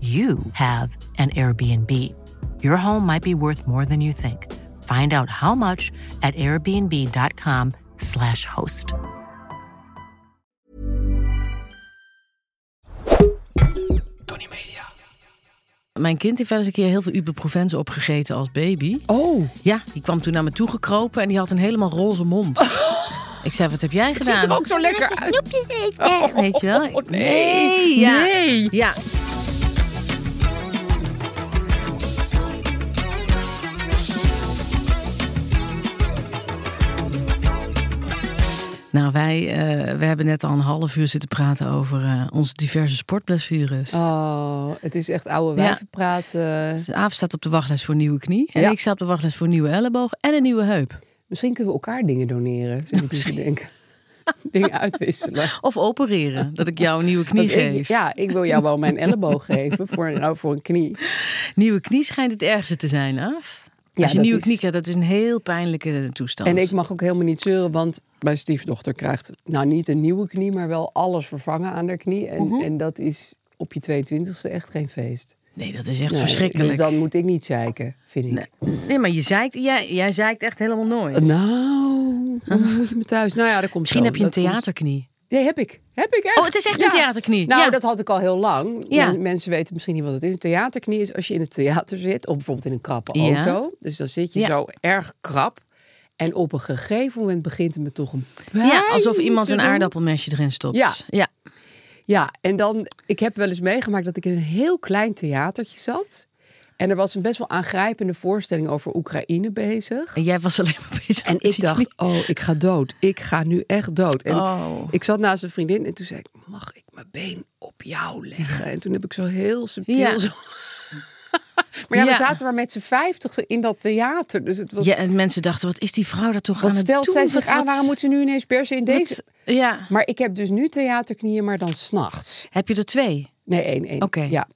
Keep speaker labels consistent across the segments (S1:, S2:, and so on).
S1: you have an Airbnb. Your home might be worth more than you think. Find out how much at airbnb.com/slash host.
S2: Tony Media.
S3: Mijn kind heeft wel eens een keer heel veel ibuprofen opgegeten als baby.
S4: Oh,
S3: Ja, die kwam toen naar me toe gekropen en die had een helemaal roze mond. Ik zei, wat heb jij
S4: het
S3: gedaan?
S4: ziet er ook zo lekker uit.
S3: Weet je wel?
S4: Oh, nee.
S3: ja.
S4: Nee.
S3: Ja. Nou, wij eh, we hebben net al een half uur zitten praten over eh, onze diverse sportblessures.
S4: Oh, het is echt oude
S3: Ja.
S4: wijvenpraat. eh.
S3: Dus Aaf staat op de wachtlijst voor een nieuwe knie. En
S4: Ja.
S3: ik sta op de wachtlijst voor een nieuwe elleboog en een nieuwe heup.
S4: Misschien kunnen we elkaar dingen doneren. Zit ik nu te denken. dingen uitwisselen.
S3: Of opereren, dat ik jou een nieuwe knie
S4: Want ik-
S3: geef.
S4: ja, ik wil jou wel mijn elleboog geven voor, nou, voor een knie.
S3: Oh, Nieuwe knie schijnt het ergste te zijn, af.
S4: Ja,
S3: Als je
S4: dat
S3: nieuwe
S4: is-
S3: knie krijgt, dat is een heel pijnlijke toestand.
S4: En ik mag ook helemaal niet zeuren, want mijn stiefdochter krijgt nou niet een nieuwe knie, maar wel alles vervangen aan haar knie. En,
S3: Mhm.
S4: en dat is op je 22e echt geen feest.
S3: Nee, dat is echt
S4: Nee,
S3: verschrikkelijk.
S4: Dus dan moet ik niet zeiken, vind ik.
S3: Nee, maar je zeikt, jij, jij zeikt echt helemaal nooit.
S4: Nou, hoe moet je me thuis? Nou ja, dat komt
S3: Misschien
S4: zo,
S3: heb je een
S4: dat komt-
S3: theaterknie.
S4: Nee, heb ik. Heb ik echt.
S3: Oh, het is echt een theaterknie.
S4: Nou,
S3: Ja.
S4: dat had ik al heel lang.
S3: Ja.
S4: Men- Mensen weten misschien niet wat het is. Een theaterknie is als je in het theater zit, of bijvoorbeeld in een krappe
S3: Ja.
S4: auto. Dus dan zit je
S3: Ja.
S4: zo erg krap. En op een gegeven moment begint het me toch een
S3: Ja, alsof
S4: pijn
S3: iemand
S4: te
S3: een
S4: doen.
S3: aardappelmesje erin stopt.
S4: Ja.
S3: ja.
S4: Ja, en dan, ik heb wel eens meegemaakt dat ik in een heel klein theatertje zat. En er was een best wel aangrijpende voorstelling over Oekraïne bezig.
S3: En jij was alleen maar bezig
S4: En
S3: met
S4: ik
S3: die
S4: dacht,
S3: knie.
S4: oh, ik ga dood. Ik ga nu echt dood. En
S3: Oh.
S4: ik zat naast een vriendin en toen zei ik, mag ik mijn been op jou leggen? En toen heb ik zo heel subtiel
S3: Ja.
S4: zo... Maar ja,
S3: Ja.
S4: we zaten maar met z'n vijftig in dat theater. Dus het was...
S3: Ja, en mensen dachten, wat is die vrouw daar toch aan
S4: wat
S3: het
S4: stelt
S3: doen?
S4: zij zich
S3: Wat-
S4: aan?
S3: wat-
S4: Waarom moet ze nu ineens persen in
S3: wat-
S4: deze...
S3: Ja.
S4: Maar ik heb dus nu theaterknieën, maar dan s'nachts.
S3: Heb je er twee?
S4: Nee, één, één.
S3: Oké.
S4: Ja.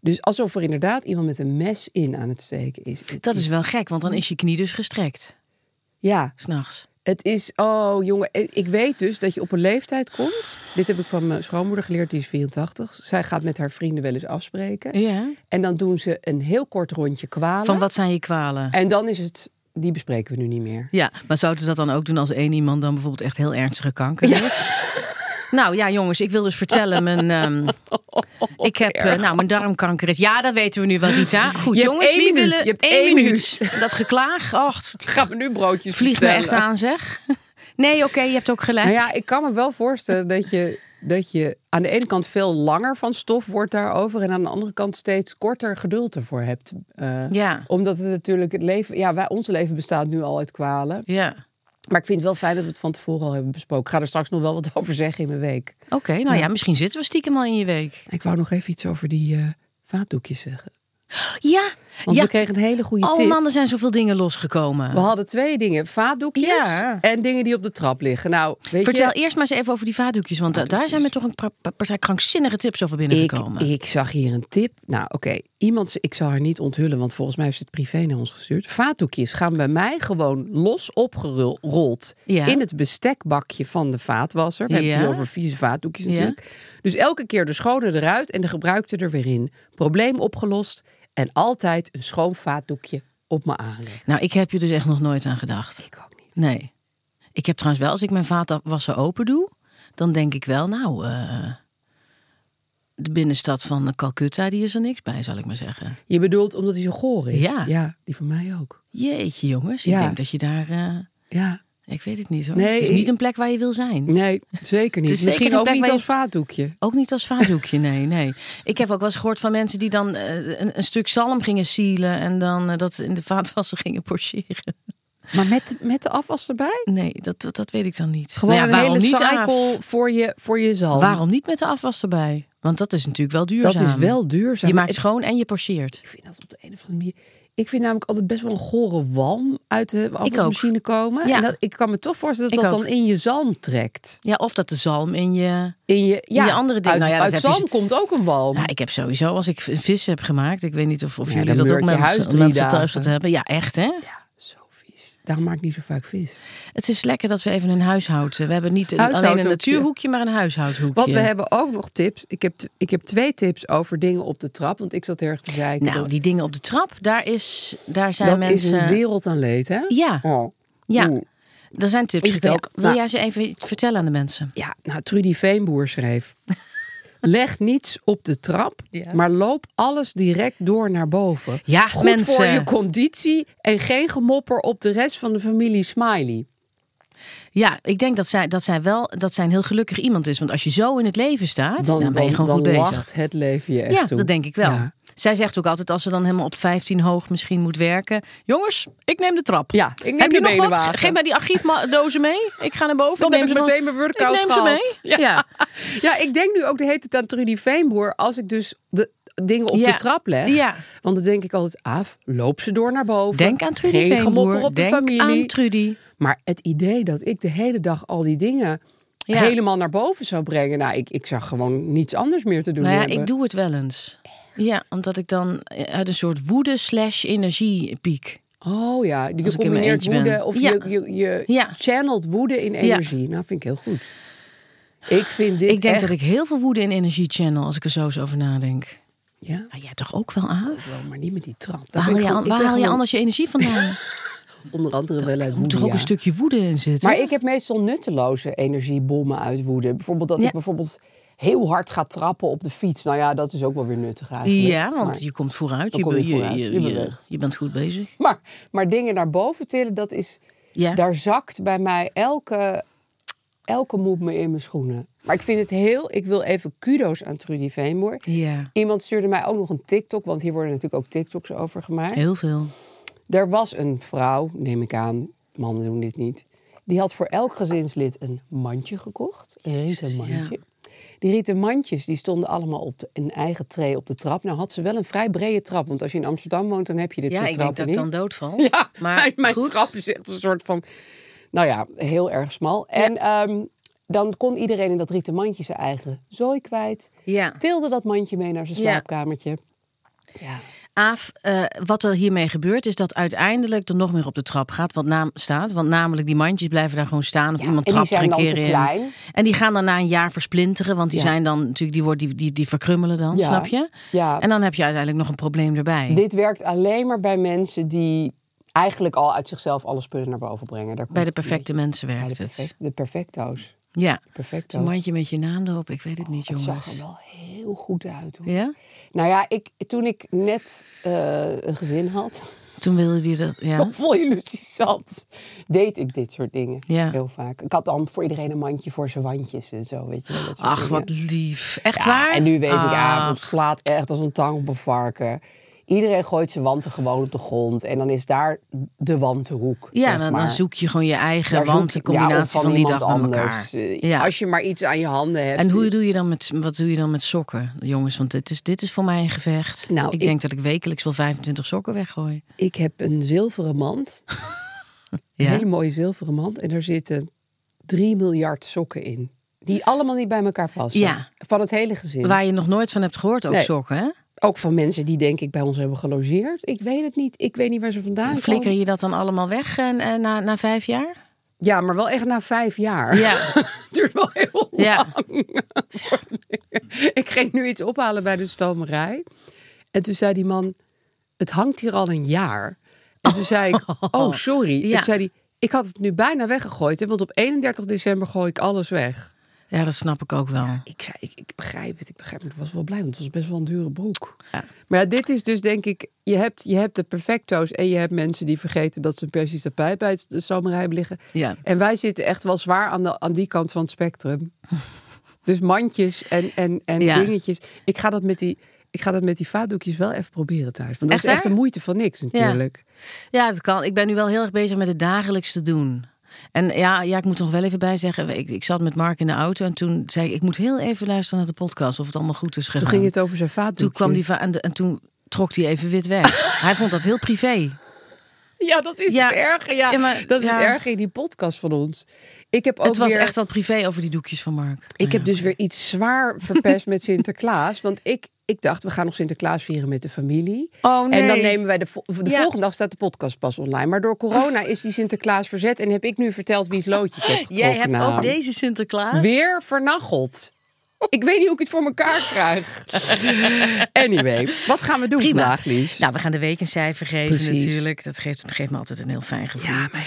S4: Dus alsof er inderdaad iemand met een mes in aan het steken is. Het
S3: Dat is wel gek, want dan is je knie dus gestrekt.
S4: Ja,
S3: S'nachts.
S4: het is... Oh, jongen. eh, Ik weet dus dat je op een leeftijd komt. Dit heb ik van mijn schoonmoeder geleerd, die is 84. Zij gaat met haar vrienden wel eens afspreken.
S3: Ja.
S4: En dan doen ze een heel kort rondje kwalen.
S3: Van wat zijn je kwalen?
S4: En dan is het... Die bespreken we nu niet meer.
S3: Ja, maar zouden ze dat dan ook doen als één iemand dan bijvoorbeeld echt heel ernstige kanker heeft? Nou ja, jongens, ik wil dus vertellen, mijn, ehm, ik heb, eh, nou, mijn darmkanker is. Ja, dat weten we nu wel, Rita. Goed,
S4: Je hebt
S3: jongens,
S4: één
S3: wie
S4: minuut,
S3: willen
S4: je hebt één
S3: Dat geklaag, och,
S4: Gaan we nu broodjes
S3: vlieg me
S4: bestellen?
S3: echt aan, zeg. Nee, oké, je hebt ook gelijk.
S4: Nou ja, ik kan me wel voorstellen dat je, dat je aan de ene kant veel langer van stof wordt daarover. En aan de andere kant steeds korter geduld ervoor hebt. Eh,
S3: Ja.
S4: Omdat het natuurlijk het leven. Ja, wij, ons leven bestaat nu al uit kwalen.
S3: Ja.
S4: Maar ik vind het wel fijn dat we het van tevoren al hebben besproken. Ik ga er straks nog wel wat over zeggen in mijn week.
S3: Oké, nou ja, misschien zitten we stiekem al in je week.
S4: Ik wou nog even iets over die eh, vaatdoekjes zeggen.
S3: Ja,
S4: Want
S3: ja.
S4: we kregen een hele goede
S3: Oh
S4: tip.
S3: man, er zijn zoveel dingen losgekomen.
S4: We hadden twee dingen: vaatdoekjes
S3: Ja.
S4: en dingen die op de trap liggen. Nou, weet
S3: Vertel
S4: je, Nou,
S3: eerst maar eens even over die vaatdoekjes, want da- daar zijn me toch een paar, paar krankzinnige tips over binnengekomen.
S4: Ik, ik zag hier een tip. Nou, oké. Iemand, ik zal haar niet onthullen, want volgens mij heeft ze het privé naar ons gestuurd. Vaatdoekjes gaan bij mij gewoon los opgerold
S3: Ja.
S4: in het bestekbakje van de vaatwasser. We hebben het
S3: Ja.
S4: hier over vieze vaatdoekjes
S3: Ja.
S4: natuurlijk. Dus elke keer de schone eruit en de gebruikte er weer in. Probleem opgelost en altijd een schoon vaatdoekje op me aanleggen.
S3: Nou, ik heb je dus echt nog nooit aan gedacht.
S4: Ik ook niet.
S3: Nee. Ik heb trouwens wel, als ik mijn vaatwasser open doe, dan denk ik wel, nou, eh, de binnenstad van Calcutta, die is er niks bij, zal ik maar zeggen.
S4: Je bedoelt omdat hij zo goor is?
S3: Ja.
S4: Ja, die van mij ook.
S3: Jeetje, jongens. Ik
S4: Ja.
S3: denk dat je daar... eh,
S4: Ja.
S3: ik weet het niet hoor.
S4: Nee,
S3: het is
S4: ik-
S3: niet een plek waar je wil zijn.
S4: Nee, zeker niet.
S3: Het is zeker
S4: Misschien
S3: een
S4: ook
S3: plek
S4: niet
S3: waar je-
S4: als vaatdoekje.
S3: Ook niet als vaardoekje, nee, nee. Ik heb ook wel eens gehoord van mensen die dan eh, een, een stuk zalm gingen sielen... en dan eh, dat in de vaatwasser gingen porcheren.
S4: Maar met, met de afwas erbij?
S3: Nee, dat, dat- dat weet ik dan niet.
S4: Gewoon
S3: Maar Nou ja,
S4: een hele
S3: Aaf?
S4: cycle voor je, voor je zalm.
S3: Waarom niet met de afwas erbij? Want dat is natuurlijk wel duurzaam.
S4: Dat is wel duurzaam.
S3: Je maakt
S4: Het-
S3: schoon en je porcheert.
S4: Ik vind dat op de een of andere manier... Ik vind namelijk altijd best wel een gore walm uit de afwasmachine komen.
S3: Ja.
S4: En dat, ik kan me toch voorstellen dat
S3: Ik
S4: dat
S3: ook.
S4: dan in je zalm trekt.
S3: Ja, of dat de zalm in je...
S4: In je, ja,
S3: je andere dingen.
S4: Uit,
S3: Nou ja, dat
S4: uit
S3: heb je
S4: zalm komt ook een walm.
S3: Ja, ik heb sowieso, als ik v- vis heb gemaakt... Ik weet niet of, of
S4: Ja,
S3: jullie
S4: dan
S3: dat ook
S4: meurt je huis
S3: mensen,
S4: drie
S3: mensen
S4: dagen.
S3: thuis dat hebben. Ja, echt hè?
S4: Ja, zo vies. Daarom maak ik niet zo vaak vis.
S3: Het is lekker dat we even een huishoud... We hebben niet een, alleen een
S4: Huishoudhoekje.
S3: natuurhoekje, maar een huishoudhoekje.
S4: Want we hebben ook nog tips. Ik heb, t- ik heb twee tips over dingen op de trap. Want ik zat heel erg te kijken.
S3: Nou,
S4: dat
S3: die dingen op de trap, daar, is, daar zijn
S4: dat is
S3: mensen...
S4: een wereld aan leed, hè?
S3: Ja,
S4: Oh.
S3: ja.
S4: Oeh.
S3: Er zijn tips.
S4: Is het ook?
S3: Wil
S4: Nou.
S3: jij ze even vertellen aan de mensen?
S4: Ja, nou, Trudy Veenboer schreef... Leg niets op de trap, maar loop alles direct door naar boven.
S3: Ja,
S4: Goed
S3: mensen.
S4: voor je conditie en geen gemopper op de rest van de familie Smiley.
S3: Ja, ik denk dat zij, dat zij wel dat zij een heel gelukkig iemand is. Want als je zo in het leven staat, dan, nou ben je gewoon
S4: dan
S3: goed bezig.
S4: lacht het leven je echt
S3: ja,
S4: toe.
S3: dat denk ik wel.
S4: Ja.
S3: Zij zegt ook altijd als ze dan helemaal op 15 hoog misschien moet werken. Jongens, ik neem de trap.
S4: Ja, ik neem
S3: Heb
S4: de
S3: je nog wat?
S4: benenwagen.
S3: Geef mij die archiefdozen mee. Ik ga naar boven.
S4: Dan
S3: ik
S4: heb ik
S3: neem ze
S4: meteen
S3: nog-
S4: mijn workout
S3: Ik neem
S4: gehad.
S3: ze mee. Ja.
S4: Ja, ik denk nu ook de hele tijd aan Trudy Veenboer. Als ik dus de dingen op
S3: Ja.
S4: de trap leg.
S3: Ja.
S4: Want dan denk ik altijd, af, loop ze door naar boven.
S3: Denk aan Trudy
S4: Geen gemopper
S3: Veenboer.
S4: op
S3: Denk
S4: de familie.
S3: aan Trudy.
S4: maar het idee dat ik de hele dag al die dingen
S3: Ja.
S4: helemaal naar boven zou brengen. Nou, ik, ik zag gewoon niets anders meer te doen
S3: Nou ja,
S4: hebben.
S3: ik doe het wel eens. Ja, omdat ik dan eh, uit een soort woede slash energie piek.
S4: Oh ja,
S3: Als
S4: je
S3: ik in mijn
S4: combineert
S3: eentje ben.
S4: woede of
S3: Ja.
S4: je, je, je
S3: Ja.
S4: channelt woede in energie. Nou, vind ik heel goed. Ik vind dit
S3: Ik denk dat
S4: echt-
S3: ik heel veel woede en energie channel als ik er zo eens over nadenk.
S4: Ja, Oh,
S3: Maar Nou, jij toch ook wel aan?
S4: maar niet met die trap. Daar ben
S3: Waar haal,
S4: ik
S3: je,
S4: gewoon-
S3: an-
S4: ik
S3: waar
S4: ben
S3: haal je
S4: gewoon
S3: anders je energie vandaan?
S4: Onder andere wel uit
S3: Er moet
S4: woede,
S3: toch ook
S4: ja.
S3: een stukje woede in zitten?
S4: Maar ik heb meestal nutteloze energiebommen uit woede. Bijvoorbeeld dat
S3: Ja.
S4: ik bijvoorbeeld heel hard ga trappen op de fiets. Nou ja, dat is ook wel weer nuttig eigenlijk.
S3: ja, want
S4: Maar,
S3: je komt vooruit.
S4: Dan
S3: Je,
S4: kom je
S3: be- je,
S4: vooruit,
S3: je-
S4: je
S3: je-
S4: beweegt.
S3: je bent goed bezig.
S4: maar, maar dingen naar boven tillen, dat is...
S3: Ja.
S4: Daar zakt bij mij elke, elke moed me in mijn schoenen. Maar ik vind het heel... Ik wil even kudo's aan Trudy Veenboer.
S3: Ja,
S4: Iemand stuurde mij ook nog een TikTok, want hier worden natuurlijk ook TikToks over gemaakt.
S3: heel veel.
S4: Er was een vrouw, neem ik aan, mannen doen dit niet. Die had voor elk gezinslid een mandje gekocht. Een rietenmandje. Die rietenmandjes die stonden allemaal op een eigen tray op de trap. Nou had ze wel een vrij brede trap. Want als je in Amsterdam woont, dan heb je dit
S3: Ja,
S4: soort
S3: ik denk
S4: trappen
S3: dat ik dan
S4: niet.
S3: doodval.
S4: Ja,
S3: maar
S4: mijn, mijn
S3: goed.
S4: trap is echt een soort van... Nou ja, heel erg smal. En ehm, dan kon iedereen in dat rieten mandje zijn eigen zooi kwijt.
S3: Ja.
S4: Tilde dat mandje mee naar zijn
S3: Ja.
S4: slaapkamertje. Ja.
S3: Aaf, eh, wat er hiermee gebeurt is dat uiteindelijk er nog meer op de trap gaat. Wat naam staat. Want namelijk die mandjes blijven daar gewoon staan. Of
S4: Ja,
S3: iemand
S4: en die
S3: trapt er
S4: zijn
S3: een
S4: dan
S3: keer
S4: te
S3: in.
S4: klein.
S3: En die gaan dan na een jaar versplinteren. Want die
S4: Ja.
S3: zijn dan natuurlijk, die, worden, die, die, die verkrummelen dan,
S4: Ja.
S3: snap je?
S4: Ja.
S3: En dan heb je uiteindelijk nog een probleem erbij.
S4: Dit werkt alleen maar bij mensen die eigenlijk al uit zichzelf alle spullen naar boven brengen. Daar
S3: Bij de
S4: komt het
S3: perfecte mensen
S4: een beetje. Bij de,
S3: werkt
S4: perfect,
S3: het.
S4: de perfecto's.
S3: Ja.
S4: Perfecto's.
S3: Een mandje met je naam erop, ik weet het niet,
S4: Het
S3: jongens.
S4: Oh, zag er wel heel goed uit. Hoor.
S3: Ja?
S4: Nou ja, ik, toen ik net eh, een gezin had,
S3: Toen wilde die dat. Ja.
S4: of vol illusie zat, deed ik dit soort dingen.
S3: Ja.
S4: Heel vaak. Ik had dan voor iedereen een mandje voor zijn wandjes en zo. Weet je, wel, dat soort
S3: Ach,
S4: dingen.
S3: wat lief. Echt
S4: Ja,
S3: waar?
S4: En nu weet ik,
S3: Ach.
S4: ah, het slaat echt als een tang op een varken. Iedereen gooit zijn wanten gewoon op de grond. En dan is daar de wantenhoek.
S3: Ja,
S4: zeg
S3: dan, dan
S4: maar.
S3: zoek je gewoon je eigen,
S4: Daar
S3: want
S4: zoek-
S3: de combinatie
S4: ja, of
S3: van, die dag
S4: iemand
S3: met elkaar.
S4: anders. Eh,
S3: ja.
S4: Als je maar iets aan je handen hebt.
S3: En hoe doe je dan met, wat doe je dan met sokken, jongens? Want dit is, dit is voor mij een gevecht.
S4: Nou,
S3: ik,
S4: ik-
S3: denk dat ik wekelijks wel 25 sokken weggooi.
S4: Ik heb een zilveren mand.
S3: Ja.
S4: Een hele mooie zilveren mand. En daar zitten 3 miljard sokken in. Die allemaal niet bij elkaar passen.
S3: Ja.
S4: Van het hele gezin.
S3: Waar je nog nooit van hebt gehoord, ook
S4: Nee.
S3: sokken. Hè?
S4: Ook van mensen die denk ik bij ons hebben gelogeerd. Ik weet het niet. Ik weet niet waar ze vandaan
S3: Flikker
S4: komen.
S3: je dat dan allemaal weg en, en na, na vijf jaar?
S4: Ja, maar wel echt na vijf jaar.
S3: Ja.
S4: Het duurt wel heel lang.
S3: Ja.
S4: Ik ging nu iets ophalen bij de stomerij. En toen zei die man, het hangt hier al een jaar. En toen zei ik, oh sorry.
S3: Ja.
S4: En toen zei hij, ik had het nu bijna weggegooid. hè, Want op 31 december gooi ik alles weg.
S3: Ja, dat snap ik ook wel.
S4: Ik, zei, ik, ik begrijp het, ik begrijp het. Ik was wel blij, want het was best wel een dure broek. Maar ja, dit is dus denk ik... Je hebt, je hebt de perfecto's en je hebt mensen die vergeten... dat ze een Persisch tapijt bij het- de zomerij hebben liggen.
S3: Ja.
S4: En wij zitten echt wel zwaar aan, de, aan die kant van het spectrum. dus mandjes en, en, en
S3: Ja.
S4: dingetjes. Ik ga dat met die... Ik ga dat met die vaatdoekjes wel even proberen thuis. Want dat
S3: Echt
S4: is echt
S3: waar?
S4: de moeite van niks natuurlijk.
S3: Ja, dat kan. Ik ben nu wel heel erg bezig met het dagelijks te doen. En ja, ja, ik moet er nog wel even bij zeggen. Ik, ik zat met Mark in de auto en toen zei ik... ik moet heel even luisteren naar de podcast of het allemaal goed is gegaan.
S4: Toen ging het over zijn
S3: Toen
S4: vaatdoekjes.
S3: kwam die va- en, de- en toen trok hij even wit weg. hij vond dat heel privé.
S4: Ja, dat is
S3: Ja.
S4: het erge. Ja.
S3: Ja, maar-
S4: dat is
S3: ja.
S4: het erge in die podcast van ons. Ik heb ook
S3: het was
S4: weer,
S3: echt wat privé over die doekjes van Mark. Nou
S4: Ik heb dus weer iets zwaar verpest met Sinterklaas. Want ik, ik dacht, we gaan nog Sinterklaas vieren met de familie.
S3: Oh,
S4: En dan
S3: nee.
S4: nemen wij de, vo- de
S3: Ja.
S4: volgende dag staat de podcast pas online. Maar door corona is die Sinterklaas verzet. En heb ik nu verteld wie het loodje ik heb
S3: Jij
S4: getrokken,
S3: hebt
S4: nou.
S3: ook deze Sinterklaas.
S4: Weer vernacheld. Ik weet niet hoe ik het voor elkaar krijg. Anyway, wat gaan we doen
S3: Prima.
S4: vandaag, Lies?
S3: Nou, we gaan de week een cijfer geven
S4: Precies.
S3: natuurlijk. Dat geeft, geeft me altijd een heel fijn gevoel. Ja, mij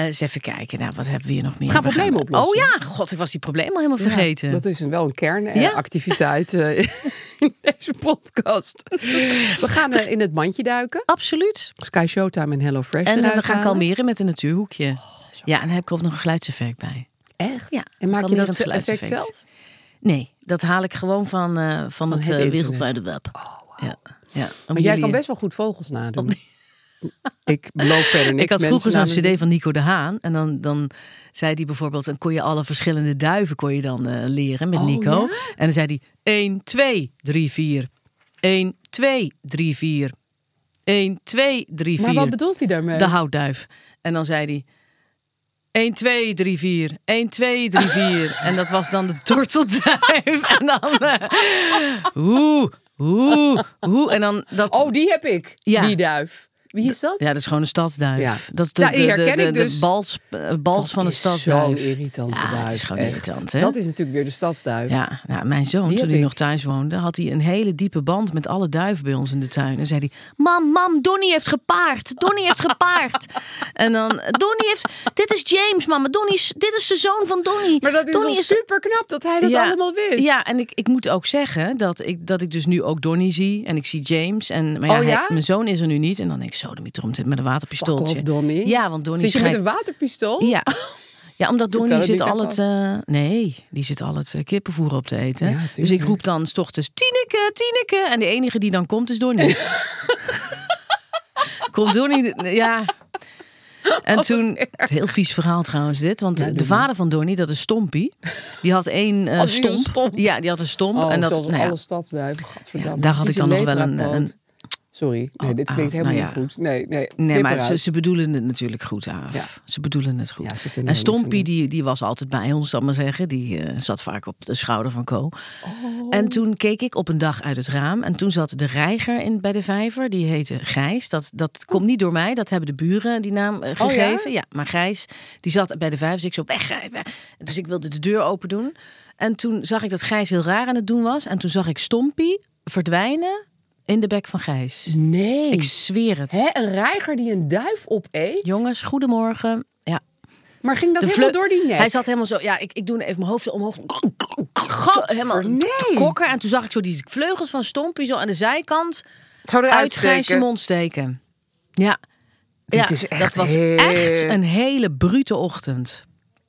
S3: ook. eens even kijken. Nou, wat hebben we hier nog meer?
S4: gaan
S3: We
S4: problemen oplossen.
S3: Oh ja, god, ik was die problemen al helemaal vergeten.
S4: Dat is een, wel een
S3: Ja.
S4: kernactiviteit eh in deze podcast. We gaan eh, in het mandje duiken.
S3: Absoluut.
S4: Sky Showtime en Hello Fresh.
S3: En eh, we
S4: eruit
S3: gaan
S4: halen.
S3: kalmeren met een natuurhoekje. ja, en dan heb ik er ook nog een geluidseffect bij.
S4: Echt?
S3: Ja,
S4: en maak je dat
S3: kalmerend
S4: ze- effect
S3: geluidseffect.
S4: zelf?
S3: Nee, dat haal ik gewoon van, eh, van, het,
S4: het
S3: eh,
S4: internet.
S3: wereldwijde web. Oh, ja. ja. eh,
S4: Maar jij kan best wel goed vogels nadoen. Ik beloof verder niks.
S3: Ik had
S4: mensen
S3: vroeger zo'n
S4: nadoen.
S3: cd van Nico de Haan. En dan, dan zei hij bijvoorbeeld... dan kon je alle verschillende duiven kon je dan eh, leren met
S4: Oh,
S3: Nico.
S4: ja?
S3: En dan zei hij 1, 2, 3, 4. 1, 2, 3, 4. 1, 2, 3, 4.
S4: Maar wat bedoelt hij daarmee?
S3: De houtduif. En dan zei hij... 1, 2, 3, 4. 1, 2, 3, 4. En dat was dan de tortelduif. En dan... eh, Oeh, oeh, oeh. En dan dat...
S4: Oh, die heb ik.
S3: Ja.
S4: Die duif. Wie is dat?
S3: Ja, dat is gewoon een stadsduif.
S4: Ja.
S3: Dat is de,
S4: Nou,
S3: de,
S4: die
S3: de,
S4: herken
S3: de,
S4: ik
S3: de
S4: dus.
S3: bals, eh, bals
S4: Dat
S3: van een
S4: is
S3: stadsduif.
S4: Zo'n irritante
S3: Ja,
S4: duif.
S3: het is gewoon
S4: echt.
S3: irritant, hè?
S4: Dat is natuurlijk weer de stadsduif.
S3: Ja, nou, mijn zoon,
S4: Die
S3: toen
S4: heb
S3: hij
S4: ik.
S3: nog thuis woonde, had hij een hele diepe band met alle duiven bij ons in de tuin. En zei hij: Mam, mam, Donnie heeft gepaard. Donnie heeft gepaard. en dan: Donnie heeft. Dit is James, mama. Donnie is, dit is de zoon van Donnie.
S4: Maar dat is
S3: Donnie
S4: al super knap dat hij dat allemaal wist.
S3: Ja, en ik, ik moet ook zeggen dat ik, dat ik dus nu ook Donnie zie. En ik zie James. En, maar ja,
S4: Oh,
S3: hij-
S4: ja?
S3: mijn zoon is er nu niet. En dan denk ik: Zo, de mietromt met een
S4: Fuck
S3: waterpistooltje.
S4: off, Donnie.
S3: Ja, want Donnie
S4: Zit je met
S3: schijnt-
S4: een waterpistool?
S3: ja. Ja, omdat Donnie
S4: Oh. het
S3: zit
S4: niet
S3: al
S4: aan
S3: het... eh, nee, die zit al het eh, kippenvoer op te eten.
S4: Ja,
S3: dus ik
S4: tuurlijk.
S3: roep dan 's ochtends Tineke, Tineke. En de enige die dan komt is Donnie. komt Donnie... Ja...
S4: Oh,
S3: En toen, heel vies verhaal trouwens dit, want de vader van Donnie, dat is Stompie, die had één eh
S4: Had Oh, die een
S3: stomp.
S4: stomp?
S3: Ja, die had een stomp.
S4: Oh,
S3: en dat,
S4: zoals
S3: nou ja,
S4: alle stadsduiven. Gadverdamme.
S3: Ja, daar had
S4: Die
S3: ik dan nog wel een-
S4: leprapoot.
S3: een-
S4: Sorry, nee, dit
S3: Oh,
S4: klinkt
S3: ah,
S4: helemaal
S3: nou ja.
S4: niet goed. Nee, nee,
S3: Nee,
S4: knip
S3: maar
S4: eruit.
S3: ze, ze bedoelen het natuurlijk goed, Aaf.
S4: Ja.
S3: Ze bedoelen het goed.
S4: Ja, ze kunnen
S3: en
S4: er niks aan
S3: Stompie,
S4: doen.
S3: die, die was altijd bij ons, zal ik maar zeggen. Die eh, zat vaak op de schouder van
S4: Oh.
S3: Co. En toen keek ik op een dag uit het raam. En toen zat de reiger in, bij de vijver. Die heette Gijs. Dat, dat komt niet door mij. Dat hebben de buren die naam eh,
S4: Oh, ja?
S3: gegeven. ja? maar Gijs, die zat bij de vijver. Dus ik zo, weg, Gijs, weg. Dus ik wilde de deur open doen. En toen zag ik dat Gijs heel raar aan het doen was. En toen zag ik Stompie verdwijnen in de bek van Gijs.
S4: Nee.
S3: Ik zweer het.
S4: Hè, een reiger die een duif opeet?
S3: Jongens, goedemorgen. Ja.
S4: Maar ging dat
S3: De
S4: helemaal
S3: vleu-
S4: door die nek?
S3: Hij zat helemaal zo. Ja, ik, ik doe even mijn hoofd zo omhoog. Zo,
S4: Gadver,
S3: helemaal
S4: nee.
S3: kokker. En toen zag ik zo die vleugels van Stompie zo aan de zijkant
S4: Zou
S3: uit Gijs' mond steken. Ja. ja,
S4: is echt
S3: dat was
S4: heel-
S3: echt een hele brute ochtend.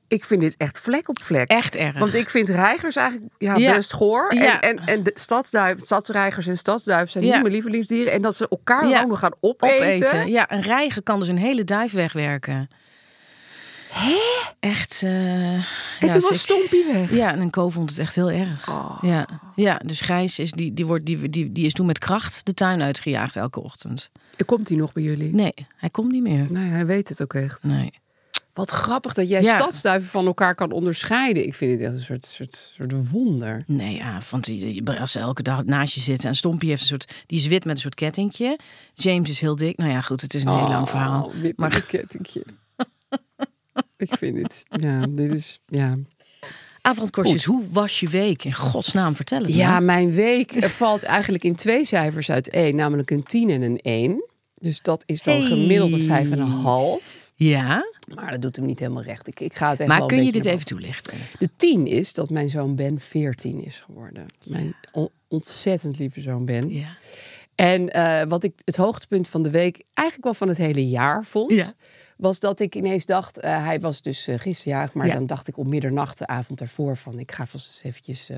S4: Ik vind dit echt vlek op vlek.
S3: Echt erg.
S4: Want ik vind reigers eigenlijk ja,
S3: Ja.
S4: best goor.
S3: Ja.
S4: En, en, en de stadsduif, stadsreigers en stadsduif zijn
S3: Ja.
S4: niet mijn lievelingsdieren. En dat ze elkaar dan
S3: Ja.
S4: ook nog Oh, gaan opeten.
S3: Ja, een reiger kan dus een hele duif wegwerken. Hé? Echt. eh,
S4: En
S3: ja,
S4: toen was
S3: sick.
S4: Stompie weg.
S3: Ja, en een ko vond het echt heel erg.
S4: Oh.
S3: Ja, ja, dus Gijs is, die, die wordt, die, die, die is toen met kracht de tuin uitgejaagd elke ochtend.
S4: Komt hij nog bij jullie?
S3: Nee, hij komt niet meer.
S4: Nee, hij weet het ook echt.
S3: Nee.
S4: Wat grappig dat jij
S3: Ja.
S4: stadsduiven van elkaar kan onderscheiden. Ik vind dit echt een soort, soort, soort wonder.
S3: Nee, ja, want die- die- als ze elke dag naast je zitten. En Stompie heeft een soort. Die is wit met een soort kettingje. James is heel dik. Nou ja, goed, het is een heel
S4: Oh,
S3: lang verhaal.
S4: maar
S3: Maar
S4: een kettingje. ik vind het. Ja, dit is. Ja.
S3: avondkorstjes, hoe was je week? In godsnaam vertel het
S4: ja,
S3: me.
S4: mijn week valt eigenlijk in twee cijfers uit één, namelijk een 10 en een 1. Dus dat is dan
S3: Hey.
S4: gemiddelde 5,5.
S3: Ja,
S4: Maar dat doet hem niet helemaal recht. Ik, ik ga het echt wel
S3: maar
S4: een
S3: kun je
S4: beetje
S3: dit
S4: naar
S3: even toelichten?
S4: De tien is dat mijn zoon Ben 14 is geworden. Mijn on- ontzettend lieve zoon Ben.
S3: Ja.
S4: En eh, wat ik het hoogtepunt van de week, eigenlijk wel van het hele jaar vond,
S3: Ja.
S4: was dat ik ineens dacht, eh, hij was dus eh gisteren jarig, maar
S3: Ja.
S4: dan dacht ik op middernacht de avond daarvoor van, ik ga vast eens eventjes eh,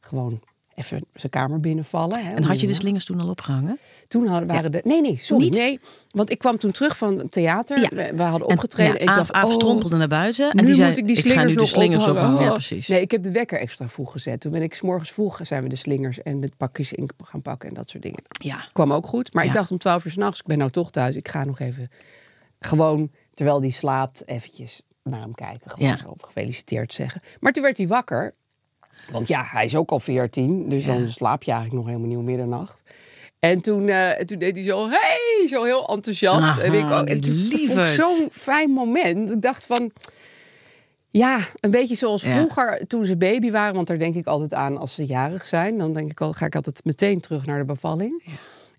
S4: gewoon even zijn kamer binnenvallen. hè, om
S3: En had je de
S4: middernacht.
S3: slingers toen al opgehangen?
S4: Toen hadden, waren de... Nee, nee, sorry.
S3: Niet?
S4: Nee, want ik kwam toen terug van het theater.
S3: Ja.
S4: We, we hadden
S3: En-
S4: opgetreden.
S3: ja,
S4: ik
S3: Aaf-
S4: dacht,
S3: Aaf
S4: oh,
S3: strompelde naar buiten en
S4: nu
S3: die zei,
S4: moet ik die
S3: "Ik ga
S4: slingers
S3: nu de
S4: nog
S3: slingers
S4: ophangen."
S3: ophangen. Ja,
S4: Oh.
S3: precies.
S4: Nee, ik heb de wekker extra vroeg gezet. Toen ben ik 's morgens vroeg zijn we de slingers en het pakjes in gaan pakken en dat soort dingen.
S3: Ja.
S4: Kwam ook goed. Maar ik
S3: Ja.
S4: dacht om 12 uur s'nachts, ik ben nou toch thuis. Ik ga nog even gewoon, terwijl die slaapt, eventjes naar hem kijken. Gewoon
S3: Ja.
S4: zo gefeliciteerd zeggen. Maar toen werd hij wakker. Want
S3: Dus
S4: ja, hij is ook al 14. Dus dan slaap je eigenlijk nog helemaal niet om middernacht. En toen, eh, toen deed hij zo, hey, zo heel enthousiast.
S3: Aha,
S4: en ik ook. En
S3: die
S4: toen vond ik
S3: lieverd.
S4: zo'n fijn moment. Ik dacht van, ja, een beetje zoals
S3: Ja.
S4: vroeger toen ze baby waren. Want daar denk ik altijd aan als ze jarig zijn. Dan denk ik al, ga ik altijd meteen terug naar de bevalling.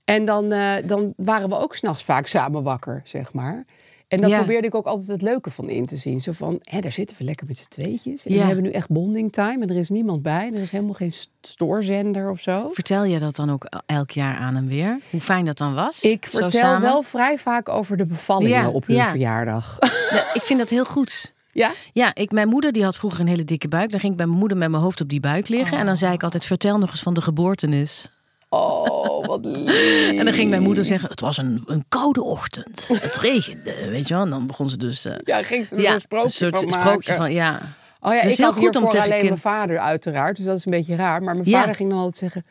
S4: En dan, eh, dan waren we ook s'nachts vaak samen wakker, zeg maar. En dan
S3: Ja.
S4: probeerde ik ook altijd het leuke van in te zien. Zo van, hè, daar zitten we lekker met z'n tweetjes. En
S3: Ja.
S4: we hebben nu echt bonding time. En er is niemand bij. En er is helemaal geen st- stoorzender of zo.
S3: Vertel je dat dan ook elk jaar aan hem weer? Hoe fijn dat dan was?
S4: Ik
S3: Zo
S4: vertel
S3: samen?
S4: wel vrij vaak over de bevallingen
S3: Ja,
S4: op hun
S3: ja.
S4: verjaardag.
S3: Ja, ik vind dat heel goed.
S4: ja?
S3: Ja, ik, mijn moeder die had vroeger een hele dikke buik. Dan ging ik bij mijn moeder met mijn hoofd op die buik liggen. En dan zei ik altijd, vertel nog eens van de geboortenis.
S4: Oh, wat lief.
S3: En dan ging mijn moeder zeggen, het was een, een koude ochtend. Het regende, weet je wel. En dan begon ze dus... eh,
S4: Ja, ging ze er zo'n sprookje
S3: soort
S4: van
S3: sprookje
S4: maken.
S3: van, ja.
S4: Oh ja,
S3: Dat is
S4: ik
S3: heel
S4: had
S3: goed om
S4: hiervoor
S3: tegen
S4: alleen
S3: kind-
S4: mijn vader uiteraard. Dus dat is een beetje raar. Maar mijn
S3: Ja.
S4: vader ging dan altijd zeggen...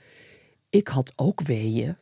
S4: Ik had ook weeën.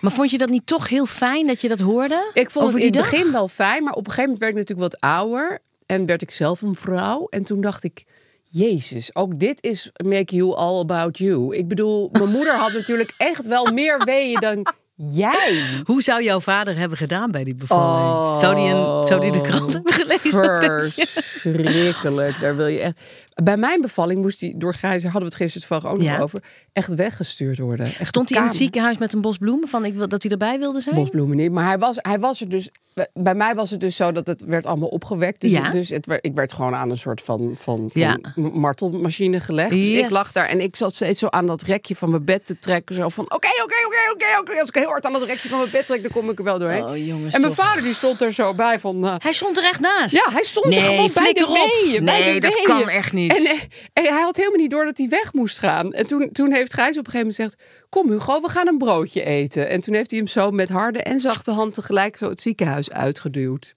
S3: Maar vond je dat niet toch heel fijn dat je dat hoorde?
S4: Ik vond
S3: Over
S4: het in
S3: die
S4: het
S3: dag?
S4: begin wel fijn, maar op een gegeven moment werd ik natuurlijk wat ouder. En werd ik zelf een vrouw. En toen dacht ik, jezus, ook dit is make you all about you. Ik bedoel, mijn moeder had natuurlijk echt wel meer weeën dan jij.
S3: Hoe zou jouw vader hebben gedaan bij die bevalling? zou, die een, zou die de krant hebben gelezen?
S4: Oh. Verschrikkelijk, daar wil je echt... Bij mijn bevalling moest die door Gijzer, hadden we het gisteren toevallig ook
S3: Ja.
S4: nog over, echt weggestuurd worden. Echt
S3: Stond
S4: de
S3: hij in
S4: kamer.
S3: het ziekenhuis met een bos bloemen? Van ik wil, dat hij erbij wilde zijn?
S4: Bosbloemen niet. Maar hij was, hij was er dus. Bij mij was het dus zo dat het werd allemaal opgewekt. Dus,
S3: Ja.
S4: dus het, werd- ik werd gewoon aan een soort van, van, van
S3: Ja.
S4: martelmachine gelegd. Dus
S3: Yes.
S4: ik lag daar en ik zat steeds zo aan dat rekje van mijn bed te trekken. Zo van: oké, oké, oké, oké, oké. Als ik heel hard aan dat rekje van mijn bed trek, dan kom ik er wel doorheen.
S3: Oh, jongens,
S4: en mijn
S3: toch.
S4: vader die stond er zo bij van. eh,
S3: Hij stond er echt naast.
S4: ja, hij stond er
S3: Nee,
S4: gewoon bij de
S3: flikker op.
S4: weeën. bij
S3: Nee,
S4: de
S3: dat
S4: weeën.
S3: kan echt niet.
S4: En, eh, en hij had helemaal niet door dat hij weg moest gaan. En toen, toen heeft Gijs op een gegeven moment gezegd... Kom Hugo, we gaan een broodje eten. En toen heeft hij hem zo met harde en zachte hand tegelijk zo het ziekenhuis uitgeduwd.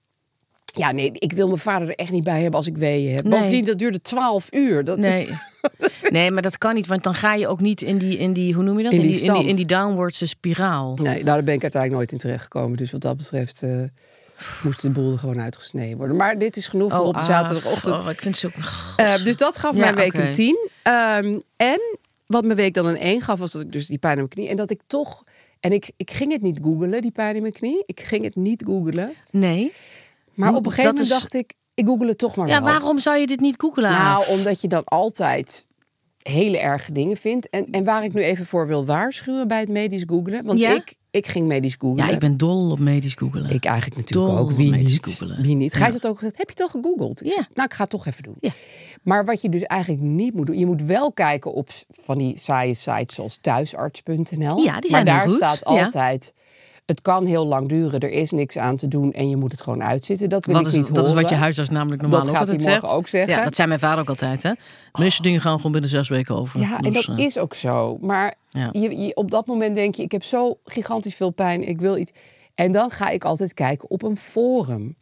S4: Ja, nee, ik wil mijn vader er echt niet bij hebben als ik weeën heb.
S3: Nee.
S4: Bovendien, dat duurde twaalf uur. Dat
S3: Nee. nee, maar dat kan niet, want dan ga je ook niet in die, in die hoe noem je dat?
S4: In
S3: in,
S4: die
S3: die, in, die,
S4: stand.
S3: in die downwardse spiraal.
S4: Nee, nou, daar ben ik uiteindelijk nooit in terechtgekomen. Dus wat dat betreft eh, moest de boel er gewoon uitgesneden worden. Maar dit is genoeg voor op de
S3: ah,
S4: zaterdagochtend.
S3: oh, ik vind ze ook.
S4: Eh, dus dat gaf
S3: Ja,
S4: mijn week
S3: oké.
S4: een 10. Ehm, en wat mijn week dan een 1 gaf, was dat ik dus die pijn in mijn knie. En dat ik toch. En ik, ik ging het niet googelen, die pijn in mijn knie. Ik ging het niet googelen.
S3: Nee.
S4: Maar
S3: Hoe-
S4: op een gegeven
S3: dat
S4: moment
S3: is-
S4: dacht ik, ik google het toch maar
S3: Ja,
S4: wel.
S3: waarom zou je dit niet googelen?
S4: Nou,
S3: Aaf?
S4: omdat je dan altijd hele erge dingen vindt. En, en waar ik nu even voor wil waarschuwen bij het medisch googelen. Want
S3: Ja?
S4: ik, ik ging medisch googelen.
S3: Ja, ik ben dol op medisch googelen.
S4: Ik eigenlijk natuurlijk
S3: Dol
S4: ook.
S3: op
S4: Wie
S3: medisch
S4: niet?
S3: googelen.
S4: Wie niet? Gijs
S3: Ja.
S4: had ook gezegd, heb je het al gegoogeld? Ik
S3: Ja.
S4: zei, nou, ik ga het toch even doen.
S3: Ja.
S4: Maar wat je dus eigenlijk niet moet doen... Je moet wel kijken op s- van die saaie sites zoals thuisarts.nl.
S3: Ja, die zijn
S4: Maar
S3: heel
S4: daar
S3: goed.
S4: staat
S3: Ja.
S4: altijd... Het kan heel lang duren, er is niks aan te doen en je moet het gewoon uitzitten. Dat wil
S3: Wat
S4: ik
S3: is,
S4: niet
S3: dat is wat je
S4: horen.
S3: huisarts namelijk normaal
S4: Dat
S3: ook
S4: gaat hij
S3: altijd
S4: morgen
S3: zegt.
S4: ook zeggen.
S3: Ja, dat zei mijn vader ook altijd. Hè? De meeste dingen gaan gewoon binnen zes weken over.
S4: Ja, en
S3: Dus,
S4: dat
S3: eh,
S4: is ook zo. Maar
S3: Ja.
S4: je, je- op dat moment denk je, ik heb zo gigantisch veel pijn, ik wil iets. En dan ga ik altijd kijken op een forum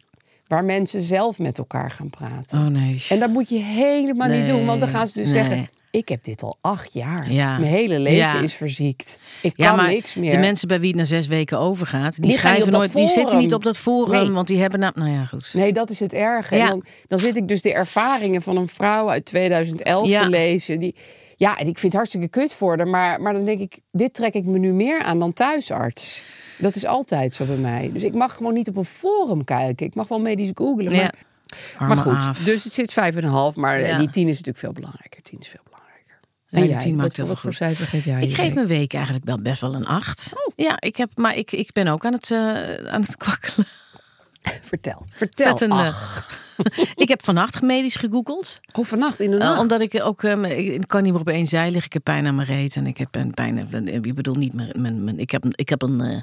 S4: waar mensen zelf met elkaar gaan praten.
S3: Oh nee.
S4: En dat moet je helemaal niet
S3: Nee,
S4: doen, want dan gaan ze dus
S3: nee.
S4: zeggen: Ik heb dit al acht jaar.
S3: Ja.
S4: Mijn hele leven
S3: Ja.
S4: is verziekt. Ik
S3: ja,
S4: kan
S3: maar
S4: niks meer.
S3: de mensen bij wie het na zes weken overgaat, die,
S4: Die gaan
S3: schrijven
S4: niet op
S3: nooit,
S4: dat
S3: die zitten
S4: forum.
S3: niet op dat forum,
S4: Nee.
S3: want die hebben, nou, nou ja, goed.
S4: Nee, dat is het erge.
S3: Ja.
S4: En Dan, dan zit ik dus de ervaringen van een vrouw uit 2011
S3: Ja.
S4: te lezen. Die, ja, en ik vind het hartstikke kut voor haar. Maar, maar dan denk ik, dit trek ik me nu meer aan dan thuisarts. Dat is altijd zo bij mij. Dus ik mag gewoon niet op een forum kijken. Ik mag wel medisch googlen. Maar,
S3: Ja. Arme
S4: maar goed,
S3: Aaf.
S4: dus het zit 5,5. Maar eh,
S3: Ja.
S4: die 10 is natuurlijk veel belangrijker. 10 is veel belangrijker.
S3: Ja, die
S4: Ah, jij?
S3: 10 maakt
S4: Wat-
S3: heel veel
S4: wat voor
S3: goed.
S4: cijfer geef jij? Oh. aan
S3: Ik
S4: je
S3: geef
S4: week?
S3: mijn week eigenlijk wel best wel een acht. Ja, ik heb, maar ik, ik ben ook aan het, eh, aan het kwakkelen.
S4: Vertel. Vertel.
S3: Met een, eh,
S4: Ach.
S3: ik heb vannacht medisch gegoogeld.
S4: Oh, vannacht in de
S3: Eh,
S4: nacht.
S3: omdat ik ook, ehm, ik ik kan niet meer op één zij liggen. Ik heb pijn aan mijn reet. En ik heb een pijn, eh, ik bedoel niet mijn, mijn, mijn- ik heb een, ik heb een eh,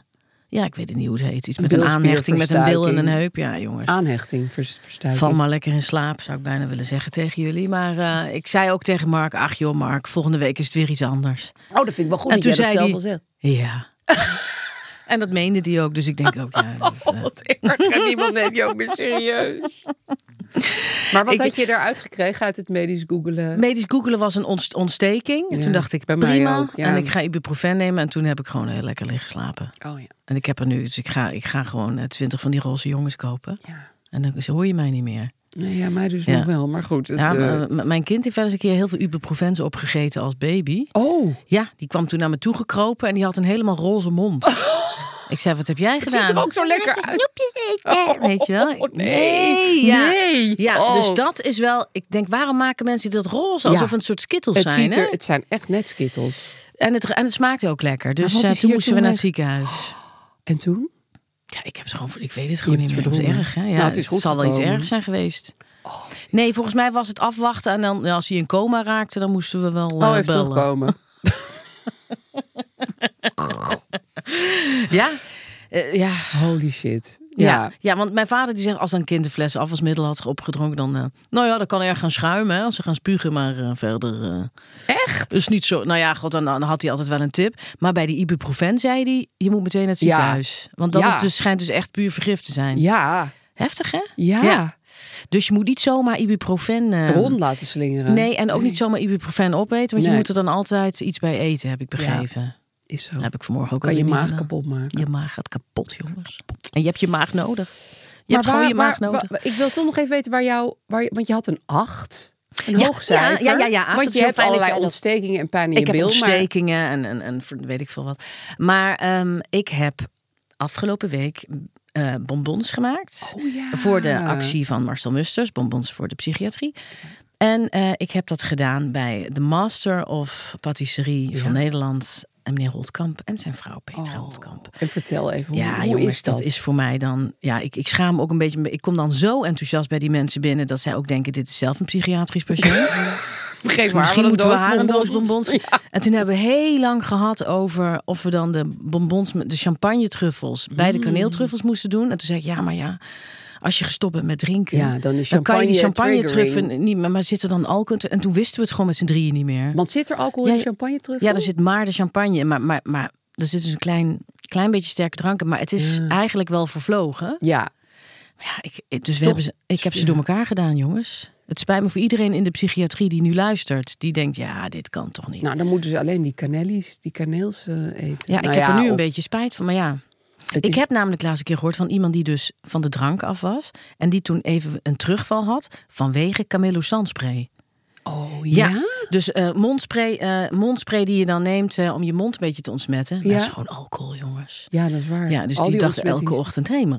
S3: ja, ik weet het niet hoe het heet. Iets met een aanhechting, met een bil en een
S4: Bilspierverstuiking.
S3: heup. Ja, jongens.
S4: Aanhechting, vers- verstuiking.
S3: Val maar lekker in slaap, zou ik bijna willen zeggen tegen jullie. Maar eh, ik zei ook tegen Mark, ach joh Mark, volgende week is het weer iets anders.
S4: Oh, dat vind ik wel goed
S3: En
S4: dat jij
S3: toen
S4: dat
S3: zei
S4: zelf
S3: hij-
S4: al zegt.
S3: Ja. en dat meende die ook, dus ik denk ook, ja. dat, eh,
S4: Wat erg. Niemand neemt je ook meer serieus. Maar wat
S3: Ik-
S4: had je eruit gekregen uit het medisch googelen?
S3: eh, Medisch googelen was een ontst- ontsteking. En
S4: Ja,
S3: toen dacht ik,
S4: bij mij
S3: prima.
S4: ook, ja.
S3: En ik ga ibuprofen nemen. En toen heb ik gewoon heel lekker liggen slapen.
S4: Oh ja.
S3: En ik heb er nu, dus ik ga, ik ga gewoon eh, twintig van die roze jongens kopen.
S4: Ja,
S3: En dan ze hoor je mij niet meer.
S4: nee, ja mij dus
S3: Ja.
S4: nog wel. Maar goed. Het,
S3: ja,
S4: eh,
S3: maar, m- mijn kind heeft wel eens een keer heel veel ibuprofens opgegeten als baby.
S4: Oh,
S3: Ja, die kwam toen naar me toe gekropen en die had een helemaal roze mond. ik zei, wat heb jij
S4: het
S3: gedaan?
S4: ziet er ook zo lekker uit.
S3: Weet je wel?
S4: nee.
S3: ja.
S4: Nee.
S3: Ja,
S4: Oh.
S3: dus dat is wel... Ik denk, waarom maken mensen dat roze?
S4: Ja.
S3: Alsof het een soort skittels
S4: Het,
S3: zijn,
S4: ziet
S3: hè?
S4: er, het zijn echt net skittels.
S3: En het, en het smaakte ook lekker. Dus
S4: Maar wat
S3: eh,
S4: is
S3: toen
S4: hier
S3: moesten we
S4: toen
S3: naar
S4: mee-
S3: het ziekenhuis.
S4: En toen?
S3: Ja, ik heb het gewoon, ik weet het gewoon
S4: hebt
S3: niet meer.
S4: het
S3: Het was
S4: verdrongen.
S3: erg, hè? Ja,
S4: Nou, het is
S3: het
S4: goed
S3: zal wel iets
S4: gekomen. Oh.
S3: erg zijn geweest. nee, volgens mij was het afwachten. En dan, ja, als hij in coma raakte, dan moesten we wel eh,
S4: Oh, even
S3: bellen.
S4: terugkomen.
S3: Ja. Eh, ja.
S4: Holy shit.
S3: Ja.
S4: Ja.
S3: Ja. want mijn vader die zegt als een kind een fles afwasmiddel had opgedronken, dan. eh, nou ja, dat kan erg gaan schuimen hè, als ze gaan spugen, maar eh, verder. echt? Dus niet zo. Nou ja, god, dan, dan had hij altijd wel een tip. Maar bij die ibuprofen zei hij: je moet meteen naar het
S4: Ja.
S3: ziekenhuis. Want dat
S4: Ja.
S3: is dus, schijnt dus echt puur vergif te zijn.
S4: Ja.
S3: Heftig hè?
S4: Ja.
S3: Ja. Dus je moet niet zomaar ibuprofen. eh,
S4: Rond laten slingeren.
S3: Nee, en ook niet zomaar ibuprofen opeten, want je
S4: Nee.
S3: moet er dan altijd iets bij eten, heb ik begrepen.
S4: Is zo.
S3: Dat heb ik vanmorgen ook
S4: Kan je
S3: alweer niet
S4: maag
S3: gedaan.
S4: kapot maken.
S3: Je maag gaat kapot, jongens. En je hebt je maag nodig. Je hebt gewoon je maag nodig.
S4: waar- ik wil toch nog even weten waar jou... Waar, je- want je had een 8. Een
S3: Ja,
S4: hoog cijfer.
S3: ja, ja, ja, ja. Ach, dat
S4: Want
S3: is
S4: je
S3: heel
S4: hebt
S3: fijn dat
S4: allerlei
S3: jij dat-
S4: ontstekingen en pijn in
S3: ik
S4: je
S3: heb
S4: bil. Maar
S3: ontstekingen en, en, en ver- weet ik veel wat. Maar ehm, ik heb afgelopen week eh, bonbons gemaakt.
S4: Oh, ja.
S3: Voor de actie van Marcel Musters, bonbons voor de psychiatrie. En eh, ik heb dat gedaan bij de Master of Patisserie van Nederland. En meneer Holtkamp en zijn vrouw
S4: Oh.
S3: Petra Holtkamp.
S4: En vertel even, hoe,
S3: Ja,
S4: hoe
S3: jongens,
S4: is dat?
S3: is voor mij dan. Ja, ik, ik schaam me ook een beetje. Ik kom dan zo enthousiast bij die mensen binnen dat zij ook denken: dit is zelf een psychiatrisch patiënt.
S4: Geef maar
S3: Misschien
S4: wel
S3: moeten we
S4: doos
S3: haar een doos
S4: bonbons.
S3: bonbons. En toen hebben we heel lang gehad over of we dan de bonbons met de champagne truffels bij
S4: Mm.
S3: de kaneeltruffels moesten doen. En toen zei ik: ja, maar ja. Als je gestopt bent met drinken,
S4: Ja, dan is
S3: kan je
S4: champagne
S3: die champagne
S4: triggering.
S3: truffen niet meer. Maar zit er dan alcohol? in? En toen wisten we het gewoon met z'n drieën niet meer.
S4: Want zit er alcohol
S3: Ja,
S4: in
S3: ja.
S4: champagne terug?
S3: Ja, er zit maar de champagne. in, Maar, maar, maar er zit dus een klein, klein beetje sterke drank in. Maar het is eigenlijk wel vervlogen.
S4: Ja,
S3: Ja, ik, ik- dus we
S4: Toch-
S3: hebben ze, ik heb ze door elkaar gedaan, jongens. Het spijt me voor iedereen in de psychiatrie die nu luistert. Die denkt, ja, dit kan toch niet.
S4: nou dan moeten ze alleen die kanellies, die kaneels eh, eten.
S3: ja, ik
S4: Nou
S3: heb er nu een
S4: of-
S3: beetje spijt van. Maar ja,
S4: het
S3: ik
S4: is-
S3: heb namelijk laatst een keer gehoord van iemand die dus van de drank af was. En die toen even een terugval had vanwege Camillo Sanspray.
S4: Oh
S3: Ja.
S4: ja?
S3: Dus eh, mondspray, eh, mondspray die je dan neemt eh, om je mond een beetje te ontsmetten. Maar
S4: Ja.
S3: dat is gewoon alcohol, jongens.
S4: Ja, dat is waar.
S3: Ja, dus
S4: Al
S3: die, dacht
S4: ontsmettings-
S3: elke ochtend, hé, maar...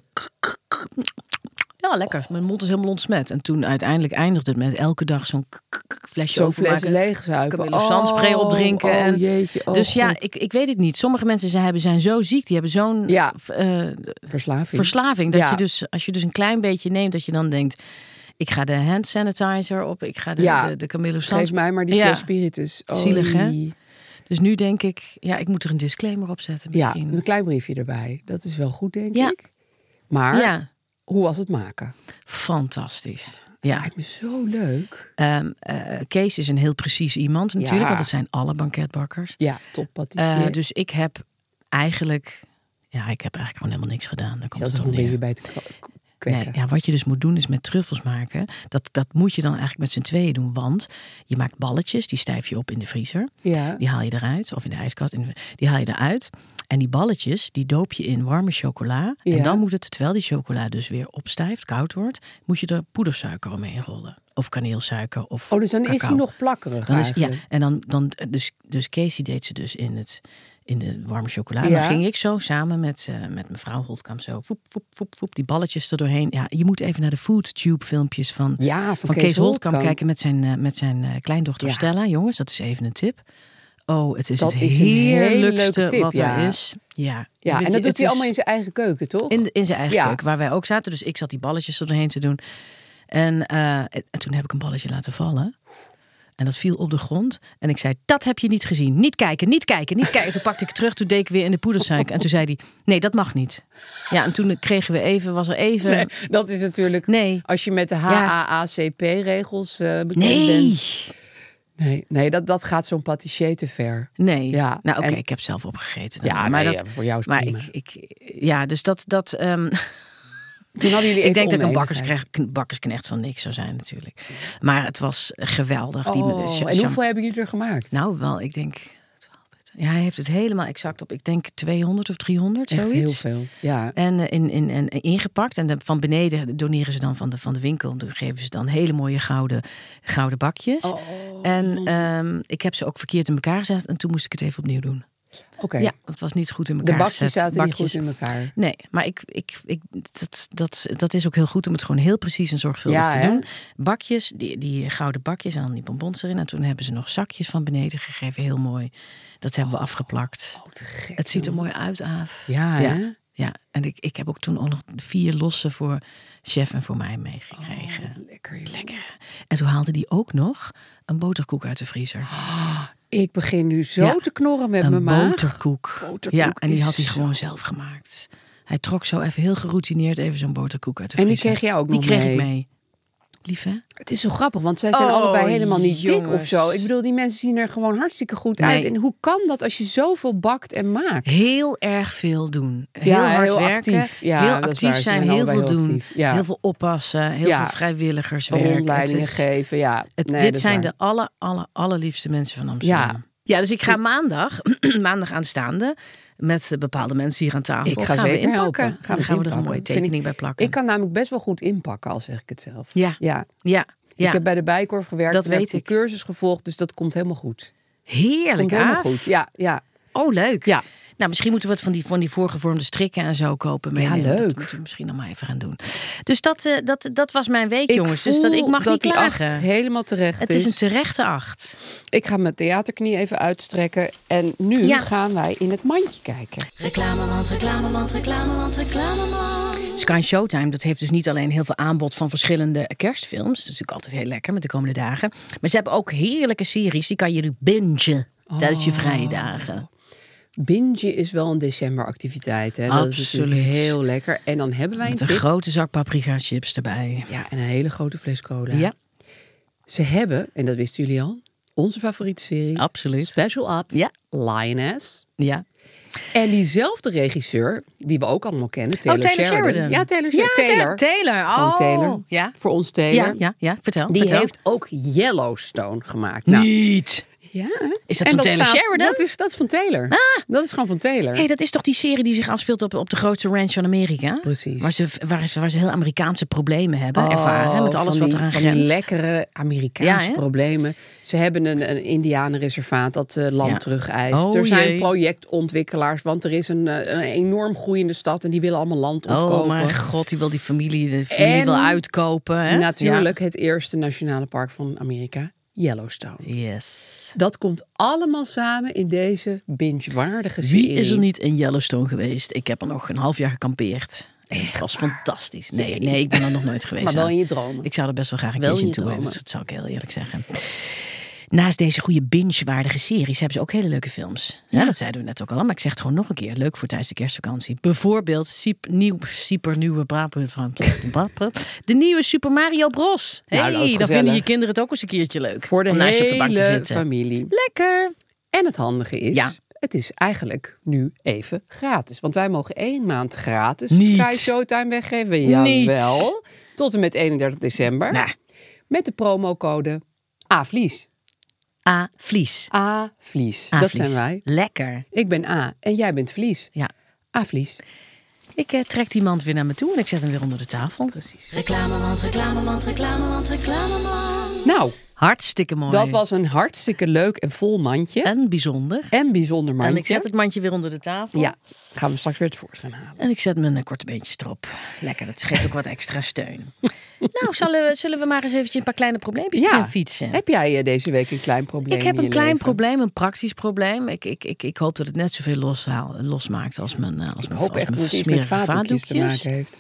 S3: Ja, lekker. Mijn mond is helemaal ontsmet. En toen uiteindelijk eindigde het met elke dag zo'n k- k- k- flesje
S4: Zo'n
S3: overmaken.
S4: fles leeg zuipen.
S3: Camillo Sandspray
S4: Oh,
S3: opdrinken.
S4: oh,
S3: en-
S4: jeetje, oh,
S3: dus ja,
S4: God.
S3: ik, ik weet het niet. Sommige mensen zijn, hebben, zijn zo ziek. Die hebben zo'n
S4: Ja.
S3: v- eh,
S4: Verslaving.
S3: verslaving. Dat
S4: Ja.
S3: je dus, als je dus een klein beetje neemt, dat je dan denkt... Ik ga de hand sanitizer op. Ik ga de,
S4: Ja.
S3: de, de Camillo Sandspray.
S4: Geef mij maar die
S3: Ja.
S4: fles spiritus. Oh,
S3: Zielig, hè?
S4: jee.
S3: Dus nu denk ik, ja, ik moet er een disclaimer op zetten
S4: Ja,
S3: misschien.
S4: een klein briefje erbij. Dat is wel goed, denk
S3: Ja.
S4: ik. Maar
S3: Ja,
S4: hoe was het maken?
S3: fantastisch.
S4: Het
S3: Ja.
S4: lijkt me zo leuk.
S3: Ehm, eh, Kees is een heel precies iemand natuurlijk,
S4: Ja.
S3: want het zijn alle banketbakkers.
S4: Ja, top
S3: Eh,
S4: patissier.
S3: dus ik heb eigenlijk, ja, ik heb eigenlijk gewoon helemaal niks gedaan. Daar komt
S4: dat
S3: het
S4: is
S3: op
S4: een beetje
S3: neer.
S4: bij het kwa-
S3: Nee,
S4: kwekken.
S3: ja, wat je dus moet doen is met truffels maken. Dat, dat moet je dan eigenlijk met z'n tweeën doen. Want je maakt balletjes, die stijf je op in de vriezer.
S4: Ja.
S3: Die haal je eruit, of in de ijskast. in de- die haal je eruit. En die balletjes, die doop je in warme chocola. En
S4: Ja.
S3: dan moet het, terwijl die chocola dus weer opstijft, koud wordt... moet je er poedersuiker omheen rollen. Of kaneelsuiker, of
S4: Oh, dus dan is hij
S3: cacao.
S4: nog plakkerig
S3: Dan is, ja,
S4: eigenlijk.
S3: en dan, dan dus, dus Casey deed ze dus in, het, in de warme chocola. En
S4: Ja.
S3: Dan ging ik zo samen met, eh, met mevrouw Holtkamp zo, voep, voep, voep, voep, die balletjes er doorheen. Ja, je moet even naar de foodtube filmpjes van,
S4: Ja, van Kees
S3: Kees Holtkamp
S4: Holtkamp.
S3: kijken met zijn, eh, met zijn eh, kleindochter
S4: Ja.
S3: Stella. Jongens, dat is even een tip. oh, het is
S4: Dat
S3: het
S4: is een hele
S3: heerlijkste
S4: leuke tip,
S3: wat
S4: ja.
S3: er is. Ja,
S4: Ja, en
S3: Weet je,
S4: dat doet
S3: het
S4: hij
S3: is
S4: allemaal in zijn eigen keuken, toch?
S3: in, in zijn eigen
S4: Ja.
S3: keuken, waar wij ook zaten. Dus ik zat die balletjes er doorheen te doen. En, eh, en toen heb ik een balletje laten vallen. En dat viel op de grond. En ik zei, dat heb je niet gezien. Niet kijken, niet kijken, niet kijken. Toen pakte ik het terug, toen deed ik weer in de poedersuiker. En toen zei hij, nee, dat mag niet. Ja, en toen kregen we even, was er even...
S4: Nee, dat is natuurlijk...
S3: Nee.
S4: Als je met de HAACP-regels eh bekend
S3: Nee,
S4: bent... Nee, nee dat, dat gaat zo'n patissier te ver.
S3: nee.
S4: Ja,
S3: nou oké,
S4: en-
S3: ik heb zelf opgegeten.
S4: Ja,
S3: maar
S4: nee,
S3: dat,
S4: ja, voor jou is
S3: maar
S4: prima.
S3: ik, ik, ja, dus dat, dat, ehm,
S4: Toen hadden jullie even
S3: Ik denk dat ik een
S4: oneenigheid.
S3: bakkersknecht, bakkersknecht van niks zou zijn natuurlijk. Maar het was geweldig. die
S4: Oh,
S3: cha-
S4: en
S3: cha-
S4: hoeveel hebben jullie er gemaakt?
S3: dus. Nou, wel, ik denk... 12 punten. Ja, hij heeft het helemaal exact op, ik denk 200 of 300,
S4: Echt
S3: zoiets.
S4: heel veel. Ja.
S3: En, eh, in, in, en en ingepakt. En de- van beneden doneren ze dan van de, van de winkel. Dan geven ze dan hele mooie gouden, gouden bakjes.
S4: Oh.
S3: En ehm, ik heb ze ook verkeerd in elkaar gezet. En toen moest ik het even opnieuw doen.
S4: Oké.
S3: Ja, het was niet goed in elkaar
S4: De bakjes
S3: gezet.
S4: zaten
S3: Bakjes-
S4: niet goed in elkaar.
S3: Nee, maar ik, ik, ik, dat, dat, dat is ook heel goed om het gewoon heel precies en zorgvuldig
S4: Ja,
S3: te
S4: hè?
S3: doen. Bakjes, die, die gouden bakjes en dan die bonbons erin. En toen hebben ze nog zakjes van beneden gegeven, heel mooi. Dat hebben we afgeplakt.
S4: Oh, te gek.
S3: het ziet er mooi uit, Aaf.
S4: Ja, hè?
S3: ja, ja. En ik, ik heb ook toen ook nog vier losse voor chef en voor mij meegekregen.
S4: Lekker, joh.
S3: En toen haalde die ook nog een boterkoek uit de vriezer.
S4: Ik begin nu zo
S3: Ja.
S4: te knorren met mijn
S3: een
S4: maag.
S3: boterkoek.
S4: Boterkoek
S3: ja, en die
S4: is
S3: had hij
S4: zo-
S3: gewoon zelf gemaakt. Hij trok zo even heel geroutineerd even zo'n boterkoek uit de
S4: En die
S3: vriezer.
S4: kreeg jij ook
S3: Die
S4: nog
S3: kreeg
S4: mee?
S3: ik mee. Lief hè?
S4: Het is zo grappig, want zij zijn
S3: Oh,
S4: allebei helemaal niet dik of
S3: jongens.
S4: zo. Ik bedoel, die mensen zien er gewoon hartstikke goed uit.
S3: Nee.
S4: En hoe kan dat als je zoveel bakt en maakt?
S3: Heel erg veel doen. Heel hard
S4: heel
S3: werken.
S4: actief. Ja,
S3: heel
S4: dat is
S3: actief
S4: waar. Ze
S3: zijn,
S4: zijn
S3: heel
S4: allebei
S3: veel
S4: heel
S3: doen.
S4: actief. Ja.
S3: Heel veel oppassen. Heel
S4: Ja.
S3: veel vrijwilligerswerk. Het
S4: rondleidingen
S3: is-
S4: geven, ja.
S3: Het,
S4: Nee, dat
S3: dit
S4: is
S3: zijn
S4: waar.
S3: de aller, aller, allerliefste mensen van Amsterdam.
S4: Ja.
S3: Ja, dus ik ga maandag, maandag aanstaande, met eh, bepaalde mensen hier aan tafel.
S4: Ik ga
S3: gaan
S4: zeker
S3: we inpakken.
S4: helpen.
S3: Dan
S4: we
S3: gaan we er een
S4: inpakken.
S3: mooie
S4: Vind
S3: tekening
S4: ik-
S3: bij plakken.
S4: Ik kan namelijk best wel goed inpakken, al zeg ik het zelf.
S3: Ja.
S4: ja.
S3: ja, ja.
S4: Ik heb bij de Bijkorf gewerkt.
S3: Dat
S4: en heb
S3: weet
S4: een
S3: ik.
S4: cursus gevolgd, dus dat komt helemaal goed.
S3: Heerlijk,
S4: Komt helemaal
S3: Aaf.
S4: goed. Ja, ja.
S3: Oh, leuk.
S4: Ja.
S3: Nou, misschien moeten we wat van die, van die voorgevormde strikken en zo kopen. meenemen.
S4: leuk.
S3: Dat moeten we misschien nog maar even gaan doen. Dus dat, eh, dat, dat was mijn week, jongens. Dus
S4: voel
S3: dat ik mag
S4: dat
S3: niet
S4: die
S3: klagen.
S4: acht helemaal terecht
S3: het is een terechte acht.
S4: Ik ga mijn theaterknie even uitstrekken. En nu
S3: Ja.
S4: gaan wij in het mandje kijken.
S3: Sky Showtime, dat heeft dus niet alleen heel veel aanbod van verschillende kerstfilms. Dat is natuurlijk altijd heel lekker met de komende dagen. Maar ze hebben ook heerlijke series. Die kan je nu bingen tijdens
S4: Oh.
S3: je vrije dagen.
S4: Binge is wel een decemberactiviteit. Hè? Dat is natuurlijk
S3: Absoluut.
S4: heel lekker. En dan hebben wij een
S3: Met een
S4: tip.
S3: grote zak paprika chips erbij.
S4: Ja, en een hele grote fles cola.
S3: Ja.
S4: Ze hebben, en dat wisten jullie al, onze favoriete serie.
S3: Absoluut.
S4: Special Up.
S3: Ja.
S4: Lioness.
S3: ja.
S4: En diezelfde regisseur, die we ook allemaal kennen, Taylor,
S3: oh, Taylor Sheridan.
S4: Ja, Taylor Sheridan.
S3: Taylor. Taylor.
S4: Gewoon
S3: Oh.
S4: Taylor.
S3: Ja.
S4: Voor ons Taylor.
S3: Ja, ja, ja, vertel.
S4: Die
S3: vertel.
S4: heeft ook Yellowstone gemaakt. Nou,
S3: Niet.
S4: ja.
S3: Is dat
S4: En
S3: van Taylor Sheridan?
S4: Dat is, dat is van Taylor. Dat is gewoon van Taylor.
S3: Hé, Ah. hey, dat is toch die serie die zich afspeelt op, op de grootste ranch van Amerika?
S4: Precies.
S3: Waar ze, waar, ze- waar ze heel Amerikaanse problemen hebben ervaren. Met
S4: Oh,
S3: alles
S4: van
S3: wat
S4: die-
S3: eraan
S4: van die
S3: grenst.
S4: lekkere Amerikaanse
S3: Ja, hè?
S4: problemen. Ze hebben een, een indianenreservaat dat eh, land
S3: Ja.
S4: terugeist.
S3: Oh,
S4: er zijn
S3: jee.
S4: projectontwikkelaars, want er is een, eh, een enorm groeiende stad en die willen allemaal land opkopen.
S3: Oh, mijn god, die wil die familie, de familie
S4: En
S3: wil uitkopen. Hè?
S4: Natuurlijk het eerste nationale park van Amerika, Yellowstone.
S3: Ja. Yes.
S4: Dat komt allemaal samen in deze binge-waardige serie.
S3: Wie is er niet in Yellowstone geweest? Ik heb er nog een half jaar gekampeerd. En Het was fantastisch. Nee, nee, ik ben er nog nooit geweest.
S4: Maar wel in je
S3: Aan.
S4: dromen.
S3: Ik zou er best wel graag een
S4: Wel in
S3: keertje
S4: je
S3: naartoe willen.
S4: dromen.
S3: Dat zou ik heel eerlijk zeggen. Naast deze goede binge-waardige series hebben ze ook hele leuke films. Ja. dat zeiden we net ook al, maar ik zeg het gewoon nog een keer. Leuk voor tijdens de kerstvakantie. Bijvoorbeeld Siep, nieuw, supernieuwe De nieuwe Super Mario Bros. Hey,
S4: Nou, dat is
S3: dan vinden je
S4: gezellig.
S3: kinderen het ook eens een keertje leuk.
S4: voor de
S3: om naast je op de bank te
S4: hele
S3: zitten.
S4: familie.
S3: Lekker.
S4: En het handige is,
S3: Ja.
S4: het is eigenlijk nu even gratis. Want wij mogen één maand gratis
S3: Niet.
S4: Sky Showtime weggeven.
S3: Niet.
S4: Jawel. Tot en met 31 december.
S3: Nou,
S4: Met de promocode AVLIES.
S3: A. Vlies.
S4: AVLIES.
S3: A,
S4: Dat
S3: vlies.
S4: zijn wij.
S3: Lekker.
S4: Ik ben A en jij bent Vlies.
S3: Ja.
S4: AVLIES.
S3: Ik eh, trek die mand weer naar me toe en ik zet hem weer onder de tafel.
S4: Precies. Nou,
S3: Hartstikke mooi.
S4: dat was een hartstikke leuk en vol mandje. En,
S3: En bijzonder.
S4: bijzonder mandje.
S3: En ik zet het mandje weer onder de tafel.
S4: Ja, gaan we straks weer tevoorschijn halen.
S3: En ik zet mijn eh, korte beentjes erop. Lekker, dat geeft ook wat extra steun. Nou, zullen we, zullen we maar eens eventjes een paar kleine probleempjes ja. gaan fietsen?
S4: Heb jij eh, deze week een klein probleem?
S3: Ik
S4: in
S3: heb een
S4: je
S3: klein
S4: leven?
S3: probleem, een praktisch probleem. Ik, ik, ik, ik hoop dat het net zoveel loshaal, losmaakt als mijn, eh, als
S4: Ik
S3: mijn,
S4: hoop
S3: als
S4: echt dat
S3: mijn
S4: het iets met
S3: smerige
S4: vaatdoekjes te
S3: vaatdoekjes.
S4: maken heeft.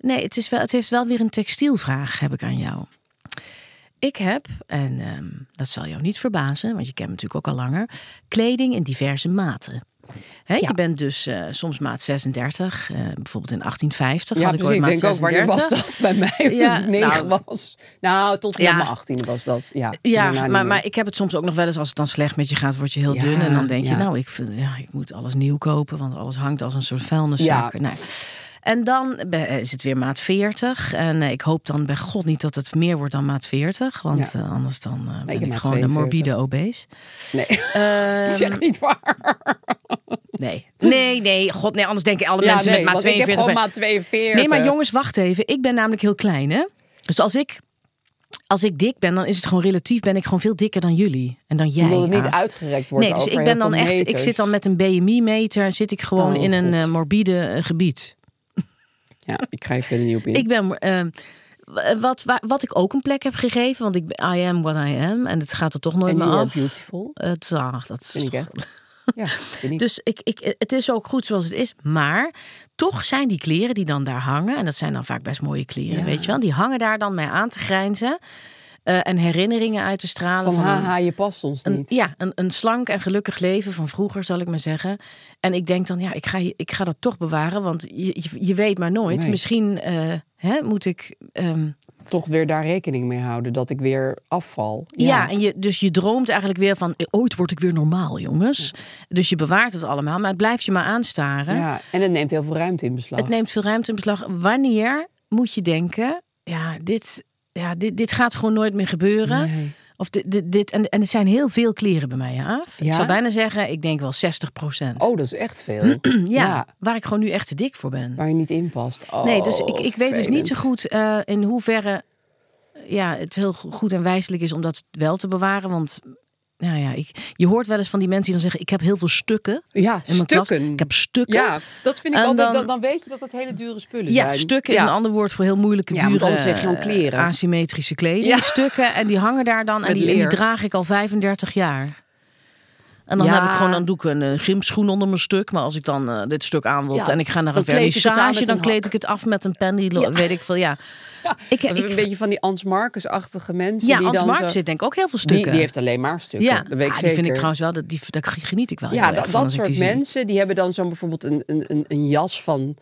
S3: Nee, het, is wel, het heeft wel weer een textielvraag, heb ik aan jou. Ik heb, en ehm, dat zal jou niet verbazen, want je kent me natuurlijk ook al langer, kleding in diverse maten. Hè, Je bent dus eh, soms maat 36, eh, bijvoorbeeld in 1850
S4: Ja,
S3: had ik
S4: precies.
S3: ooit
S4: Ik
S3: maat
S4: denk ook, wanneer was
S3: 36.
S4: dat bij mij?
S3: Ja,
S4: Ja, negen
S3: nou,
S4: was. Nou, tot en met
S3: Ja.
S4: mijn achttiende was dat. Ja, daarna
S3: Ja,
S4: niet
S3: maar,
S4: meer.
S3: maar ik heb het soms ook nog wel eens als het dan slecht met je gaat, word je heel
S4: Ja,
S3: dun. En dan denk je,
S4: ja.
S3: nou, ik, vind- ja, ik moet alles nieuw kopen, want alles hangt als een soort vuilniszak.
S4: Ja.
S3: Nou, en dan be- is het weer maat 40. En eh, ik hoop dan bij god niet dat het meer wordt dan maat 40. Want
S4: Ja.
S3: eh, anders dan eh, ben
S4: heb
S3: ik
S4: maat
S3: gewoon
S4: 42.
S3: een morbide obese.
S4: Nee,
S3: Ehm,
S4: zeg niet waar.
S3: nee. nee, nee, god nee. Anders denken alle mensen
S4: nee,
S3: met maat
S4: want ik heb
S3: 42.
S4: gewoon
S3: bij-
S4: maat 42.
S3: Nee, maar jongens, wacht even. Ik ben namelijk heel klein, hè? Dus als ik, als ik dik ben, dan is het gewoon relatief. Ben ik gewoon veel dikker dan jullie en dan jij.
S4: Omdat het niet
S3: Aaf.
S4: uitgerekt wordt
S3: Nee, dus
S4: over
S3: ik
S4: heel
S3: ben dan
S4: veel
S3: echt. Ik
S4: meters.
S3: zit dan met een BMI-meter. Zit ik gewoon
S4: Oh,
S3: in een
S4: God.
S3: eh, morbide eh, gebied.
S4: Ja, ik ga je verder niet op in.
S3: Ik ben. ehm, w- wat, wa- wat ik ook een plek heb gegeven, want ik, ben- I am what I am. En het gaat er toch nooit
S4: en
S3: meer
S4: you are
S3: af.
S4: beautiful.
S3: Het, ah, dat is
S4: Vind ik
S3: toch-
S4: echt. Ja, vind ik.
S3: Dus ik, ik, het is ook goed zoals het is. Maar toch zijn die kleren die dan daar hangen. En dat zijn dan vaak best mooie kleren,
S4: Ja.
S3: weet je wel. Die hangen daar dan mee aan te grijnzen. eh, en herinneringen uit te stralen.
S4: van
S3: Van, een-
S4: haha, je past ons
S3: een,
S4: niet.
S3: ja, een, een slank en gelukkig leven van vroeger, zal ik maar zeggen. En ik denk dan, ja, ik ga, ik ga dat toch bewaren. Want je, je, je weet maar nooit.
S4: Nee.
S3: Misschien eh, hè, moet ik. ehm,
S4: Toch weer daar rekening mee houden dat ik weer afval.
S3: Ja, en je, dus je droomt eigenlijk weer van eh, ooit word ik weer normaal, jongens. Dus je bewaart het allemaal, maar het blijft je maar aanstaren.
S4: Ja, en het neemt heel veel ruimte in beslag.
S3: Het neemt veel ruimte in beslag. Wanneer moet je denken, ja, dit, ja, dit, dit gaat gewoon nooit meer gebeuren.
S4: Nee.
S3: Of dit, dit, dit- en, en er zijn heel veel kleren bij mij, Aaf. Ik
S4: Ja?
S3: zou bijna zeggen, ik denk wel 60 procent.
S4: Oh, dat is echt veel. ja.
S3: ja, waar ik gewoon nu echt te dik voor ben.
S4: Waar je niet in past. Oh,
S3: nee, dus ik, ik weet dus
S4: vervelend.
S3: niet zo goed eh, in hoeverre eh, ja, het heel go- goed en wijselijk is om dat wel te bewaren. Want nou ja, ik, je hoort wel eens van die mensen die dan zeggen, ik heb heel veel stukken.
S4: Ja,
S3: in mijn klas.
S4: stukken.
S3: Ik heb stukken.
S4: Ja, dat vind ik
S3: En
S4: altijd. Dan,
S3: dan-
S4: dan weet je dat het hele dure spullen
S3: Ja,
S4: zijn.
S3: stukken is een ander woord voor heel moeilijke,
S4: Ja,
S3: dure,
S4: want anders zeg je gewoon kleren.
S3: eh, asymmetrische kleding.
S4: Ja.
S3: Stukken, en die hangen daar dan. En
S4: Met
S3: die, en die
S4: leer.
S3: draag ik al 35 jaar. En dan
S4: Ja.
S3: heb ik gewoon, dan doe ik een eh, gymschoen onder mijn stuk. Maar als ik dan eh, dit stuk aan wil
S4: Ja,
S3: en ik ga naar
S4: dan
S3: een
S4: kleed ik het aan
S3: vernissage...
S4: met een
S3: dan kleed
S4: hak.
S3: ik het af met een pen, die lo- weet ik veel, ja. ik,
S4: Dat is een beetje van die Ans Marcus-achtige mensen.
S3: ja,
S4: die
S3: Hans
S4: dan
S3: Mark
S4: zo-
S3: zit denk ik ook heel veel
S4: die,
S3: stukken.
S4: die heeft alleen maar stukken.
S3: ja,
S4: dat weet ik
S3: Ah,
S4: zeker.
S3: die vind ik trouwens wel, dat- die, daar geniet ik wel
S4: Ja,
S3: heel
S4: dat,
S3: erg van
S4: dat
S3: als ik die
S4: soort
S3: zie.
S4: mensen die hebben dan zo'n bijvoorbeeld een, een, een, een jas van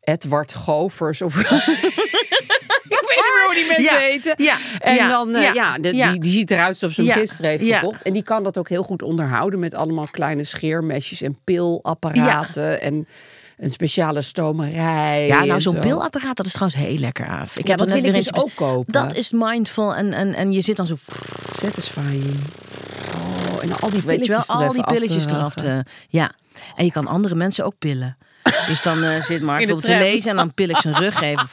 S4: Edward Govers of. ik weet niet meer hoe die mensen
S3: Ja,
S4: heten.
S3: ja,
S4: en
S3: ja,
S4: dan, eh,
S3: ja,
S4: ja, de-
S3: ja.
S4: Die, die ziet eruit alsof ze hem
S3: Ja,
S4: gisteren heeft
S3: ja.
S4: gekocht. En die kan dat ook heel goed onderhouden met allemaal kleine scheermesjes en pilapparaten en een speciale stomerij.
S3: Ja, nou,
S4: en
S3: zo'n
S4: zo.
S3: pilapparaat, dat is trouwens heel lekker af. Ik
S4: Ja,
S3: er
S4: dat wil
S3: net
S4: ik
S3: weer
S4: dus
S3: eentje-
S4: ook kopen.
S3: Dat is mindful en, en, en je zit dan zo...
S4: Satisfying. Oh, en al die pilletjes
S3: Weet je wel,
S4: er
S3: al
S4: even
S3: die
S4: af te
S3: pilletjes eraf.
S4: raffen.
S3: Te, ja, en je kan andere mensen ook pillen. Dus dan eh, zit Mark
S4: In de
S3: bijvoorbeeld te
S4: tram.
S3: lezen en dan pil ik zijn rug even.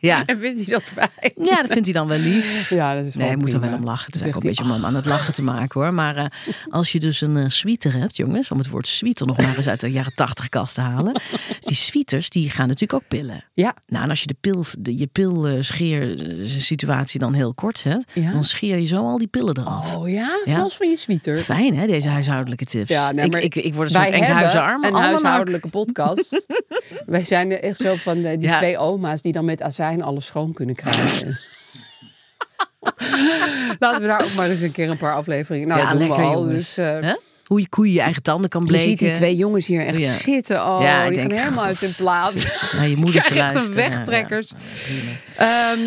S3: Ja.
S4: En vindt hij dat fijn?
S3: ja, dat vindt hij dan wel lief.
S4: Ja, dat is
S3: Nee, hij
S4: gewoon
S3: moet er wel
S4: prima.
S3: om lachen. Het is
S4: Dan zegt
S3: eigenlijk ook een beetje om hem aan het lachen te maken hoor. Maar eh, als je dus een eh, sweater hebt, jongens, om het woord sweater nog maar eens uit de jaren tachtig kast te halen. Dus Die sweaters, die gaan natuurlijk ook pillen.
S4: "Ah, Ja,
S3: Nou, en als je de pil, eh, de, je pilscheer-situatie dan heel kort zet,
S4: Ja.
S3: dan scheer je zo al die pillen eraf.
S4: Oh ja?
S3: Ja.
S4: Zelfs van je sweater?
S3: Fijn hè, deze huishoudelijke tips.
S4: Ja, nee,
S3: ik,
S4: maar
S3: ik, ik word een soort
S4: wij
S3: Enkhuizenarm.
S4: hebben een
S3: almanak.
S4: huishoudelijke podcast. wij zijn er echt zo van eh, die
S3: Ja.
S4: twee oma's die dan met azijn alles schoon kunnen krijgen. Laten we daar ook maar eens een keer een paar afleveringen. Nou,
S3: Ja,
S4: dat doen
S3: lekker
S4: we al.
S3: jongens.
S4: Dus, eh,
S3: Hè? Hoe je koeien je eigen tanden kan
S4: je
S3: bleken.
S4: ziet die twee jongens hier echt
S3: Ja.
S4: zitten. Oh,
S3: Ja, ik
S4: die
S3: denk,
S4: gaan helemaal uit hun
S3: "God,
S4: plaats.
S3: Nou, je moeder
S4: Ik krijg echt een
S3: luisteren. Ja, ja.
S4: wegtrekkers. Ehm,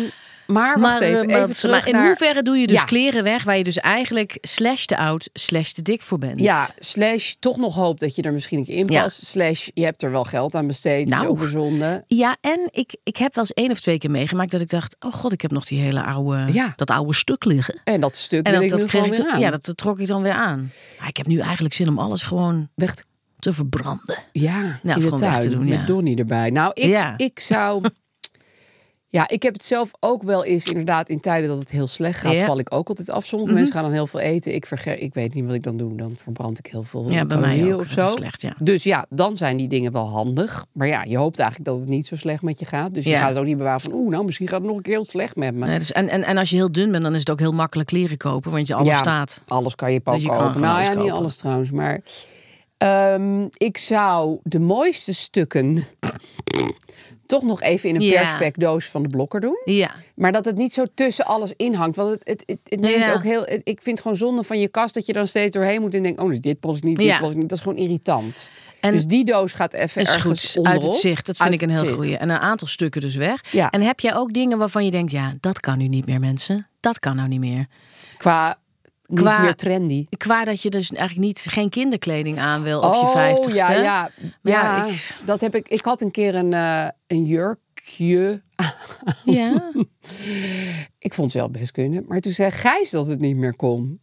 S4: maar wacht
S3: Maar, eh,
S4: even,
S3: maar-
S4: even terug
S3: maar in
S4: naar-
S3: hoeverre doe je dus
S4: Ja.
S3: kleren weg waar je dus eigenlijk slash te oud, slash te dik voor bent?
S4: Ja, slash toch nog hoop dat je er misschien een keer in
S3: Ja.
S4: past. Slash je hebt er wel geld aan besteed.
S3: Nou.
S4: Nou. Zo gezonde.
S3: Ja, en ik, ik heb wel eens één of twee keer meegemaakt dat ik dacht: oh god, ik heb nog die hele oude,
S4: Ja.
S3: dat oude stuk liggen.
S4: En dat stuk
S3: En
S4: wil
S3: dat,
S4: ik
S3: dat
S4: nu
S3: kreeg
S4: gewoon
S3: ik
S4: weer
S3: dan-
S4: aan.
S3: ja, dat dat trok ik dan weer aan. Maar ik heb nu eigenlijk zin om alles gewoon
S4: weg te,
S3: te verbranden.
S4: ja, in de
S3: gewoon Nou, weg te
S4: tuin,
S3: doen,
S4: Met
S3: ja.
S4: Donnie erbij. Nou, ik,
S3: Ja.
S4: ik zou... Ja, ik heb het zelf ook wel eens inderdaad in tijden dat het heel slecht gaat,
S3: Ja. Mhm.
S4: val ik ook altijd af. Sommige mensen gaan dan heel veel eten. Ik vergeet, ik weet niet wat ik dan doe. Dan verbrand ik heel veel.
S3: Ja, bij mij
S4: calorieën
S3: ook.
S4: Of
S3: Dat
S4: zo.
S3: is slecht, ja.
S4: Dus ja, dan zijn die dingen wel handig. Maar ja, je hoopt eigenlijk dat het niet zo slecht met je gaat. Dus je
S3: Ja.
S4: gaat het ook niet bewaren van, oeh, nou misschien gaat het nog een keer heel slecht met me.
S3: Nee, dus, en, en, en als je heel dun bent, dan is het ook heel makkelijk kleren kopen, want je alles
S4: ja,
S3: staat.
S4: Alles kan je pas
S3: Dus je kan
S4: kopen.
S3: gewoon
S4: nou
S3: alles
S4: ja, niet
S3: kopen.
S4: alles trouwens, maar ehm, ik zou de mooiste stukken toch nog even in een
S3: Ja.
S4: perspeckdoos van de blokker doen.
S3: Ja,
S4: Maar dat het niet zo tussen alles inhangt. Want het, het, het, het neemt
S3: Ja.
S4: ook heel. het- ik vind het gewoon zonde van je kast dat je dan steeds doorheen moet en denkt: oh, dit past niet, dit
S3: Ja.
S4: past niet. Dat is gewoon irritant.
S3: En-
S4: dus die doos gaat even
S3: is
S4: ergens
S3: goed. Uit
S4: onderop.
S3: het zicht. Dat vind
S4: Uit
S3: ik een
S4: het
S3: heel
S4: zicht.
S3: goeie. En een aantal stukken dus weg.
S4: Ja.
S3: En heb jij ook dingen waarvan je denkt, ja, dat kan nu niet meer, mensen. Dat kan nou niet meer.
S4: Qua,
S3: Qua-
S4: niet meer trendy.
S3: Qua dat je dus eigenlijk niet, geen kinderkleding aan wil op je
S4: oh,
S3: vijftigste.
S4: Ja, ja,
S3: Ja,
S4: ja.
S3: ik-
S4: Dat heb ik. Ik had een keer een, eh, een jurkje.
S3: Ja.
S4: Ik vond het wel best kunnen. Maar toen zei Gijs dat het niet meer kon.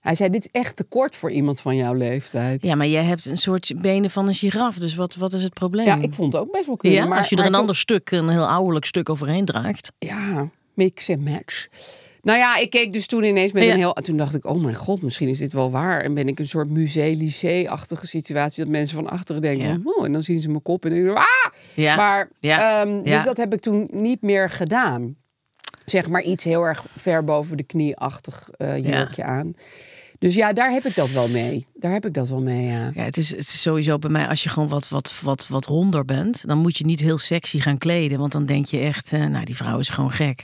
S4: Hij zei: Dit is echt te kort voor iemand van jouw leeftijd.
S3: Ja, maar jij hebt een soort benen van een giraf. Dus wat, wat is het probleem?
S4: Ja, ik vond het ook best wel kunnen.
S3: Ja,
S4: maar,
S3: als je er
S4: maar
S3: een
S4: toen-
S3: ander stuk, een heel ouderlijk stuk overheen draagt.
S4: Ja, mix en match. Nou ja, ik keek dus toen ineens met
S3: Ja.
S4: een heel... Toen dacht ik, oh mijn god, misschien is dit wel waar. En ben ik een soort musee-lycée-achtige situatie... dat mensen van achteren denken,
S3: Ja.
S4: van, oh, en dan zien ze mijn kop en denken, ah!
S3: Ja.
S4: Maar,
S3: Ja.
S4: ehm,
S3: Ja.
S4: Dus dat heb ik toen niet meer gedaan. Zeg maar iets heel erg ver boven de knie-achtig eh, jurkje aan. Dus ja, daar heb ik dat wel mee. Daar heb ik dat wel mee, ja.
S3: Ja, het, is, het is sowieso bij mij, als je gewoon wat, wat, wat, wat ronder bent, dan moet je niet heel sexy gaan kleden. Want dan denk je echt, eh, nou, die vrouw is gewoon gek.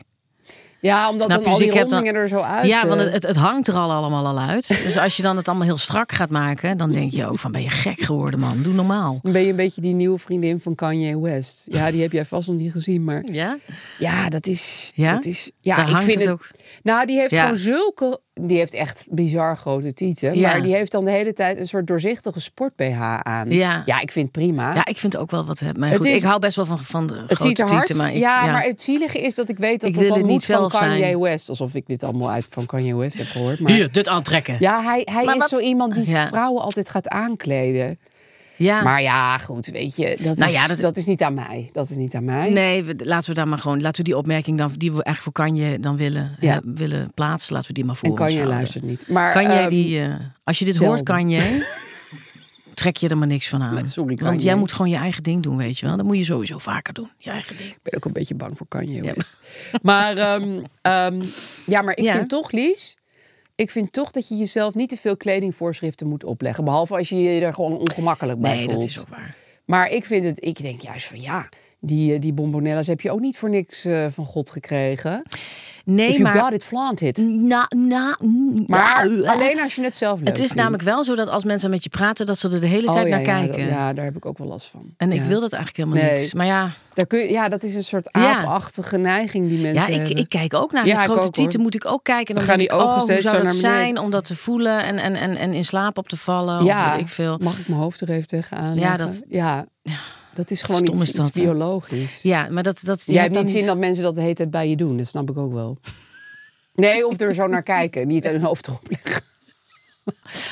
S4: Ja, omdat
S3: Snap
S4: dan
S3: je?
S4: al
S3: Dus
S4: die
S3: ik heb dan-
S4: rondingen er zo uit...
S3: ja, want
S4: eh,
S3: het, het, het hangt er al allemaal al uit. Dus als je dan het allemaal heel strak gaat maken, dan denk je ook van ben je gek geworden man, doe normaal.
S4: Dan ben je een beetje die nieuwe vriendin van Kanye West. Ja, die heb jij vast nog niet gezien, maar...
S3: Ja?
S4: Ja, dat is.
S3: Ja?
S4: dat is, ja
S3: Daar
S4: ik
S3: hangt
S4: vind
S3: het
S4: het,
S3: ook.
S4: Nou, die heeft
S3: Ja.
S4: gewoon zulke. Die heeft echt bizar grote tieten.
S3: Ja.
S4: Maar die heeft dan de hele tijd een soort doorzichtige sport-BH aan.
S3: Ja.
S4: ik vind het prima.
S3: Ja, ik vind ook wel wat. hè, Maar
S4: Het
S3: goed,
S4: is-
S3: ik hou best wel van, van de
S4: het
S3: grote
S4: ziet er hard.
S3: tieten, maar ik,
S4: ja, maar het zielige is dat ik weet dat
S3: Ik
S4: dat
S3: wil
S4: dan
S3: het
S4: moet
S3: niet
S4: van
S3: zelf
S4: Kanye
S3: zijn.
S4: West. Alsof ik dit allemaal uit van Kanye West heb gehoord. Maar...
S3: Hier, dit aantrekken.
S4: Ja, hij, hij
S3: Maar
S4: is
S3: wat-
S4: zo iemand die
S3: Ja.
S4: vrouwen altijd gaat aankleden.
S3: Ja.
S4: Maar ja, goed, weet je, dat,
S3: Nou
S4: is,
S3: ja, dat-
S4: dat... is niet aan mij. Dat is niet aan mij.
S3: Nee, we- laten we daar maar gewoon, laten we die opmerking dan, die we eigenlijk voor Kanje dan willen,
S4: Ja.
S3: eh, willen plaatsen, laten we die maar voor
S4: en
S3: ons
S4: Kanye
S3: houden.
S4: luistert niet. Maar,
S3: Kan jij
S4: ehm,
S3: die, eh, als je dit hoort,
S4: zelden.
S3: kan jij, trek je er maar niks van aan.
S4: Nee, sorry,
S3: Want
S4: Kanye.
S3: jij moet gewoon je eigen ding doen, weet je wel. Dat moet je sowieso vaker doen, je eigen ding.
S4: Ik ben ook een beetje bang voor Kanye West. Maar, ehm, ehm, ja, maar ik
S3: Ja.
S4: vind toch, Lies... Ik vind toch dat je jezelf niet te veel kledingvoorschriften moet opleggen. Behalve als je je er gewoon ongemakkelijk bij
S3: Nee,
S4: voelt.
S3: dat is ook waar.
S4: Maar ik vind het... Ik denk juist van ja, die, eh, die bombonella's heb je ook niet voor niks eh, van God gekregen.
S3: Nee,
S4: If you
S3: maar...
S4: got it, flaunt it.
S3: Na, na,
S4: Maar
S3: ja,
S4: alleen als je het zelf leuk
S3: Het is
S4: vindt.
S3: namelijk wel zo dat als mensen met je praten, dat ze er de hele tijd
S4: Oh, ja,
S3: naar
S4: ja,
S3: kijken.
S4: dat- ja, daar heb ik ook wel last van.
S3: En ik
S4: Ja.
S3: wil dat eigenlijk helemaal
S4: Nee.
S3: niet. Maar ja,
S4: Daar kun je, ja, dat is een soort
S3: Ja.
S4: aapachtige neiging die mensen
S3: ja ik,
S4: hebben.
S3: ik kijk ook naar
S4: Ja,
S3: de
S4: ik
S3: grote
S4: ook, hoor.
S3: tieten, moet ik ook kijken. Dan,
S4: Dan gaan
S3: denk
S4: die
S3: ik,
S4: ogen
S3: oh, hoe
S4: steeds
S3: zou
S4: zo
S3: dat
S4: naar beneden.
S3: zijn om dat te voelen en, en, en, en in slaap op te vallen? Ja. Of weet ik veel.
S4: Mag ik mijn hoofd er even tegenaan?
S3: Ja,
S4: leggen?
S3: dat-
S4: ja, dat is gewoon
S3: Stom
S4: iets,
S3: is dat,
S4: iets
S3: hè?
S4: biologisch.
S3: Ja, maar dat... dat je
S4: Jij hebt
S3: hebt dan
S4: niet zin dat mensen dat de hele tijd bij je doen. Dat snap ik ook wel. Nee, of er zo naar kijken. Niet hun hoofd erop leggen.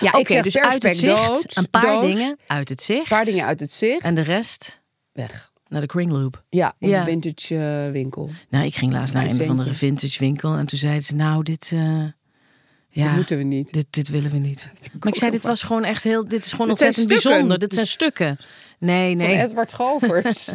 S4: Ja,
S3: Oké,
S4: ik zeg
S3: dus uit het zicht,
S4: perspecdoos,
S3: een paar
S4: doos,
S3: dingen uit het zicht.
S4: Een paar dingen uit het zicht.
S3: En de rest
S4: weg.
S3: naar de kringloop.
S4: Ja, in
S3: Ja.
S4: de vintage eh, winkel.
S3: Nou, ik ging laatst naar
S4: Een
S3: een of andere
S4: centje.
S3: vintage winkel en toen zeiden ze, nou, dit... eh, ja,
S4: Dat moeten we niet.
S3: Dit, dit willen we niet. Maar ik zei, dit was gewoon echt heel... Dit is gewoon
S4: Dit zijn
S3: ontzettend
S4: stukken.
S3: bijzonder. Dit zijn stukken. Nee,
S4: Van
S3: nee.
S4: Edward Govers.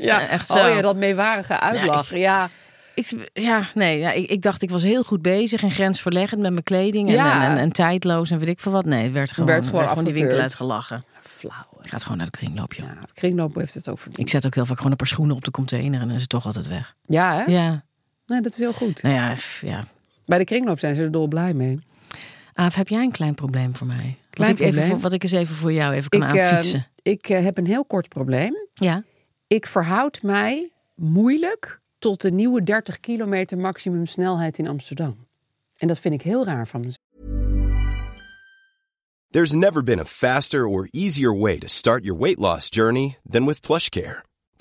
S4: ja,
S3: Echt
S4: echt
S3: zo.
S4: zo. Oh ja, dat meewarige uitlachen. Ja,
S3: Ik, ja, nee, ja, ik, ik dacht, ik was heel goed bezig en grensverleggend met mijn kleding. En,
S4: Ja.
S3: en, en, en tijdloos en weet ik veel wat. Nee, werd gewoon,
S4: Werd gewoon
S3: die winkel
S4: afgekeurd.
S3: uitgelachen.
S4: flauw. hè.
S3: Gaat gewoon naar de kringloop, joh.
S4: Ja, het kringloop heeft het ook verdiend.
S3: Ik zet ook heel vaak gewoon een paar schoenen op de container en dan is het toch altijd weg.
S4: Ja, hè?
S3: Ja,
S4: Nee, dat is heel goed.
S3: nou ja, f- ja.
S4: Bij de kringloop zijn ze er dol blij mee.
S3: Aaf, heb jij een klein probleem voor mij? wat,
S4: Klein
S3: ik even
S4: probleem?
S3: voor, wat ik eens even voor jou even kan
S4: eh,
S3: aanfietsen.
S4: ik eh, heb een heel kort probleem.
S3: ja.
S4: Ik verhoud mij moeilijk tot de nieuwe 30 kilometer maximum snelheid in Amsterdam. En dat vind ik heel raar van mezelf.
S5: There's never been a faster or easier way to start your weight loss journey than with PlushCare.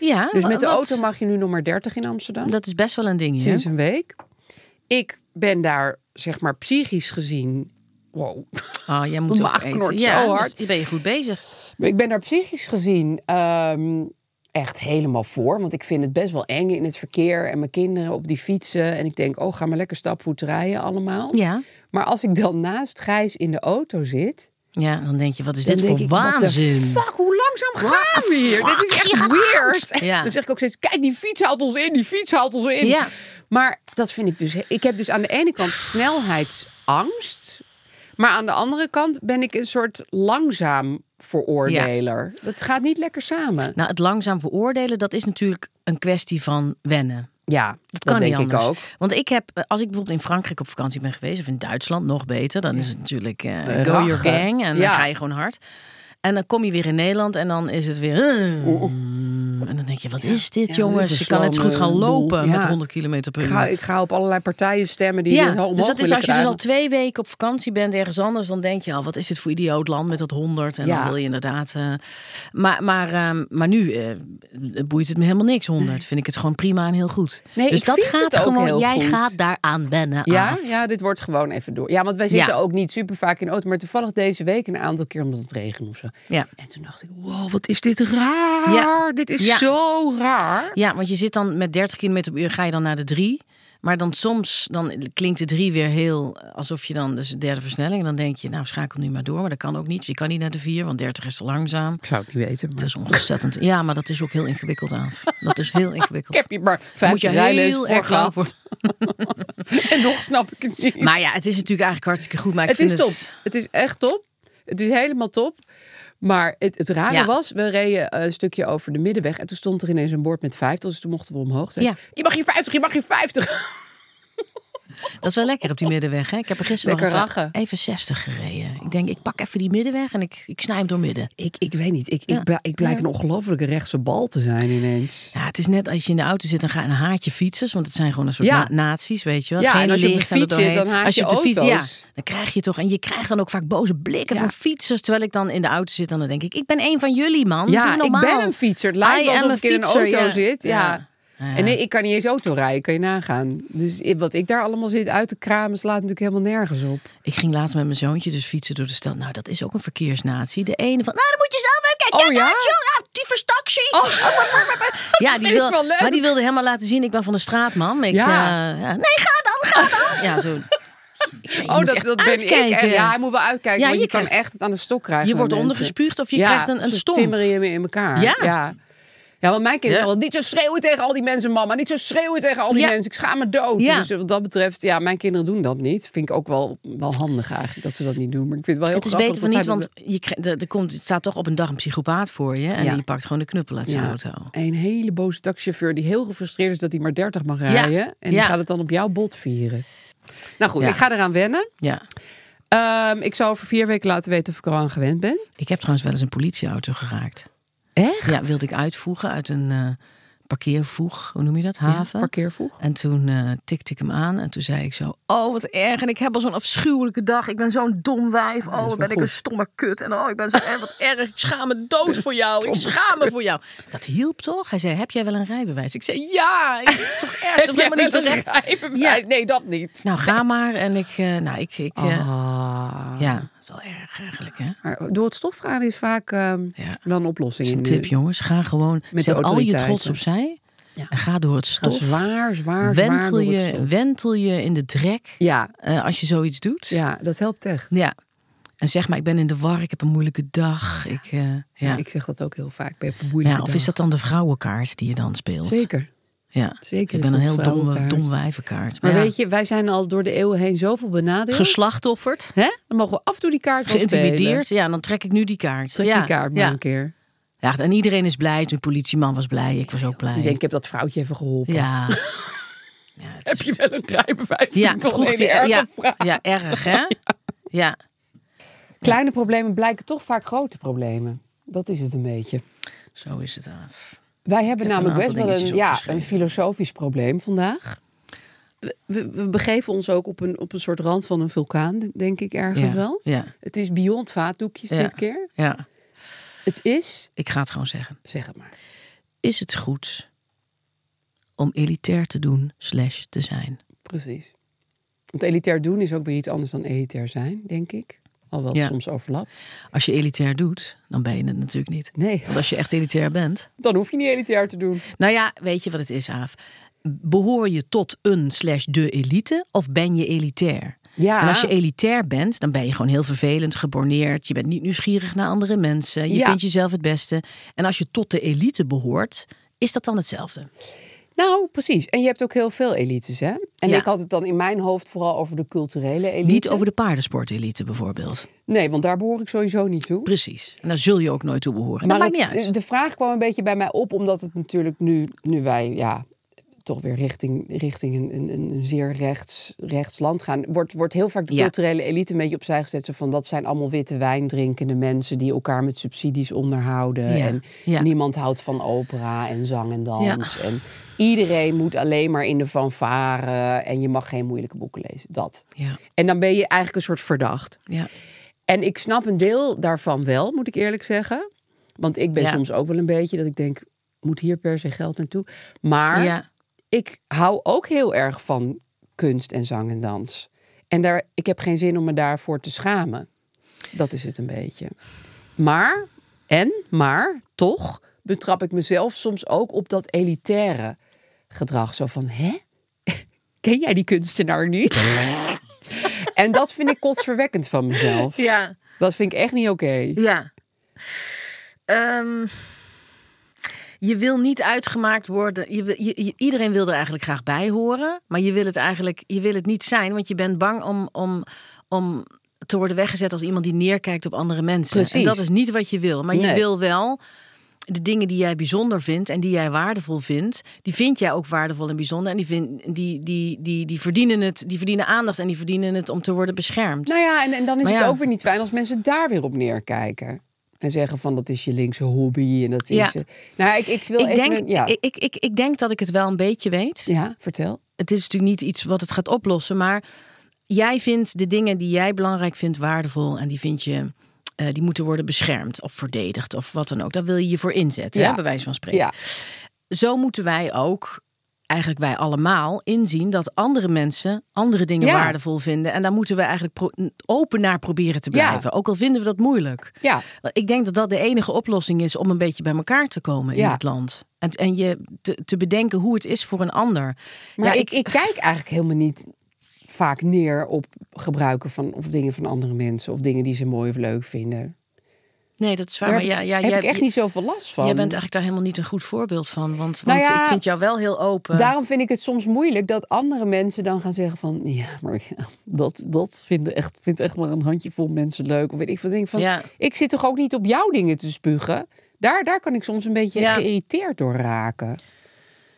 S3: Ja,
S4: Dus met de
S3: Ah, wat-
S4: auto mag je nu nog maar 30 in Amsterdam.
S3: Dat is best wel een ding, hè?
S4: sinds een week. Ik ben daar, zeg maar, psychisch gezien. Wow.
S3: Oh, jij moet
S4: Mijn
S3: ook
S4: maag
S3: eten.
S4: knort
S3: Ja,
S4: zo
S3: dus
S4: hard.
S3: dan ben je goed bezig.
S4: Maar ik ben daar psychisch gezien ehm, echt helemaal voor. Want ik vind het best wel eng in het verkeer en mijn kinderen op die fietsen. En ik denk, oh, ga maar lekker stapvoet rijden allemaal.
S3: Ja.
S4: Maar als ik dan naast Gijs in de auto zit,
S3: Ja, dan denk je, wat is
S4: dan
S3: dit
S4: denk
S3: voor
S4: ik,
S3: waanzin?
S4: What the fuck, hoe langzaam gaan we hier?
S3: fuck
S4: Dit is
S3: is hier
S4: echt
S3: aan de
S4: weird.
S3: hand? Ja.
S4: Dan zeg ik ook steeds, kijk, die fiets haalt ons in, die fiets haalt ons in.
S3: Ja.
S4: Maar dat vind ik dus... Ik heb dus aan de ene kant snelheidsangst... maar aan de andere kant ben ik een soort langzaam veroordeler. Dat gaat niet lekker samen.
S3: Nou, het langzaam veroordelen, dat is natuurlijk een kwestie van wennen.
S4: Ja, dat,
S3: Dat kan
S4: denk
S3: niet anders.
S4: ik ook.
S3: Want ik heb, eh, als ik bijvoorbeeld in Frankrijk op vakantie ben geweest, of in Duitsland nog beter, dan is het natuurlijk eh, go your
S4: rachen.
S3: gang en
S4: Ja.
S3: dan ga je gewoon hard. En dan kom je weer in Nederland en dan is het weer. eh, En dan denk je, wat is dit,
S4: Ja, dit
S3: jongens?
S4: is
S3: Je kan net zo goed
S4: wel een
S3: gaan lopen
S4: boel.
S3: met
S4: Ja.
S3: 100 km per
S4: Ik
S3: uur.
S4: ga, ik ga op allerlei partijen stemmen die het
S3: Ja,
S4: omhoog
S3: dus dat is
S4: willen
S3: als je dus al
S4: krijgen.
S3: twee weken op vakantie bent ergens anders, dan denk je al, wat is dit voor idioot land met dat 100? En
S4: Ja.
S3: dan wil je inderdaad. eh, maar, maar, ehm, maar nu eh, boeit het me helemaal niks 100. Vind ik het gewoon prima en heel goed.
S4: Nee,
S3: dus
S4: ik
S3: dat
S4: vind
S3: gaat
S4: het ook
S3: gewoon.
S4: heel
S3: jij
S4: goed.
S3: gaat daaraan wennen.
S4: Ja,
S3: af.
S4: ja, dit wordt gewoon even door. Ja, want wij zitten
S3: Ja.
S4: ook niet super vaak in de auto. Maar toevallig deze week een aantal keer omdat het regen of zo.
S3: Ja.
S4: En toen dacht ik, wow, wat is dit raar.
S3: Ja.
S4: Dit is
S3: Ja.
S4: zo raar.
S3: Ja, want je zit dan met 30 km per uur, ga je dan naar de 3. Maar dan soms dan klinkt de 3 weer heel alsof je dan dus de derde versnelling. En dan denk je, nou schakel nu maar door. Maar dat kan ook niet. Je kan niet naar de 4, want 30 is te langzaam.
S4: Ik zou het niet weten,
S3: Het
S4: maar...
S3: is ontzettend. Ja, maar dat is ook heel ingewikkeld af. Dat is heel
S4: Ik
S3: ingewikkeld.
S4: heb je maar vijf
S3: moet je heel
S4: rijlezen
S3: erg lang
S4: voor
S3: voor.
S4: voor. En nog snap ik het niet.
S3: Maar ja, het is natuurlijk eigenlijk hartstikke goed. Maar ik
S4: het
S3: vind
S4: is top. Het is echt top. Het is helemaal top. Maar het, het rare
S3: Ja.
S4: was, we reden eh, een stukje over de middenweg. En toen stond er ineens een bord met 50. Dus toen mochten we omhoog. Zeggen,
S3: Ja.
S4: Je mag hier 50, je mag hier 50.
S3: Dat is wel lekker op die middenweg. Hè? Ik heb er gisteren nog
S4: Lekker
S3: even,
S4: rachen.
S3: even 60 gereden. Ik denk, ik pak even die middenweg en ik, ik snij hem door midden.
S4: Ik, ik weet niet. Ik,
S3: Ja.
S4: ik, bla- ik blijk een ongelofelijke rechtse bal te zijn ineens.
S3: Ja, het is net als je in de auto zit en ga een haatje fietsers. Want het zijn gewoon een soort
S4: Ja.
S3: na- nazi's, weet je wel.
S4: Ja,
S3: Geen
S4: en als je op de
S3: licht en er
S4: fiets zit,
S3: doorheen.
S4: dan haat
S3: als
S4: je
S3: op de fiets-
S4: auto's.
S3: ja, dan krijg je toch... En je krijgt dan ook vaak boze blikken
S4: Ja.
S3: van fietsers. Terwijl ik dan in de auto zit en dan denk ik... Ik ben één van jullie, man.
S4: Ja,
S3: Doe normaal.
S4: ik ben een fietser. Het lijkt
S3: I
S4: wel
S3: am
S4: alsof
S3: a
S4: ik in een
S3: fietser,
S4: auto
S3: ja.
S4: zit. Ja.
S3: Ja.
S4: En nee, ik kan niet eens auto rijden, kan je nagaan. Dus i- wat ik daar allemaal zit uit te kramen, slaat natuurlijk helemaal nergens op.
S3: Ik ging laatst met mijn zoontje dus fietsen door de stad. Nou, dat is ook een verkeersnatie. De ene van, nou, dan moet je zelf even kijken.
S4: Oh,
S3: Kijk
S4: ja? Oh.
S3: uit, joh. Ah, die Ah, verstaxie. Ja, die,
S4: vind ik
S3: wil,
S4: wel leuk.
S3: Maar die wilde helemaal laten zien, ik ben van de straat, mam. Ik,
S4: Ja.
S3: eh, ja, nee, ga dan, ga dan. Ja, zo. Ik zei, je
S4: oh,
S3: moet
S4: dat,
S3: echt
S4: dat ben ik.
S3: uitkijken.
S4: echt. Ja, hij moet wel uitkijken,
S3: Ja,
S4: want je,
S3: je
S4: kan
S3: krijgt-
S4: echt het aan de stok krijgen.
S3: Je
S4: met
S3: wordt
S4: mensen.
S3: ondergespuurd of je
S4: Ja,
S3: krijgt een, een
S4: ze
S3: stomp.
S4: timmeren je me in elkaar.
S3: Ja.
S4: ja. Ja, want mijn kind
S3: Ja.
S4: zegt altijd, niet zo schreeuwen tegen al die mensen, mama. Niet zo schreeuwen tegen al die
S3: Ja.
S4: mensen. Ik schaam me dood.
S3: Ja.
S4: Dus wat dat betreft, ja, mijn kinderen doen dat niet. Vind ik ook wel, wel handig eigenlijk, dat ze dat niet doen. Maar ik vind het wel heel
S3: Het is
S4: grappig
S3: beter
S4: dat
S3: van niet,
S4: hij
S3: want
S4: dat-
S3: je krijgt- er er komt, het staat toch op een dag een psychopaat voor je. En
S4: Ja.
S3: die pakt gewoon de knuppel uit zijn
S4: Ja,
S3: auto.
S4: een hele boze taxichauffeur die heel gefrustreerd is dat hij maar 30 mag rijden. En die
S3: Ja.
S4: gaat het dan op jouw bot vieren. Nou goed,
S3: Ja.
S4: ik ga eraan wennen.
S3: Ja.
S4: Ehm, ik zal over vier weken laten weten of ik er al aan gewend ben.
S3: Ik heb trouwens wel eens een politieauto geraakt.
S4: Echt?
S3: Ja, wilde ik uitvoegen uit een eh, parkeervoeg, hoe noem je dat, haven.
S4: parkeervoeg.
S3: En toen eh, tikte ik hem aan en toen zei ik zo... Oh, wat erg. En ik heb al zo'n afschuwelijke dag. Ik ben zo'n dom wijf. Oh, wat ben ik een stomme kut. En oh, ik ben zo erg. Wat erg. Ik schaam me dood voor jou. Ik schaam me voor jou. Dat hielp toch? Hij zei, heb jij wel een rijbewijs? Ik zei, ja. Ik, het is toch erg.
S4: Heb
S3: Dat
S4: jij
S3: ben me niet
S4: wel een
S3: terecht.
S4: rijbewijs? Nee, dat niet.
S3: Nou, ga maar. En ik... eh, nou, ik... ik eh,
S4: Ah.
S3: Ja, dat is wel erg eigenlijk, hè?
S4: Maar door het stof gaan is vaak ehm,
S3: Ja.
S4: wel een oplossing.
S3: Dat is een
S4: in de-
S3: tip, jongens. Ga gewoon...
S4: de
S3: zet al je
S4: autoriteiten.
S3: trots opzij. En ga door het
S4: Ga
S3: stof.
S4: zwaar, zwaar, zwaar
S3: wentel,
S4: door het
S3: je,
S4: stof.
S3: wentel je in de drek
S4: Ja,
S3: eh, als je zoiets doet.
S4: ja, dat helpt echt.
S3: Ja. En zeg maar, ik ben in de war, ik heb een moeilijke dag. Ik, eh, ja.
S4: Ah, Ja, ik zeg dat ook heel vaak. Ik ben op een
S3: ja,
S4: moeilijke
S3: of
S4: dag.
S3: is dat dan de vrouwenkaart die je dan speelt?
S4: Zeker.
S3: Ja.
S4: Zeker
S3: Ik
S4: is
S3: ben een
S4: dat
S3: heel
S4: de
S3: domme,
S4: vrouwenkaart.
S3: dom wijvenkaart.
S4: Maar
S3: Ja.
S4: weet je, wij zijn al door de eeuwen heen zoveel benadeeld.
S3: geslachtofferd,
S4: Hè? Dan mogen we af en toe die kaart wel spelen.
S3: geïntimideerd. Ja, dan trek ik nu die kaart.
S4: Trek
S3: ja.
S4: die kaart maar
S3: ja.
S4: een keer.
S3: Ja, en iedereen is blij. De politieman was blij, ik was ook blij.
S4: Ik denk, ik heb dat vrouwtje even geholpen.
S3: ja.
S4: Heb je wel een rijbewijs?
S3: ja,
S4: Ik wil
S3: vroeg
S4: een
S3: die,
S4: erge
S3: ja,
S4: vraag.
S3: ja, erg hè? Ja.
S4: Kleine problemen blijken toch vaak grote problemen. dat is het een beetje.
S3: Zo is het af.
S4: Wij hebben
S3: heb een
S4: namelijk best
S3: aantal
S4: wel een,
S3: dingetjes
S4: ja,
S3: opgeschreven.
S4: een filosofisch probleem vandaag. We, we begeven ons ook op een, op een soort rand van een vulkaan, denk ik ergens
S3: Ja,
S4: wel.
S3: ja.
S4: Het is beyond vaatdoekjes
S3: Ja.
S4: dit keer.
S3: Ja,
S4: Het is,
S3: ik ga het gewoon zeggen.
S4: zeg het maar.
S3: Is het goed om elitair te doen slash te zijn?
S4: Precies. Want elitair doen is ook weer iets anders dan elitair zijn, denk ik. Alhoewel het
S3: Ja.
S4: soms overlapt.
S3: Als je elitair doet, dan ben je het natuurlijk niet.
S4: Nee,
S3: Want als je echt elitair bent,
S4: dan hoef je niet elitair te doen.
S3: Nou ja, weet je wat het is, Aaf? Behoor je tot een slash de elite of ben je elitair?
S4: Ja.
S3: En als je elitair bent, dan ben je gewoon heel vervelend, geborneerd. Je bent niet nieuwsgierig naar andere mensen. Je
S4: Ja.
S3: vindt jezelf het beste. En als je tot de elite behoort, is dat dan hetzelfde?
S4: Nou, precies. En je hebt ook heel veel elites, hè? En
S3: Ja.
S4: ik had het dan in mijn hoofd vooral over de culturele elite.
S3: Niet over de paardensportelite bijvoorbeeld.
S4: Nee, want daar behoor ik sowieso niet toe.
S3: Precies. En daar zul je ook nooit toe behoren.
S4: Maar
S3: dat maakt niet
S4: het-
S3: uit.
S4: Nou, de vraag kwam een beetje bij mij op, omdat het natuurlijk nu, nu wij ja, toch weer richting, richting een, een, een een zeer rechts, rechts land gaan, wordt, wordt heel vaak de
S3: Ja.
S4: culturele elite een beetje opzij gezet. Zo van dat zijn allemaal witte wijn drinkende mensen die elkaar met subsidies onderhouden.
S3: Ja,
S4: En
S3: ja.
S4: niemand houdt van opera en zang en dans. En iedereen moet alleen maar in de fanfare en je mag geen moeilijke boeken lezen. Dat.
S3: Ja.
S4: En dan ben je eigenlijk een soort verdacht.
S3: Ja.
S4: En ik snap een deel daarvan wel, moet ik eerlijk zeggen. Want ik ben
S3: Ja.
S4: soms ook wel een beetje dat ik denk, moet hier per se geld naartoe? Maar
S3: Ja.
S4: ik hou ook heel erg van kunst en zang en dans. En daar, ik heb geen zin om me daarvoor te schamen. Dat is het een beetje. Maar, en, maar, toch betrap ik mezelf soms ook op dat elitaire gedrag. Zo van, hè? Ken jij die kunstenaar niet? en dat vind ik kotsverwekkend van mezelf.
S3: Ja.
S4: Dat vind ik echt niet oké.
S3: Ja. Ehm, je wil niet uitgemaakt worden. Je, wil- je- je- iedereen wil er eigenlijk graag bij horen. Maar je wil het eigenlijk je wil het niet zijn. Want je bent bang om, om, om te worden weggezet als iemand die neerkijkt op andere mensen. En
S4: Precies.
S3: dat is niet wat je wil. Maar je
S4: Nee.
S3: wil wel de dingen die jij bijzonder vindt en die jij waardevol vindt, die vind jij ook waardevol en bijzonder. En die, vind, die, die, die, die, verdienen, het, die verdienen aandacht en die verdienen het om te worden beschermd.
S4: Nou ja, en, en dan is
S3: Maar
S4: het
S3: ja.
S4: ook weer niet fijn als mensen daar weer op neerkijken. En zeggen van dat is je linkse hobby en dat is...
S3: Ja.
S4: eh, Nou, ik, ik wil
S3: ik,
S4: even...
S3: denk,
S4: een- ja.
S3: ik, ik, ik, ik denk dat ik het wel een beetje weet.
S4: ja, vertel.
S3: het is natuurlijk niet iets wat het gaat oplossen, maar jij vindt de dingen die jij belangrijk vindt waardevol en die vind je eh, die moeten worden beschermd of verdedigd of wat dan ook. Daar wil je je voor inzetten,
S4: Ja.
S3: hè, bij wijze van spreken.
S4: Ja.
S3: Zo moeten wij ook, eigenlijk wij allemaal, inzien dat andere mensen andere dingen
S4: Ja.
S3: waardevol vinden. En daar moeten we eigenlijk pro- open naar proberen te
S4: Ja.
S3: blijven. Ook al vinden we dat moeilijk.
S4: Ja.
S3: Want Ik denk dat dat de enige oplossing is om een beetje bij elkaar te komen in
S4: Ja.
S3: het land. En, en je te, te bedenken hoe het is voor een ander.
S4: Maar ik, ik kijk eigenlijk helemaal niet vaak neer op gebruiken van of dingen van andere mensen of dingen die ze mooi of leuk vinden.
S3: Nee, dat is waar.
S4: Daar
S3: Maar
S4: heb,
S3: ja,
S4: ik-
S3: ja,
S4: heb
S3: jij,
S4: ik echt niet zoveel last van.
S3: jij bent eigenlijk daar helemaal niet een goed voorbeeld van. Want,
S4: Nou
S3: want
S4: ja,
S3: ik vind jou wel heel open.
S4: Daarom vind ik het soms moeilijk dat andere mensen dan gaan zeggen van... ja, maar ja, dat, dat vinden echt, vindt echt maar een handjevol mensen leuk. Of weet ik veel. Dan denk ik van,
S3: Ja.
S4: ik zit toch ook niet op jouw dingen te spugen? Daar, daar kan ik soms een beetje
S3: Ja.
S4: geïrriteerd door raken.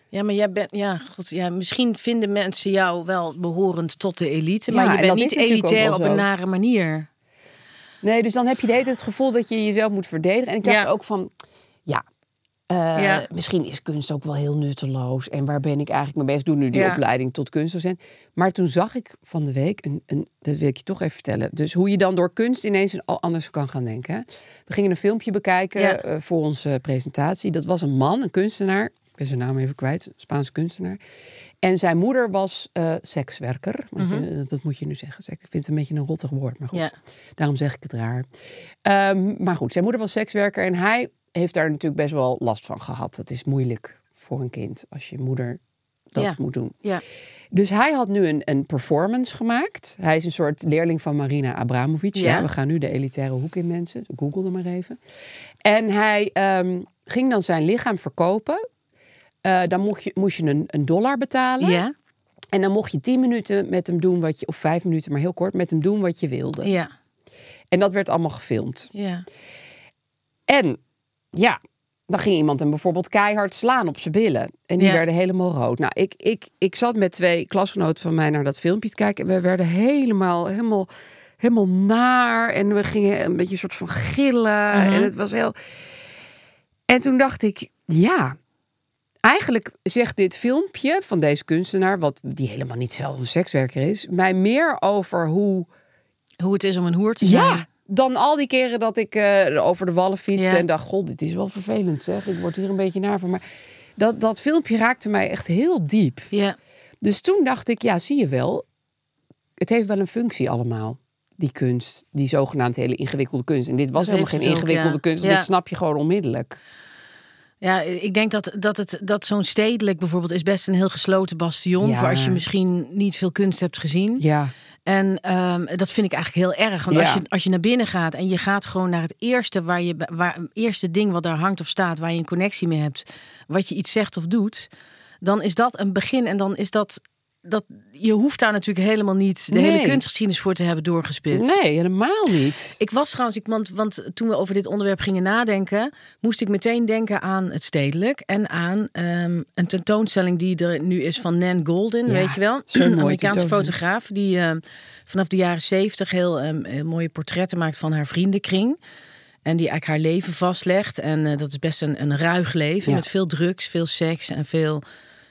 S3: Ja, maar jij bent. Ja, goed. Ja, misschien vinden mensen jou wel behorend tot de elite.
S4: Ja,
S3: Maar
S4: en
S3: je bent
S4: dat
S3: niet
S4: is natuurlijk ook wel
S3: elitair op
S4: zo.
S3: een nare manier.
S4: Nee, dus dan heb je de hele tijd het gevoel dat je jezelf moet verdedigen. En ik dacht
S3: Ja.
S4: ook van, ja, eh,
S3: Ja.
S4: misschien is kunst ook wel heel nutteloos. En waar ben ik eigenlijk mee bezig? Ik Doe nu die
S3: Ja.
S4: opleiding tot kunstdocent. Maar toen zag ik van de week, een, een, dat wil ik je toch even vertellen. Dus hoe je dan door kunst ineens een- al anders kan gaan denken. hè. We gingen een filmpje bekijken
S3: Ja.
S4: eh, voor onze presentatie. Dat was een man, een kunstenaar. Ik ben zijn naam even kwijt, een Spaanse kunstenaar. En zijn moeder was eh, sekswerker. Want je- dat moet je nu zeggen. Ik vind het een beetje een rottig woord, maar goed.
S3: Mhm. Ja.
S4: Daarom zeg ik het raar. Ehm, maar goed, zijn moeder was sekswerker en hij heeft daar natuurlijk best wel last van gehad. Het is moeilijk voor een kind als je moeder dat
S3: Ja.
S4: moet doen.
S3: Ja.
S4: Dus hij had nu een, een performance gemaakt. Hij is een soort leerling van Marina Abramovic. Ja.
S3: Ja.
S4: we gaan nu de elitaire hoek in mensen. Google er maar even. En hij ehm, ging dan zijn lichaam verkopen. Eh, dan mocht je, moest je een, een dollar betalen.
S3: Ja.
S4: En dan mocht je 10 minuten met hem doen wat je, of 5 minuten, maar heel kort, met hem doen wat je wilde.
S3: Ja.
S4: En dat werd allemaal gefilmd.
S3: Ja.
S4: En ja, dan ging iemand hem bijvoorbeeld keihard slaan op zijn billen. En die
S3: Ja.
S4: werden helemaal rood. Nou, ik, ik, ik zat met twee klasgenoten van mij naar dat filmpje te kijken. En we werden helemaal, helemaal, helemaal naar. En we gingen een beetje een soort van gillen. En het was heel. En toen dacht ik, ja. Eigenlijk zegt dit filmpje van deze kunstenaar, wat die helemaal niet zelf een sekswerker is, mij meer over hoe
S3: Hoe het is om een hoer te zijn.
S4: ja. Dan al die keren dat ik eh, over de wallen fietste
S3: Ja.
S4: en dacht: God, dit is wel vervelend zeg. Ik word hier een beetje naar van. Maar dat, dat filmpje raakte mij echt heel diep.
S3: Ja.
S4: Dus toen dacht ik: Ja, zie je wel. Het heeft wel een functie allemaal. Die kunst, die zogenaamd hele ingewikkelde kunst. En dit was
S3: Dat
S4: helemaal
S3: heeft
S4: geen
S3: het ook,
S4: ingewikkelde
S3: ja.
S4: kunst. want
S3: Ja.
S4: Dit snap je gewoon onmiddellijk.
S3: Ja, ik denk dat, dat, het, dat zo'n stedelijk bijvoorbeeld is best een heel gesloten bastion.
S4: Ja.
S3: Voor als je misschien niet veel kunst hebt gezien.
S4: Ja,
S3: En ehm, dat vind ik eigenlijk heel erg. Want
S4: Ja.
S3: als, je, als je naar binnen gaat en je gaat gewoon naar het eerste, waar je, waar, eerste ding wat daar hangt of staat, waar je een connectie mee hebt, wat je iets zegt of doet, dan is dat een begin. En dan is dat. dat je hoeft daar natuurlijk helemaal niet de hele
S4: Nee.
S3: kunstgeschiedenis voor te hebben doorgespit.
S4: nee, helemaal niet.
S3: Ik was trouwens, ik, want, want toen we over dit onderwerp gingen nadenken, moest ik meteen denken aan het stedelijk en aan ehm, een tentoonstelling die er nu is van Nan Golden,
S4: Ja,
S3: weet je wel?
S4: zo'n mooie
S3: Een Amerikaanse
S4: tentoonstelling.
S3: fotograaf die ehm, vanaf de jaren zeventig heel, ehm, heel mooie portretten maakt van haar vriendenkring. En die eigenlijk haar leven vastlegt. En eh, dat is best een, een ruig leven
S4: Ja.
S3: met veel drugs, veel seks en veel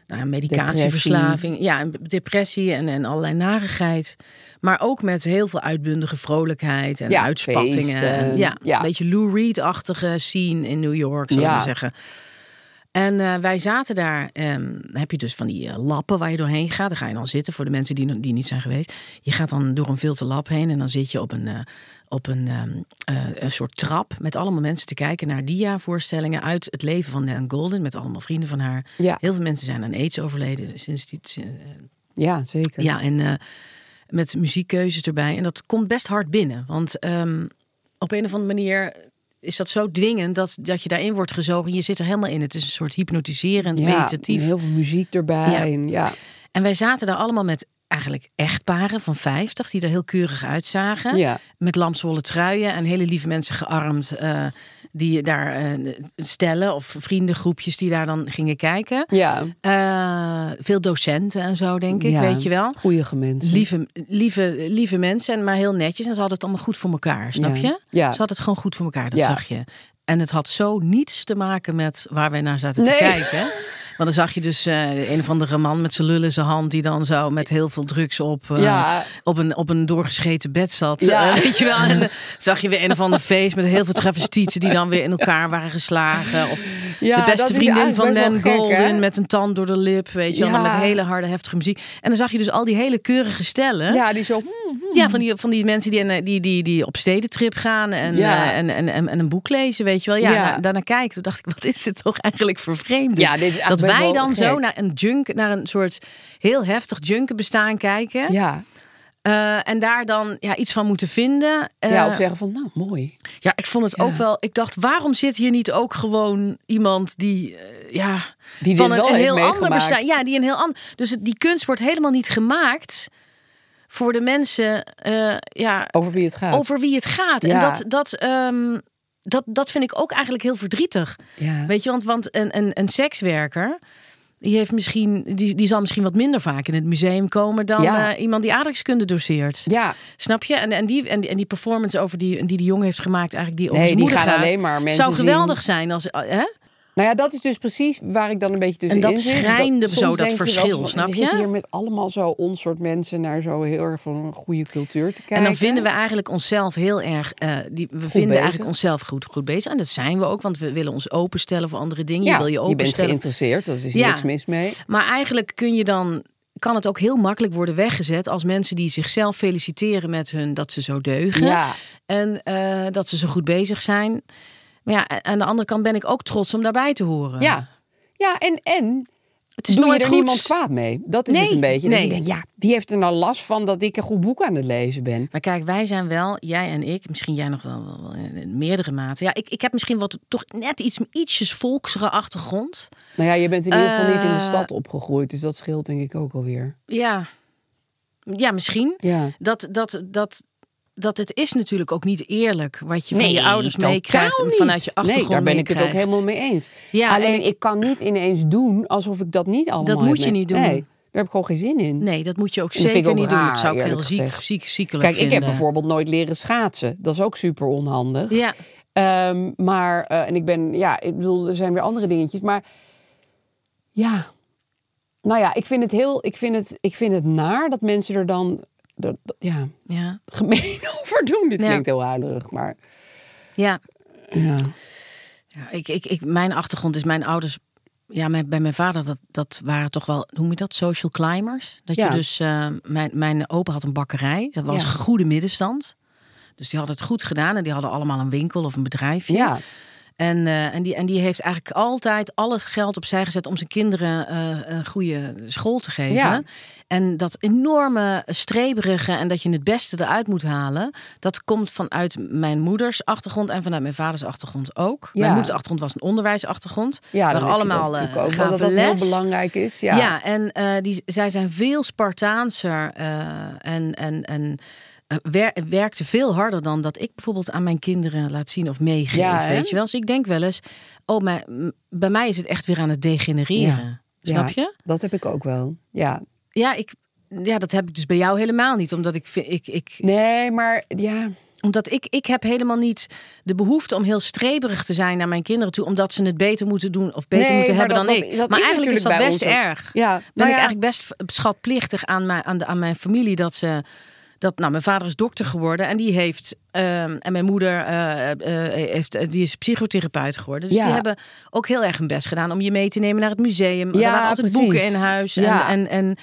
S3: nou,
S4: Depressie.
S3: medicatieverslaving verslaving, ja, en depressie en, en allerlei narigheid. Maar ook met heel veel uitbundige vrolijkheid en
S4: Ja,
S3: uitspattingen.
S4: feest, eh,
S3: en, ja,
S4: ja.
S3: een beetje Lou Reed-achtige scene in New York, zou
S4: Ja.
S3: ik maar zeggen. En eh, wij zaten daar, ehm, heb je dus van die eh, lappen waar je doorheen gaat. Daar ga je dan zitten, voor de mensen die, nog- die niet zijn geweest. Je gaat dan door een filter lap heen en dan zit je op een, eh, op een, ehm, eh, een soort trap... met allemaal mensen te kijken naar dia-voorstellingen uit het leven van Nan Golden... met allemaal vrienden van haar.
S4: Ja.
S3: Heel veel mensen zijn aan aids overleden sinds die...
S4: Ja, zeker.
S3: Ja, en eh, met muziekkeuzes erbij. En dat komt best hard binnen. Want ehm, op een of andere manier is dat zo dwingend dat, dat je daarin wordt gezogen. Je zit er helemaal in. Het is een soort hypnotiserend,
S4: Ja,
S3: meditatief.
S4: heel veel muziek erbij.
S3: Ja.
S4: En ja.
S3: En wij zaten daar allemaal met eigenlijk echtparen van 50 die er heel keurig uitzagen.
S4: Ja.
S3: Met lamswollen truien en hele lieve mensen gearmd. eh, die daar eh, stellen of vriendengroepjes die daar dan gingen kijken.
S4: ja.
S3: Eh, veel docenten en zo, denk ik,
S4: Ja,
S3: weet je wel.
S4: Goeie mensen.
S3: Lieve, lieve, lieve mensen, maar heel netjes. En ze hadden het allemaal goed voor elkaar, snap
S4: Ja.
S3: je?
S4: Ja.
S3: Ze hadden het gewoon goed voor elkaar, dat
S4: Ja.
S3: zag je. En het had zo niets te maken met waar wij naar zaten
S4: Nee.
S3: te kijken. Want dan zag je dus eh, een of andere man met zijn lul in zijn hand... die dan zo met heel veel drugs op, eh,
S4: Ja.
S3: op, een, op een doorgescheten bed zat.
S4: Ja.
S3: Eh, weet je wel? En dan zag je weer een of ander feest met heel veel travestieten... die dan weer in elkaar waren geslagen. Of
S4: Ja,
S3: de
S4: dat
S3: beste
S4: is
S3: vriendin
S4: eigenlijk
S3: van
S4: best wel
S3: Dan
S4: gek, hè?
S3: Golden... met een tand door de lip, weet je wel? en
S4: Ja.
S3: Met hele harde, heftige muziek. En dan zag je dus al die hele keurige stellen.
S4: Ja, die zo... hmm, hmm.
S3: Ja, van die, van die mensen die, en- die, die, die op stedentrip gaan en,
S4: Ja.
S3: eh, en, en, en, en een boek lezen, weet je wel. Ja,
S4: Ja.
S3: na- daarna kijk ik, toen dacht ik, wat is dit toch eigenlijk voor vreemd?
S4: Ja, dit is echt
S3: dat
S4: best
S3: wij
S4: wel
S3: dan zo
S4: gek.
S3: naar een junk, naar een soort heel heftig junkenbestaan kijken.
S4: Ja.
S3: eh, en daar dan ja, iets van moeten vinden. Eh,
S4: ja, of zeggen van, nou, mooi.
S3: ja, ik vond het ook wel. Ik dacht, waarom zit hier niet ook gewoon iemand die. eh, ja,
S4: Die
S3: van
S4: dit
S3: een,
S4: wel
S3: een
S4: heeft
S3: heel ander
S4: meegemaakt.
S3: bestaan. Ja, die een heel ander. Dus het- die kunst wordt helemaal niet gemaakt voor de mensen. eh, ja,
S4: Over wie het gaat.
S3: over wie het gaat. En
S4: Oh, Ja.
S3: dat, dat, ehm, dat, dat vind ik ook eigenlijk heel verdrietig.
S4: Ja.
S3: Weet je, want, want een, een, een sekswerker. Die, heeft misschien, die, die zal misschien wat minder vaak in het museum komen dan
S4: Ja.
S3: eh, iemand die aardrijkskunde doseert.
S4: Ja.
S3: Snap je? En, en, die, en, die- en die performance over die, die die jongen heeft gemaakt, eigenlijk die over
S4: Nee,
S3: zijn
S4: die
S3: moeder
S4: gaan
S3: gaat,
S4: alleen maar mensen
S3: zou geweldig zijn als. eh, Hè?
S4: Nou ja, dat is dus precies waar ik dan een beetje
S3: En
S4: tussenin
S3: dat
S4: zit.
S3: schrijnde
S4: soms
S3: zo, dat
S4: denk je wel
S3: verschil,
S4: van,
S3: snap
S4: we
S3: je?
S4: zitten hier met allemaal zo ons soort mensen naar zo heel erg van een goede cultuur te kijken.
S3: En dan vinden we eigenlijk onszelf heel erg. eh, die, we vinden
S4: bezig.
S3: eigenlijk onszelf goed, goed bezig. En dat zijn we ook, want we willen ons openstellen voor andere dingen.
S4: ja,
S3: je wil je
S4: bent
S3: openstellen.
S4: geïnteresseerd, daar is
S3: Ja.
S4: niks mis mee.
S3: Maar eigenlijk kun je dan, kan het ook heel makkelijk worden weggezet als mensen die zichzelf feliciteren met hun dat ze zo deugen.
S4: Ja.
S3: En eh, dat ze zo goed bezig zijn. Maar ja, a- aan de andere kant ben ik ook trots om daarbij te horen.
S4: Ja, ja en, en
S3: het is
S4: doe
S3: nooit
S4: je er
S3: goed.
S4: niemand kwaad mee. Dat is
S3: Nee,
S4: het een beetje.
S3: nee.
S4: Nee. Dat je denkt, ja, wie heeft er nou last van dat ik een goed boek aan het lezen ben?
S3: Maar kijk, wij zijn wel, jij en ik, misschien jij nog wel, wel- wel in meerdere mate. Ja, ik, ik heb misschien wat toch net iets ietsjes volksere achtergrond.
S4: Nou ja, je bent in ieder geval niet in de
S3: Eh.
S4: stad opgegroeid, dus dat scheelt denk ik ook alweer.
S3: Ja, ja misschien.
S4: Ja.
S3: dat, dat, dat, dat het is natuurlijk ook niet eerlijk wat je van je ouders
S4: totaal
S3: meekrijgt en
S4: niet.
S3: vanuit je achtergrond
S4: Nee, daar ben ik het ook
S3: meekrijgt.
S4: helemaal mee eens.
S3: Ja, en
S4: Alleen
S3: ik-
S4: ik... kan niet ineens doen alsof ik dat niet allemaal
S3: Dat
S4: heb
S3: moet je
S4: mee-
S3: niet doen.
S4: Nee, heb ik gewoon geen zin in.
S3: Nee, dat moet je ook
S4: En dat vind
S3: zeker
S4: ik ook
S3: niet doen.
S4: raar,
S3: Dat zou ik heel
S4: eerlijk
S3: ziek,
S4: gezegd.
S3: ziek, ziekelijk
S4: Kijk, ik heb
S3: vinden.
S4: bijvoorbeeld nooit leren schaatsen. Dat is ook super onhandig.
S3: Ja,
S4: Ehm, maar, eh, en ik ben, ja, ik bedoel, er zijn weer andere dingetjes. Maar ja, nou ja, ik vind het heel, ik vind het, ik vind het naar dat mensen er dan, dat- dat- ja,
S3: ja,
S4: gemeen over doen. Dit
S3: Ja.
S4: klinkt heel huilerig, maar
S3: ja.
S4: ja.
S3: Ja, ik, ik, ik, mijn achtergrond is mijn ouders. Ja, mijn, bij mijn vader, dat, dat waren toch wel, hoe noem je dat? Social climbers. Dat
S4: Ja.
S3: je dus, eh, mijn, mijn opa had een bakkerij. Dat was
S4: Ja.
S3: een goede middenstand. Dus die hadden het goed gedaan en die hadden allemaal een winkel of een bedrijfje.
S4: Ja.
S3: En, eh, en, die, en die heeft eigenlijk altijd al het geld opzij gezet om zijn kinderen eh, een goede school te geven.
S4: Ja.
S3: En dat enorme streberige en dat je het beste eruit moet halen, dat komt vanuit mijn moeders achtergrond en vanuit mijn vaders achtergrond ook.
S4: Ja.
S3: Mijn moeders achtergrond was een onderwijsachtergrond.
S4: Ja,
S3: waar
S4: dan heb je dat
S3: allemaal
S4: natuurlijk
S3: eh,
S4: ook, wel,
S3: gaven
S4: dat dat heel
S3: les.
S4: belangrijk is. Ja,
S3: Ja, en eh, die, zij zijn veel Spartaanser eh, en, en, en eh, wer, werkte veel harder dan dat ik bijvoorbeeld aan mijn kinderen laat zien of meegeef.
S4: Ja, hè?
S3: weet je wel? Dus ik denk wel eens, oh, maar, m, bij mij is het echt weer aan het degenereren. Snap
S4: Ja,
S3: je?
S4: Dat heb ik ook wel. Ja.
S3: Ja, ik, ja, dat heb ik dus bij jou helemaal niet, omdat ik, vind- ik, ik,
S4: Nee, maar ja.
S3: omdat ik, ik heb helemaal niet de behoefte om heel streberig te zijn naar mijn kinderen toe. Omdat ze het beter moeten doen of beter
S4: Nee,
S3: moeten
S4: maar
S3: hebben
S4: dat-
S3: dan
S4: dat-
S3: ik.
S4: dat
S3: maar
S4: is
S3: eigenlijk is dat
S4: natuurlijk
S3: best
S4: bij ons ook.
S3: erg.
S4: Ja,
S3: ben
S4: nou
S3: ik
S4: ja.
S3: eigenlijk best v- schatplichtig aan mijn, aan, de, aan mijn familie dat ze. Dat, nou, mijn vader is dokter geworden en die heeft. ehm, en mijn moeder eh, eh, heeft, eh, die is psychotherapeut geworden. Dus
S4: Ja.
S3: die hebben ook heel erg hun best gedaan om je mee te nemen naar het museum. er
S4: Ja,
S3: waren altijd boeken
S4: precies.
S3: in huis.
S4: Ja.
S3: En, en, en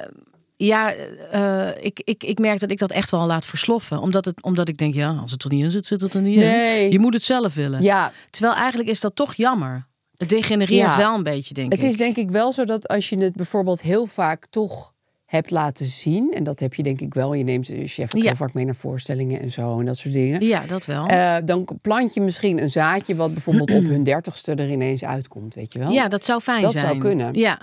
S3: eh, ja, eh, ik, ik, ik merk dat ik dat echt wel laat versloffen. Omdat, het, omdat ik denk, ja, als het er niet in zit, zit het er niet
S4: Nee.
S3: in. Je moet het zelf willen.
S4: Ja,
S3: Terwijl eigenlijk is dat toch jammer. Het degenereert
S4: Ja.
S3: wel een beetje, denk
S4: Het
S3: ik.
S4: is denk ik wel zo dat als je het bijvoorbeeld heel vaak toch hebt laten zien, en dat heb je denk ik wel, je neemt je chef ook
S3: Ja.
S4: heel vaak mee naar voorstellingen en zo en dat soort dingen,
S3: Ja, dat wel.
S4: Eh, dan plant je misschien een zaadje wat bijvoorbeeld op hun dertigste er ineens uitkomt, weet je wel?
S3: ja, dat zou fijn
S4: dat
S3: zijn.
S4: zou kunnen.
S3: Ja,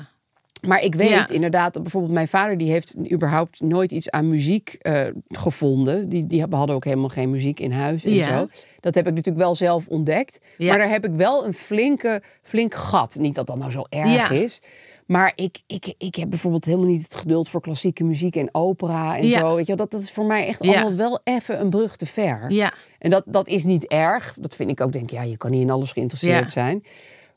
S4: Maar ik weet
S3: Ja.
S4: inderdaad dat bijvoorbeeld mijn vader... die heeft überhaupt nooit iets aan muziek eh, gevonden. Die, die hadden ook helemaal geen muziek in huis en
S3: Ja.
S4: zo. Dat heb ik natuurlijk wel zelf ontdekt.
S3: Ja.
S4: Maar daar heb ik wel een flinke, flink gat. Niet dat dat nou zo erg
S3: Ja.
S4: is. Maar ik, ik, ik heb bijvoorbeeld helemaal niet het geduld voor klassieke muziek en opera en
S3: Ja.
S4: zo. Weet je wel. Dat, dat is voor mij echt
S3: Ja.
S4: allemaal wel even een brug te ver.
S3: Ja.
S4: En dat, dat is niet erg. Dat vind ik ook. Denk, ja, je kan niet in alles geïnteresseerd
S3: Ja.
S4: zijn.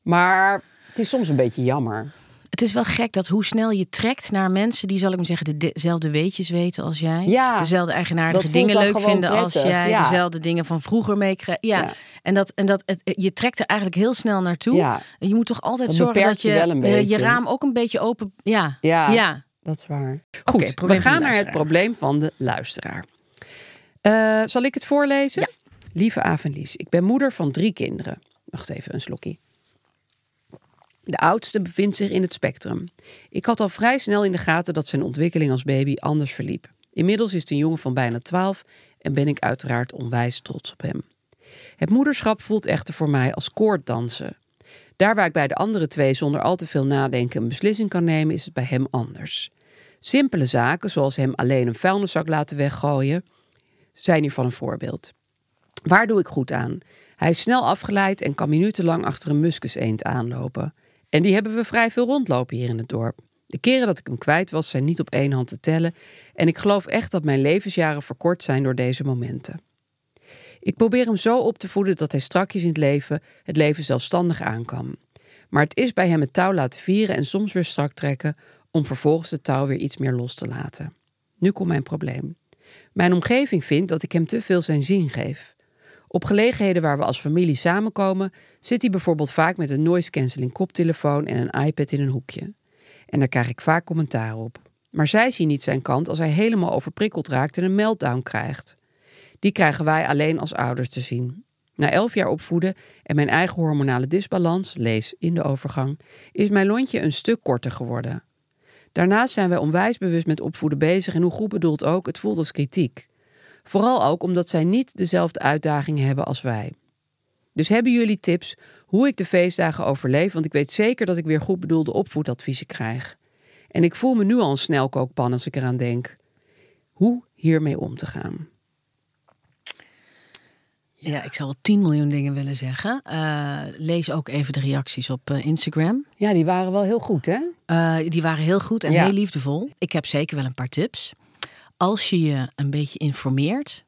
S4: Maar het is soms een beetje jammer.
S3: het is wel gek dat hoe snel je trekt naar mensen die, zal ik maar zeggen, de- dezelfde weetjes weten als jij.
S4: Ja.
S3: Dezelfde
S4: Dat
S3: eigenaardige
S4: voelt
S3: dingen
S4: dan
S3: leuk
S4: gewoon
S3: vinden als
S4: prettig,
S3: jij.
S4: ja.
S3: Dezelfde dingen van vroeger meekrijgt. Ja.
S4: Ja.
S3: En, dat, en dat, het, je trekt er eigenlijk heel snel naartoe.
S4: Ja.
S3: En je moet toch altijd
S4: Dat
S3: zorgen
S4: beperkt
S3: dat
S4: je
S3: je
S4: wel een
S3: je- je
S4: beetje.
S3: raam ook een beetje open. Ja.
S4: Ja.
S3: ja.
S4: Dat is waar. Goed,
S3: probleem van
S4: we
S3: de
S4: gaan naar het
S3: luisteraar.
S4: probleem van de luisteraar. Eh, zal ik het voorlezen? Lieve Aaf en Lies, ik ben moeder van drie kinderen. Wacht even, een slokje. De oudste bevindt zich in het spectrum. Ik had al vrij snel in de gaten dat zijn ontwikkeling als baby anders verliep. Inmiddels is het een jongen van bijna 12 en ben ik uiteraard onwijs trots op hem. Het moederschap voelt echter voor mij als koorddansen. Daar waar ik bij de andere twee zonder al te veel nadenken een beslissing kan nemen, is het bij hem anders. Simpele zaken, zoals hem alleen een vuilniszak laten weggooien, zijn hiervan een voorbeeld. Waar doe ik goed aan? Hij is snel afgeleid en kan minutenlang achter een muskuseend aanlopen. En die hebben we vrij veel rondlopen hier in het dorp. De keren dat ik hem kwijt was, zijn niet op één hand te tellen. En ik geloof echt dat mijn levensjaren verkort zijn door deze momenten. Ik probeer hem zo op te voeden dat hij strakjes in het leven het leven zelfstandig aan kan. Maar het is bij hem het touw laten vieren en soms weer strak trekken om vervolgens het touw weer iets meer los te laten. Nu komt mijn probleem. Mijn omgeving vindt dat ik hem te veel zijn zin geef. Op gelegenheden waar we als familie samenkomen, zit hij bijvoorbeeld vaak met een noise cancelling koptelefoon en een iPad in een hoekje. En daar krijg ik vaak commentaar op. Maar zij zien niet zijn kant als hij helemaal overprikkeld raakt en een meltdown krijgt. Die krijgen wij alleen als ouders te zien. Na elf jaar opvoeden en mijn eigen hormonale disbalans, lees in de overgang, is mijn lontje een stuk korter geworden. Daarnaast zijn wij onwijs bewust met opvoeden bezig en hoe goed bedoeld ook, het voelt als kritiek. Vooral ook omdat zij niet dezelfde uitdagingen hebben als wij. Dus hebben jullie tips hoe ik de feestdagen overleef? Want ik weet zeker dat ik weer goed bedoelde opvoedadviezen krijg. En ik voel me nu al een snelkookpan als ik eraan denk. Hoe hiermee om te gaan?
S3: Ja, ik zou wel 10 miljoen dingen willen zeggen. Eh, lees ook even de reacties op eh, Instagram.
S4: Ja, die waren wel heel goed, hè?
S3: Eh, die waren heel goed en
S4: Ja.
S3: heel liefdevol. Ik heb zeker wel een paar tips. Als je je een beetje informeert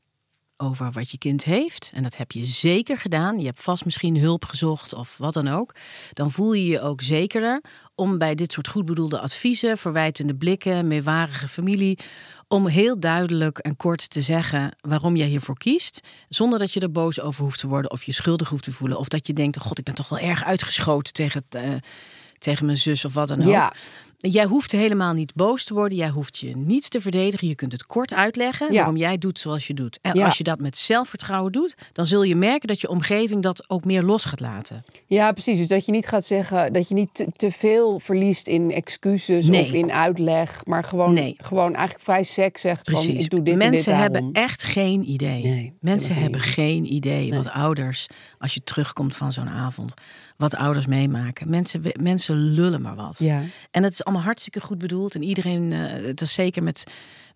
S3: over wat je kind heeft, en dat heb je zeker gedaan, je hebt vast misschien hulp gezocht of wat dan ook, dan voel je je ook zekerder om bij dit soort goedbedoelde adviezen, verwijtende blikken, meewarige familie, om heel duidelijk en kort te zeggen waarom jij hiervoor kiest, zonder dat je er boos over hoeft te worden of je schuldig hoeft te voelen, of dat je denkt, "Oh god, ik ben toch wel erg uitgeschoten tegen, het, eh, tegen mijn zus of wat dan ook.
S4: Ja.
S3: Jij hoeft helemaal niet boos te worden. Jij hoeft je niet te verdedigen. Je kunt het kort uitleggen
S4: Ja.
S3: waarom jij doet zoals je doet. En
S4: Ja.
S3: als je dat met zelfvertrouwen doet, dan zul je merken dat je omgeving dat ook meer los gaat laten.
S4: Ja, precies. Dus dat je niet gaat zeggen dat je niet te, te veel verliest in excuses
S3: Nee.
S4: of in uitleg, maar gewoon,
S3: Nee.
S4: gewoon eigenlijk vrij sec zegt van ik doe dit
S3: Mensen
S4: en dit daarom.
S3: hebben echt geen idee.
S4: Nee, ze
S3: Mensen
S4: hebben
S3: hebben geen idee wat
S4: Nee.
S3: ouders, als je terugkomt van zo'n avond, wat ouders meemaken. Mensen, we- mensen lullen maar wat.
S4: Ja.
S3: En dat is allemaal hartstikke goed bedoeld. En iedereen, eh, het is zeker met,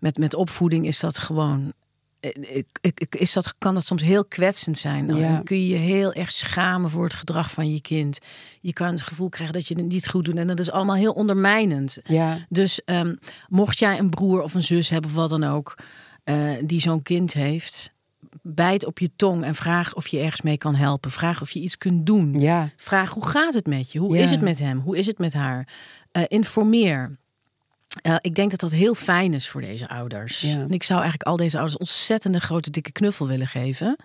S3: met, met opvoeding, is dat gewoon. eh, ik- ik- ik- Is dat, kan dat soms heel kwetsend zijn. Dan
S4: Ja.
S3: kun je je heel erg schamen voor het gedrag van je kind. Je kan het gevoel krijgen dat je het niet goed doet. En dat is allemaal heel ondermijnend.
S4: Ja.
S3: Dus ehm, mocht jij een broer of een zus hebben, of wat dan ook, eh, die zo'n kind heeft, bijt op je tong en vraag of je ergens mee kan helpen. Vraag of je iets kunt doen.
S4: Ja.
S3: Vraag hoe gaat het met je? Hoe
S4: Ja.
S3: is het met hem? Hoe is het met haar? Eh, informeer. Eh, ik denk dat dat heel fijn is voor deze ouders.
S4: Ja.
S3: En ik zou eigenlijk al deze ouders ontzettende grote dikke knuffel willen geven.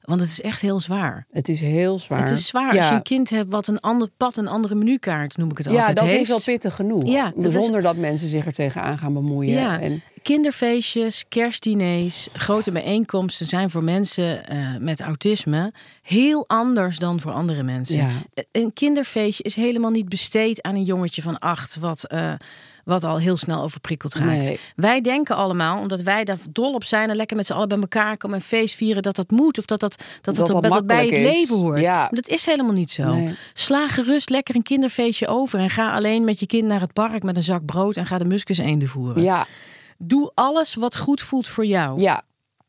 S3: Want het is echt heel zwaar.
S4: Het is heel zwaar.
S3: Het is zwaar
S4: Ja.
S3: als je een kind hebt wat een ander pad, een andere menukaart noem ik het
S4: Ja,
S3: altijd.
S4: dat is
S3: heeft.
S4: wel pittig genoeg.
S3: Ja, dat is-
S4: Zonder dat mensen zich er tegenaan gaan bemoeien.
S3: Ja,
S4: En,
S3: kinderfeestjes, kerstdiners, grote bijeenkomsten zijn voor mensen eh, met autisme heel anders dan voor andere mensen. Eh,
S4: Ja.
S3: Een kinderfeestje is helemaal niet besteed aan een jongetje van acht, wat, eh, wat al heel snel overprikkeld raakt.
S4: Nee.
S3: Wij denken allemaal, omdat wij daar dol op zijn en lekker met z'n allen bij elkaar komen en feest vieren, dat dat moet of dat dat, dat, dat,
S4: Dat
S3: dat,
S4: dat
S3: dat bij het
S4: makkelijk is.
S3: leven hoort.
S4: Ja.
S3: Maar dat is helemaal niet zo.
S4: Nee.
S3: Sla gerust lekker een kinderfeestje over en ga alleen met je kind naar het park met een zak brood en ga de muskus eenden voeren.
S4: ja,
S3: Doe alles wat goed voelt voor jou.
S4: ja,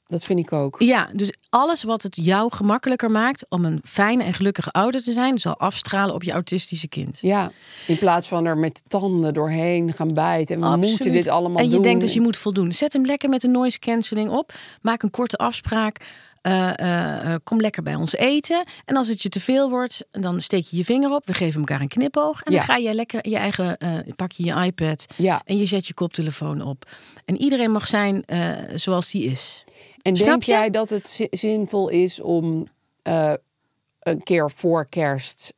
S4: dat vind ik ook.
S3: Ja, dus alles wat het jou gemakkelijker maakt om een fijne en gelukkige ouder te zijn, zal afstralen op je autistische kind.
S4: Ja, in plaats van er met tanden doorheen gaan bijten. En we moeten dit allemaal
S3: en je
S4: doen.
S3: denkt dus je moet voldoen. Zet hem lekker met de noise cancelling op. Maak een korte afspraak. Eh, eh, eh, kom lekker bij ons eten. En als het je te veel wordt, dan steek je je vinger op. We geven elkaar een knipoog. En
S4: Ja.
S3: dan ga jij lekker je eigen. eh, pak je je iPad.
S4: Ja.
S3: En je zet je koptelefoon op. En iedereen mag zijn eh, zoals die is.
S4: En
S3: Snap
S4: denk
S3: je?
S4: jij dat het zi- zinvol is om eh, een keer voor kerst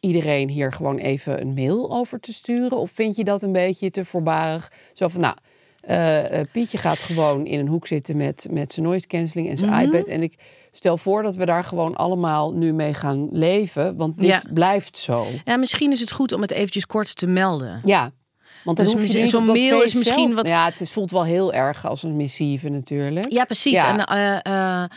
S4: iedereen hier gewoon even een mail over te sturen? Of vind je dat een beetje te voorbarig? Zo van, nou, eh, eh, Pietje gaat gewoon in een hoek zitten met, met zijn noise cancelling en zijn
S3: Mhm.
S4: iPad. En ik stel voor dat we daar gewoon allemaal nu mee gaan leven, want dit
S3: Ja.
S4: blijft zo.
S3: Ja, misschien is het goed om het eventjes kort te melden.
S4: Ja. Want dan
S3: Dus
S4: hoef je er niet
S3: zo'n
S4: op dat
S3: mail
S4: feest
S3: is misschien
S4: zelf-
S3: wat-
S4: Ja, het is- voelt wel heel erg als een missieve natuurlijk.
S3: Ja, precies.
S4: Ja.
S3: En, eh, eh,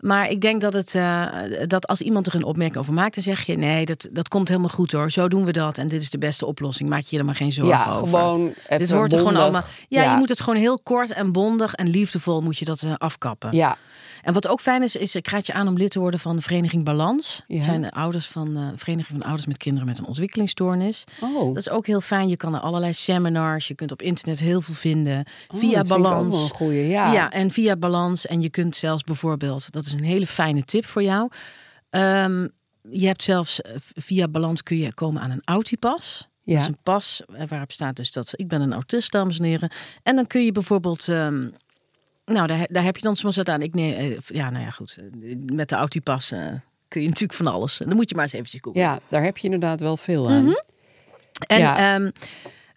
S3: maar ik denk dat, het, eh, dat als iemand er een opmerking over maakt, dan zeg je: nee, dat, dat komt helemaal goed hoor. Zo doen we dat. En dit is de beste oplossing. Maak je er maar geen zorgen
S4: Ja,
S3: over.
S4: gewoon even
S3: Dit hoort er gewoon
S4: bondig.
S3: allemaal. Ja,
S4: Ja.
S3: je moet het gewoon heel kort en bondig en liefdevol moet je dat eh, afkappen.
S4: Ja,
S3: En wat ook fijn is, is ik raad je aan om lid te worden van de Vereniging Balans.
S4: Ja.
S3: Dat zijn de ouders van eh, de Vereniging van Ouders met Kinderen met een Ontwikkelingsstoornis.
S4: Oh.
S3: Dat is ook heel fijn. Je kan naar allerlei seminars. Je kunt op internet heel veel vinden. via
S4: Oh, dat vind ik ook
S3: Balans.
S4: wel een goeie, ja.
S3: en via Balans. En je kunt zelfs bijvoorbeeld, dat is een hele fijne tip voor jou. Ehm, je hebt zelfs eh, via Balans kun je komen aan een autipas.
S4: Ja.
S3: Dat is een pas eh, waarop staat dus dat ik ben een autist, dames en heren. En dan kun je bijvoorbeeld ehm, nou, daar, daar heb je dan soms wat aan. Ik neem, eh, ja, nou ja, goed. Eh, Met de Autipas eh kun je natuurlijk van alles. Dan moet je maar eens eventjes googlen.
S4: ja, daar heb je inderdaad wel veel
S3: Mhm.
S4: aan.
S3: En
S4: Ja.
S3: ehm,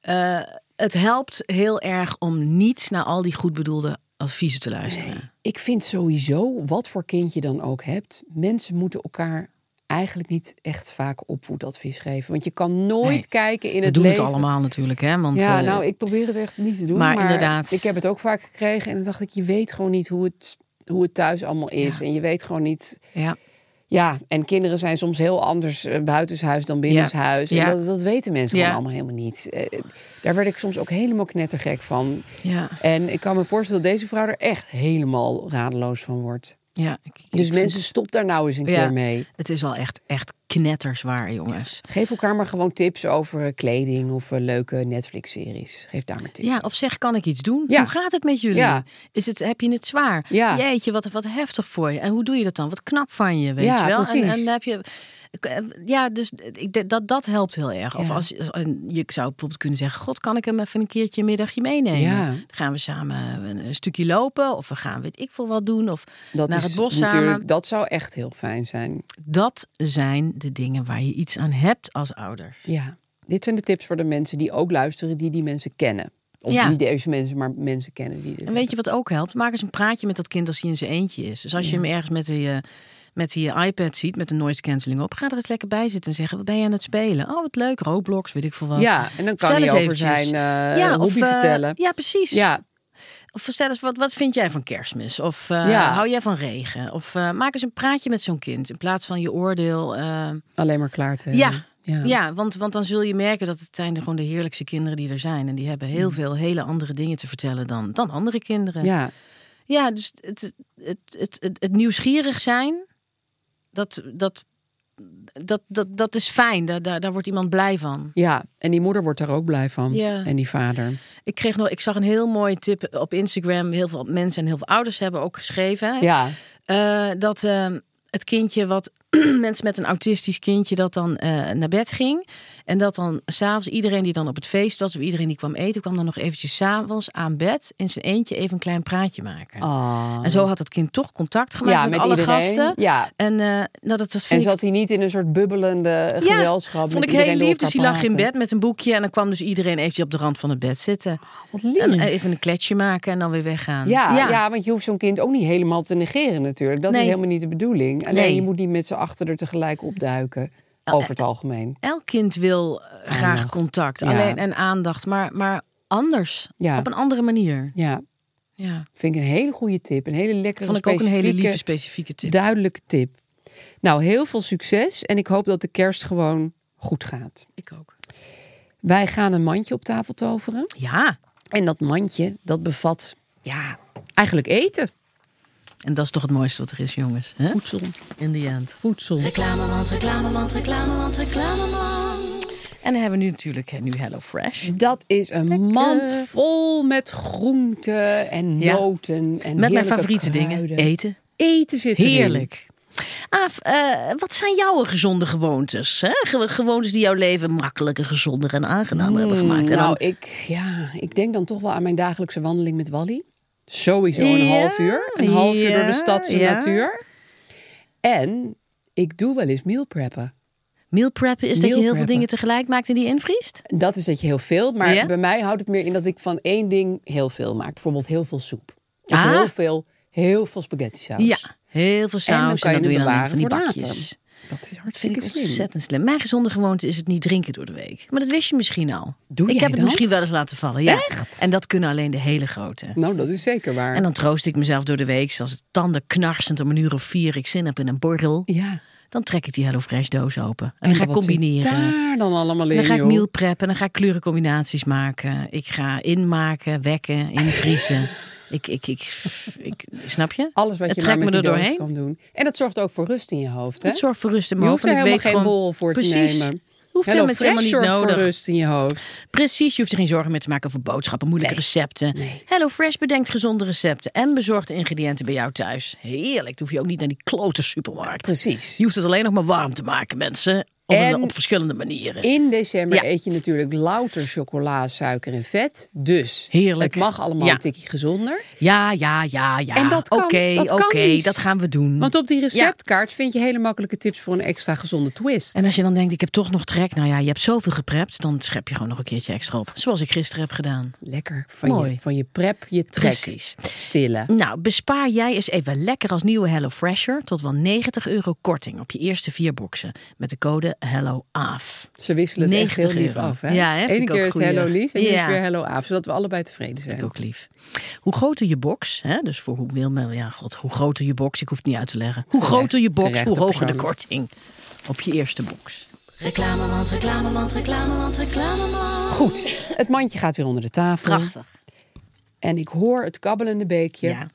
S3: eh, het helpt heel erg om niet naar al die goed bedoelde adviezen te luisteren.
S4: Ik vind sowieso, wat voor kind je dan ook hebt, mensen moeten elkaar eigenlijk niet echt vaak opvoedadvies geven. Want je kan nooit
S3: Nee.
S4: kijken in
S3: We
S4: het
S3: doen
S4: leven.
S3: het allemaal natuurlijk, hè? Want,
S4: Ja,
S3: eh,
S4: nou, ik probeer het echt niet te doen. Maar,
S3: maar inderdaad.
S4: Ik heb het ook vaak gekregen en dan dacht ik, je weet gewoon niet hoe het, hoe het thuis allemaal is. En je weet gewoon niet.
S3: ja.
S4: Ja, en kinderen zijn soms heel anders eh, buitenshuis dan binnenshuis.
S3: Ja.
S4: En dat, dat weten mensen
S3: Ja.
S4: gewoon allemaal helemaal niet. Eh, Daar werd ik soms ook helemaal knettergek van.
S3: Ja.
S4: En ik kan me voorstellen dat deze vrouw er echt helemaal radeloos van wordt.
S3: Ja, ik- ik
S4: Dus
S3: vind-
S4: mensen, stop daar nou eens een
S3: Ja,
S4: keer mee.
S3: Het is al echt, echt knetterzwaar, jongens.
S4: Geef elkaar maar gewoon tips over eh, kleding of eh, leuke Netflix-series. Geef daar maar tips.
S3: Ja, of zeg, kan ik iets doen?
S4: Ja.
S3: Hoe gaat het met jullie?
S4: Ja.
S3: Is het, heb je het zwaar?
S4: Ja.
S3: Jeetje, wat, wat heftig voor je. En hoe doe je dat dan? Wat knap van je, weet
S4: Ja,
S3: je wel? En,
S4: precies.
S3: en heb je... Ja, dus ik, denk dat, dat helpt heel erg. Of
S4: Ja.
S3: als, als- en je zou bijvoorbeeld kunnen zeggen... God, kan ik hem even een keertje een middagje meenemen?
S4: Ja.
S3: Dan gaan we samen een, een stukje lopen. Of we gaan weet ik veel wat doen. Of
S4: dat
S3: naar
S4: is
S3: het bos
S4: natuurlijk-
S3: samen.
S4: Dat zou echt heel fijn zijn.
S3: Dat zijn de dingen waar je iets aan hebt als ouder.
S4: Ja. Dit zijn de tips voor de mensen die ook luisteren, die die mensen kennen. Of
S3: Ja.
S4: niet deze mensen, maar mensen kennen die dit.
S3: En weet je wat ook helpt? Maak eens een praatje met dat kind als hij in zijn eentje is. Dus als je hem ergens met die, eh, met die iPad ziet, met de noise cancelling op, ga er eens lekker bij zitten en zeggen: Wat ben je aan het spelen? Oh, wat leuk, Roblox, weet ik veel wat.
S4: Ja, en dan kan
S3: Vertel
S4: hij
S3: eens
S4: over
S3: eventjes.
S4: zijn, eh, hobby
S3: eh,
S4: vertellen.
S3: ja, precies.
S4: Ja,
S3: Of vertel eens, wat, wat vind jij van kerstmis? Of eh,
S4: Ja.
S3: hou jij van regen? Of eh, maak eens een praatje met zo'n kind in plaats van je oordeel. eh,
S4: alleen maar klaar te
S3: ja,
S4: hebben.
S3: ja. want, want dan zul je merken dat het zijn gewoon de heerlijkste kinderen die er zijn. En die hebben heel veel hele andere dingen te vertellen dan, dan andere kinderen.
S4: Mm. ja.
S3: Ja, dus het, het, het, het, het nieuwsgierig zijn, dat, dat, dat, dat, dat is fijn. Daar, daar, daar wordt iemand blij van.
S4: Ja, en die moeder wordt daar ook blij van.
S3: Ja.
S4: En die vader.
S3: Ik, kreeg nog, ik zag een heel mooie tip op Instagram. Heel veel mensen en heel veel ouders hebben ook geschreven. hè,
S4: Ja,
S3: eh, dat eh, het kindje wat... mensen met een autistisch kindje dat dan eh, naar bed ging. En dat dan s'avonds iedereen die dan op het feest was... of iedereen die kwam eten, kwam dan nog eventjes s'avonds aan bed... in zijn eentje even een klein praatje maken.
S4: Ah.
S3: En zo had het kind toch contact gemaakt
S4: ja
S3: met, alle
S4: iedereen.
S3: gasten.
S4: Ja.
S3: En eh, nou, dat, dat
S4: En
S3: vind ik...
S4: zat hij niet in een soort bubbelende gezelschap. met
S3: vond ik heel
S4: iedereen door
S3: lief. Dus
S4: elkaar
S3: die lag in
S4: praten.
S3: bed met een boekje. En dan kwam dus iedereen eventjes op de rand van het bed zitten.
S4: Wat lief.
S3: En eh, even een kletsje maken en dan weer weggaan.
S4: Ja, ja. want je hoeft zo'n kind ook niet helemaal te negeren natuurlijk. Dat
S3: Nee.
S4: is helemaal niet de bedoeling. Alleen
S3: Nee. Nou, eh,
S4: je moet niet met z'n achter er tegelijk opduiken. Over het algemeen.
S3: Elk kind wil eh, graag
S4: Aandacht.
S3: contact.
S4: Ja.
S3: Alleen en aandacht. Maar, maar anders.
S4: Ja.
S3: Op een andere manier.
S4: Ja,
S3: Ja.
S4: vind ik een hele goede tip. Een hele lekkere,
S3: Vond ik ook een hele
S4: specifieke,
S3: lieve specifieke tip.
S4: duidelijke tip. Nou, heel veel succes. En ik hoop dat de kerst gewoon goed gaat.
S3: ik ook.
S4: Wij gaan een mandje op tafel toveren.
S3: Ja.
S4: En dat mandje, dat bevat, ja, eigenlijk eten.
S3: En dat is toch het mooiste wat er is, jongens. hè?
S4: Voedsel,
S3: In the end.
S4: voedsel.
S3: En dan hebben we nu natuurlijk hè, nu Hello Fresh.
S4: Dat is een mand vol met groenten en
S3: Ja.
S4: noten. En
S3: Met mijn
S4: heerlijke
S3: favoriete dingen.
S4: kruiden.
S3: Eten.
S4: Eten zit erin.
S3: Heerlijk. Aaf, eh, wat zijn jouw gezonde gewoontes? Hè? Ge- gewoontes die jouw leven makkelijker, gezonder en aangenamer hebben gemaakt. En
S4: Nou,
S3: dan-
S4: ik, ja, ik denk dan toch wel aan mijn dagelijkse wandeling met Wally. Sowieso een
S3: Ja,
S4: half uur. Een half uur door
S3: ja,
S4: de stadse
S3: ja.
S4: natuur. En ik doe wel eens meal preppen.
S3: meal preppen is dat je
S4: meal
S3: heel veel
S4: preppen.
S3: dingen tegelijk maakt en die invriest?
S4: Dat is dat je heel veel, maar
S3: Ja?
S4: bij mij houdt het meer in dat ik van één ding heel veel maak. Bijvoorbeeld heel veel soep. Of
S3: Ah.
S4: heel veel, heel veel spaghetti saus.
S3: Ja, heel veel
S4: dus En dan
S3: saus en,
S4: kan je
S3: dat doe
S4: het
S3: je dan in
S4: bewaren
S3: van die
S4: voor
S3: bakjes.
S4: later. Dat is
S3: Dat vind
S4: hartstikke
S3: ik
S4: slim.
S3: ontzettend slim. Mijn gezonde gewoonte is het niet drinken door de week. Maar dat wist je misschien al.
S4: Doe
S3: ik
S4: jij
S3: heb het
S4: dat?
S3: misschien wel eens laten vallen. Ja.
S4: Echt?
S3: En dat kunnen alleen de hele grote.
S4: Nou, dat is zeker waar.
S3: En dan troost ik mezelf door de week. Zoals het tanden knarsend om een uur of vier ik zin heb in een borrel.
S4: ja.
S3: Dan trek ik die HelloFresh doos open. En, dan ga ik
S4: wat zit
S3: combineren.
S4: daar dan allemaal in,
S3: Dan ga ik
S4: joh?
S3: meal preppen, dan ga ik kleurencombinaties maken. Ik ga inmaken, wekken, invriezen. ik, ik, ik, ik, snap je?
S4: Alles wat
S3: het
S4: je
S3: trekt
S4: maar met
S3: me er
S4: die doos
S3: doorheen.
S4: kan doen. En dat zorgt ook voor rust in je hoofd, hè?
S3: Het zorgt voor rust in
S4: je
S3: mijn
S4: hoeft
S3: hoofd.
S4: er
S3: want
S4: helemaal
S3: ik weet
S4: geen
S3: gewoon,
S4: bol voor
S3: precies,
S4: te nemen.
S3: Je hoeft
S4: Hello
S3: helemaal niks helemaal
S4: Fresh
S3: niet
S4: zorgt
S3: nodig.
S4: voor rust in je hoofd.
S3: Precies, je hoeft er geen zorgen meer te maken over boodschappen, moeilijke recepten. HelloFresh bedenkt gezonde recepten en bezorgt de ingrediënten bij jou thuis. Heerlijk, dan hoef je ook niet naar die klote supermarkt.
S4: Precies.
S3: Je hoeft het alleen nog maar warm te maken, mensen. Op, een-
S4: En-
S3: op verschillende manieren.
S4: In december
S3: Ja.
S4: eet je natuurlijk louter chocola, suiker en vet. Dus
S3: Heerlijk.
S4: het mag allemaal
S3: Ja.
S4: een tikje gezonder.
S3: Ja, ja, ja, ja.
S4: En dat kan,
S3: Oké,
S4: dat
S3: oké,
S4: kan niet.
S3: dat gaan we doen.
S4: Want op die
S3: Ja.
S4: receptkaart vind je hele makkelijke tips voor een extra gezonde twist.
S3: En als je dan denkt, ik heb toch nog trek. Nou ja, je hebt zoveel geprept. Dan schep je gewoon nog een keertje extra op. Zoals ik gisteren heb gedaan.
S4: Lekker. Van,
S3: Mooi.
S4: Je, van je prep, je trek.
S3: Precies.
S4: Stille.
S3: Nou, bespaar jij eens even lekker als nieuwe Hello Fresher tot wel 90 euro korting op je eerste vier boxen met de code HelloAaf.
S4: Ze wisselen het echt
S3: 90
S4: heel lief
S3: euro.
S4: af. Hè?
S3: Ja, hè? Vind
S4: Ene
S3: ik ook
S4: keer is het
S3: goeie.
S4: Hello Lies en nu is
S3: Ja.
S4: het weer Hello Aaf. Zodat we allebei tevreden zijn.
S3: Vind ik ook lief. Hoe groter je box, hè, dus voor hoe wil men, ja, god, hoe groter je box, ik hoef het niet uit te leggen. Hoe groter je box,
S4: Terechte
S3: hoe hoger de
S4: persoon.
S3: korting op je eerste box.
S4: Goed, het mandje gaat weer onder de tafel.
S3: Prachtig.
S4: En ik hoor het kabbelende beekje.
S3: Ja.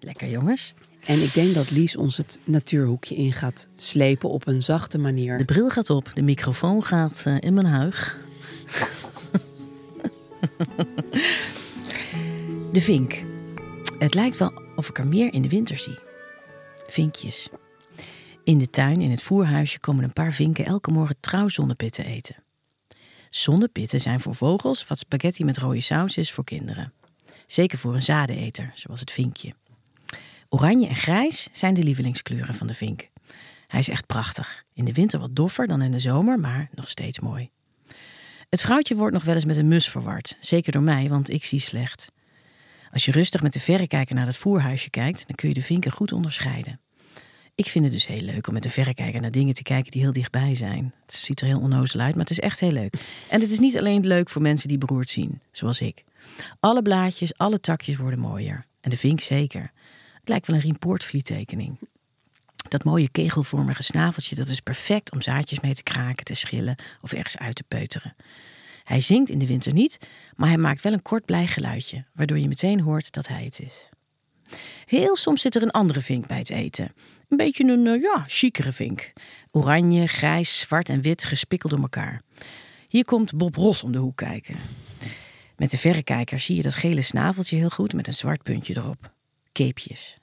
S3: Lekker jongens.
S4: En ik denk dat Lies ons het natuurhoekje in gaat slepen op een zachte manier.
S3: De bril gaat op, de microfoon gaat eh, in mijn huig. de vink. Het lijkt wel of ik er meer in de winter zie. Vinkjes. In de tuin, in het voerhuisje, komen een paar vinken elke morgen trouw zonnepitten eten. Zonnepitten zijn voor vogels wat spaghetti met rode saus is voor kinderen. Zeker voor een zadeneter, zoals het vinkje. Oranje en grijs zijn de lievelingskleuren van de vink. Hij is echt prachtig. In de winter wat doffer dan in de zomer, maar nog steeds mooi. Het vrouwtje wordt nog wel eens met een mus verward. Zeker door mij, want ik zie slecht. Als je rustig met de verrekijker naar dat voerhuisje kijkt, dan kun je de vinken goed onderscheiden. Ik vind het dus heel leuk om met de verrekijker naar dingen te kijken die heel dichtbij zijn. Het ziet er heel onnozel uit, maar het is echt heel leuk. En het is niet alleen leuk voor mensen die beroerd zien, zoals ik. Alle blaadjes, alle takjes worden mooier. En de vink zeker. Het lijkt wel een riempoortvlietekening. Dat mooie kegelvormige snaveltje, dat is perfect om zaadjes mee te kraken, te schillen of ergens uit te peuteren. Hij zingt in de winter niet, maar hij maakt wel een kort blij geluidje, waardoor je meteen hoort dat hij het is. Heel soms zit er een andere vink bij het eten. Een beetje een, eh, ja, chicere vink. Oranje, grijs, zwart en wit, gespikkeld door elkaar. Hier komt Bob Ross om de hoek kijken. Met de verrekijker zie je dat gele snaveltje heel goed met een zwart puntje erop. Keepjes.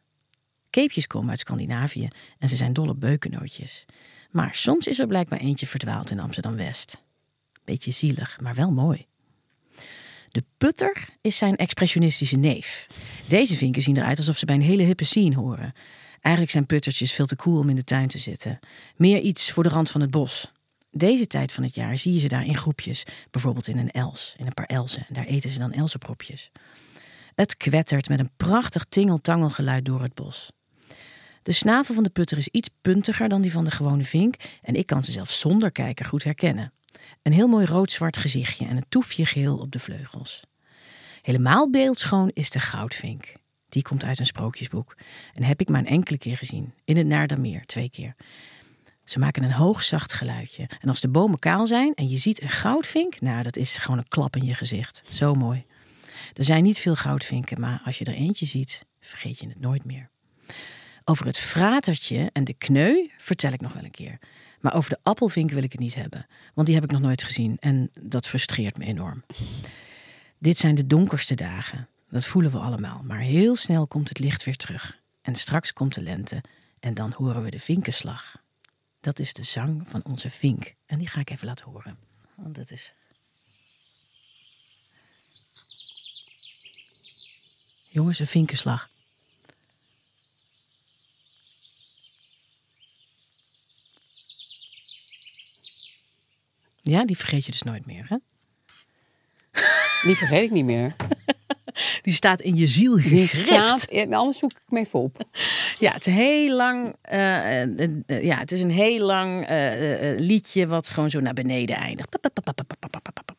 S3: Keepjes komen uit Scandinavië en ze zijn dol op beukennootjes. Maar soms is er blijkbaar eentje verdwaald in Amsterdam-West. Beetje zielig, maar wel mooi. De putter is zijn expressionistische neef. Deze vinken zien eruit alsof ze bij een hele hippe scene horen. Eigenlijk zijn puttertjes veel te cool om in de tuin te zitten. Meer iets voor de rand van het bos. Deze tijd van het jaar zie je ze daar in groepjes. Bijvoorbeeld in een els, in een paar elzen. En daar eten ze dan elzenpropjes. Het kwettert met een prachtig tingeltangelgeluid door het bos. De snavel van de putter is iets puntiger dan die van de gewone vink en ik kan ze zelfs zonder kijken goed herkennen. Een heel mooi rood-zwart gezichtje en een toefje geel op de vleugels. Helemaal beeldschoon is de goudvink. Die komt uit een sprookjesboek en heb ik maar een enkele keer gezien, in het Naardermeer twee keer. Ze maken een hoog zacht geluidje en als de bomen kaal zijn en je ziet een goudvink, nou dat is gewoon een klap in je gezicht. Zo mooi. Er zijn niet veel goudvinken, maar als je er eentje ziet, vergeet je het nooit meer. Over het fratertje en de kneu vertel ik nog wel een keer. Maar over de appelvink wil ik het niet hebben, want die heb ik nog nooit gezien en dat frustreert me enorm. Dit zijn de donkerste dagen, dat voelen we allemaal, maar heel snel komt het licht weer terug. En straks komt de lente en dan horen we de vinkenslag. Dat is de zang van onze vink en die ga ik even laten horen. Want dat is Jongens, een vinkenslag. Ja, die vergeet je dus nooit meer, hè?
S4: Die vergeet ik niet meer.
S3: Die staat in je ziel
S4: Die
S3: gegrift.
S4: staat, ja, nou, anders zoek ik hem even op.
S3: Ja, het, is heel lang, eh, eh, eh, ja, het is een heel lang eh, eh, eh, liedje wat gewoon zo naar beneden eindigt. Pap, pap, pap, pap, pap, pap, pap, pap.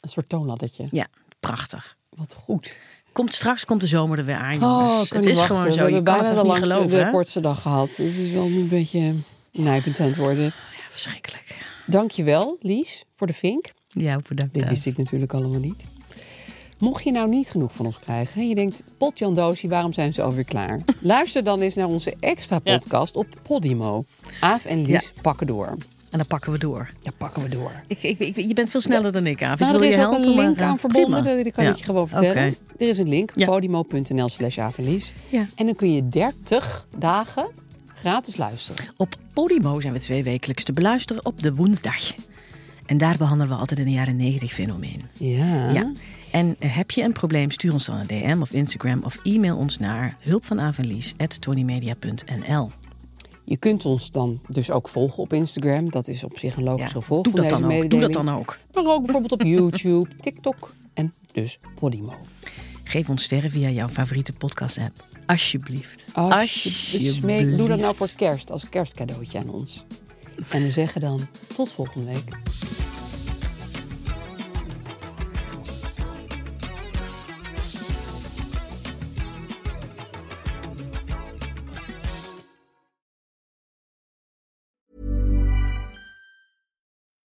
S4: Een soort toonladdertje.
S3: Ja, prachtig.
S4: Wat goed.
S3: Komt, straks komt de zomer er weer aan,
S4: Oh,
S3: jongens.
S4: ik kan niet
S3: het is
S4: wachten.
S3: gewoon zo.
S4: We
S3: Je
S4: hebben
S3: kan
S4: bijna
S3: het
S4: de
S3: toch niet
S4: langste,
S3: geloven,
S4: de
S3: hè?
S4: kortste dag gehad. Het is wel een beetje eh, nijpend aan het worden.
S3: Ja, verschrikkelijk.
S4: Dankjewel, Lies, voor de vink.
S3: Ja, bedankt.
S4: Dit
S3: hè.
S4: wist ik natuurlijk allemaal niet. Mocht je nou niet genoeg van ons krijgen en je denkt... Potjan Doosie, waarom zijn ze alweer klaar? Luister dan eens naar onze extra podcast op Podimo. Aaf en Lies pakken door.
S3: En dan pakken we door.
S4: Ja, pakken we door.
S3: Ik, ik, ik- je bent veel sneller dan ik, Aaf. Ik
S4: Nou,
S3: wil
S4: er is
S3: je
S4: ook
S3: helpen,
S4: een link
S3: maar, eh,
S4: aan verbonden,
S3: prima.
S4: dat kan
S3: Ja.
S4: ik je gewoon vertellen.
S3: Oké.
S4: Er is een link,
S3: Ja.
S4: podimo.nl slash avenlies.
S3: Ja.
S4: En dan kun je 30 dagen gratis luisteren.
S3: Op Podimo zijn we twee wekelijks te beluisteren op de woensdag. En daar behandelen we altijd een jaren 90 fenomeen.
S4: Ja.
S3: Ja. En eh, heb je een probleem, stuur ons dan een DM of Instagram of e-mail ons naar hulpvanavenlies.tonymedia.nl.
S4: Je kunt ons dan dus ook volgen op Instagram. Dat is op zich een logische
S3: doe,
S4: gevolg van
S3: dat
S4: deze
S3: dan ook. doe
S4: mededeling.
S3: dat dan ook.
S4: Maar ook bijvoorbeeld op YouTube, TikTok en dus Podimo.
S3: Geef ons sterren via jouw favoriete podcast-app. Alsjeblieft.
S4: Alsjeblieft. Smeek, doe dat nou voor kerst, als kerstcadeautje aan ons. En we zeggen dan tot volgende week.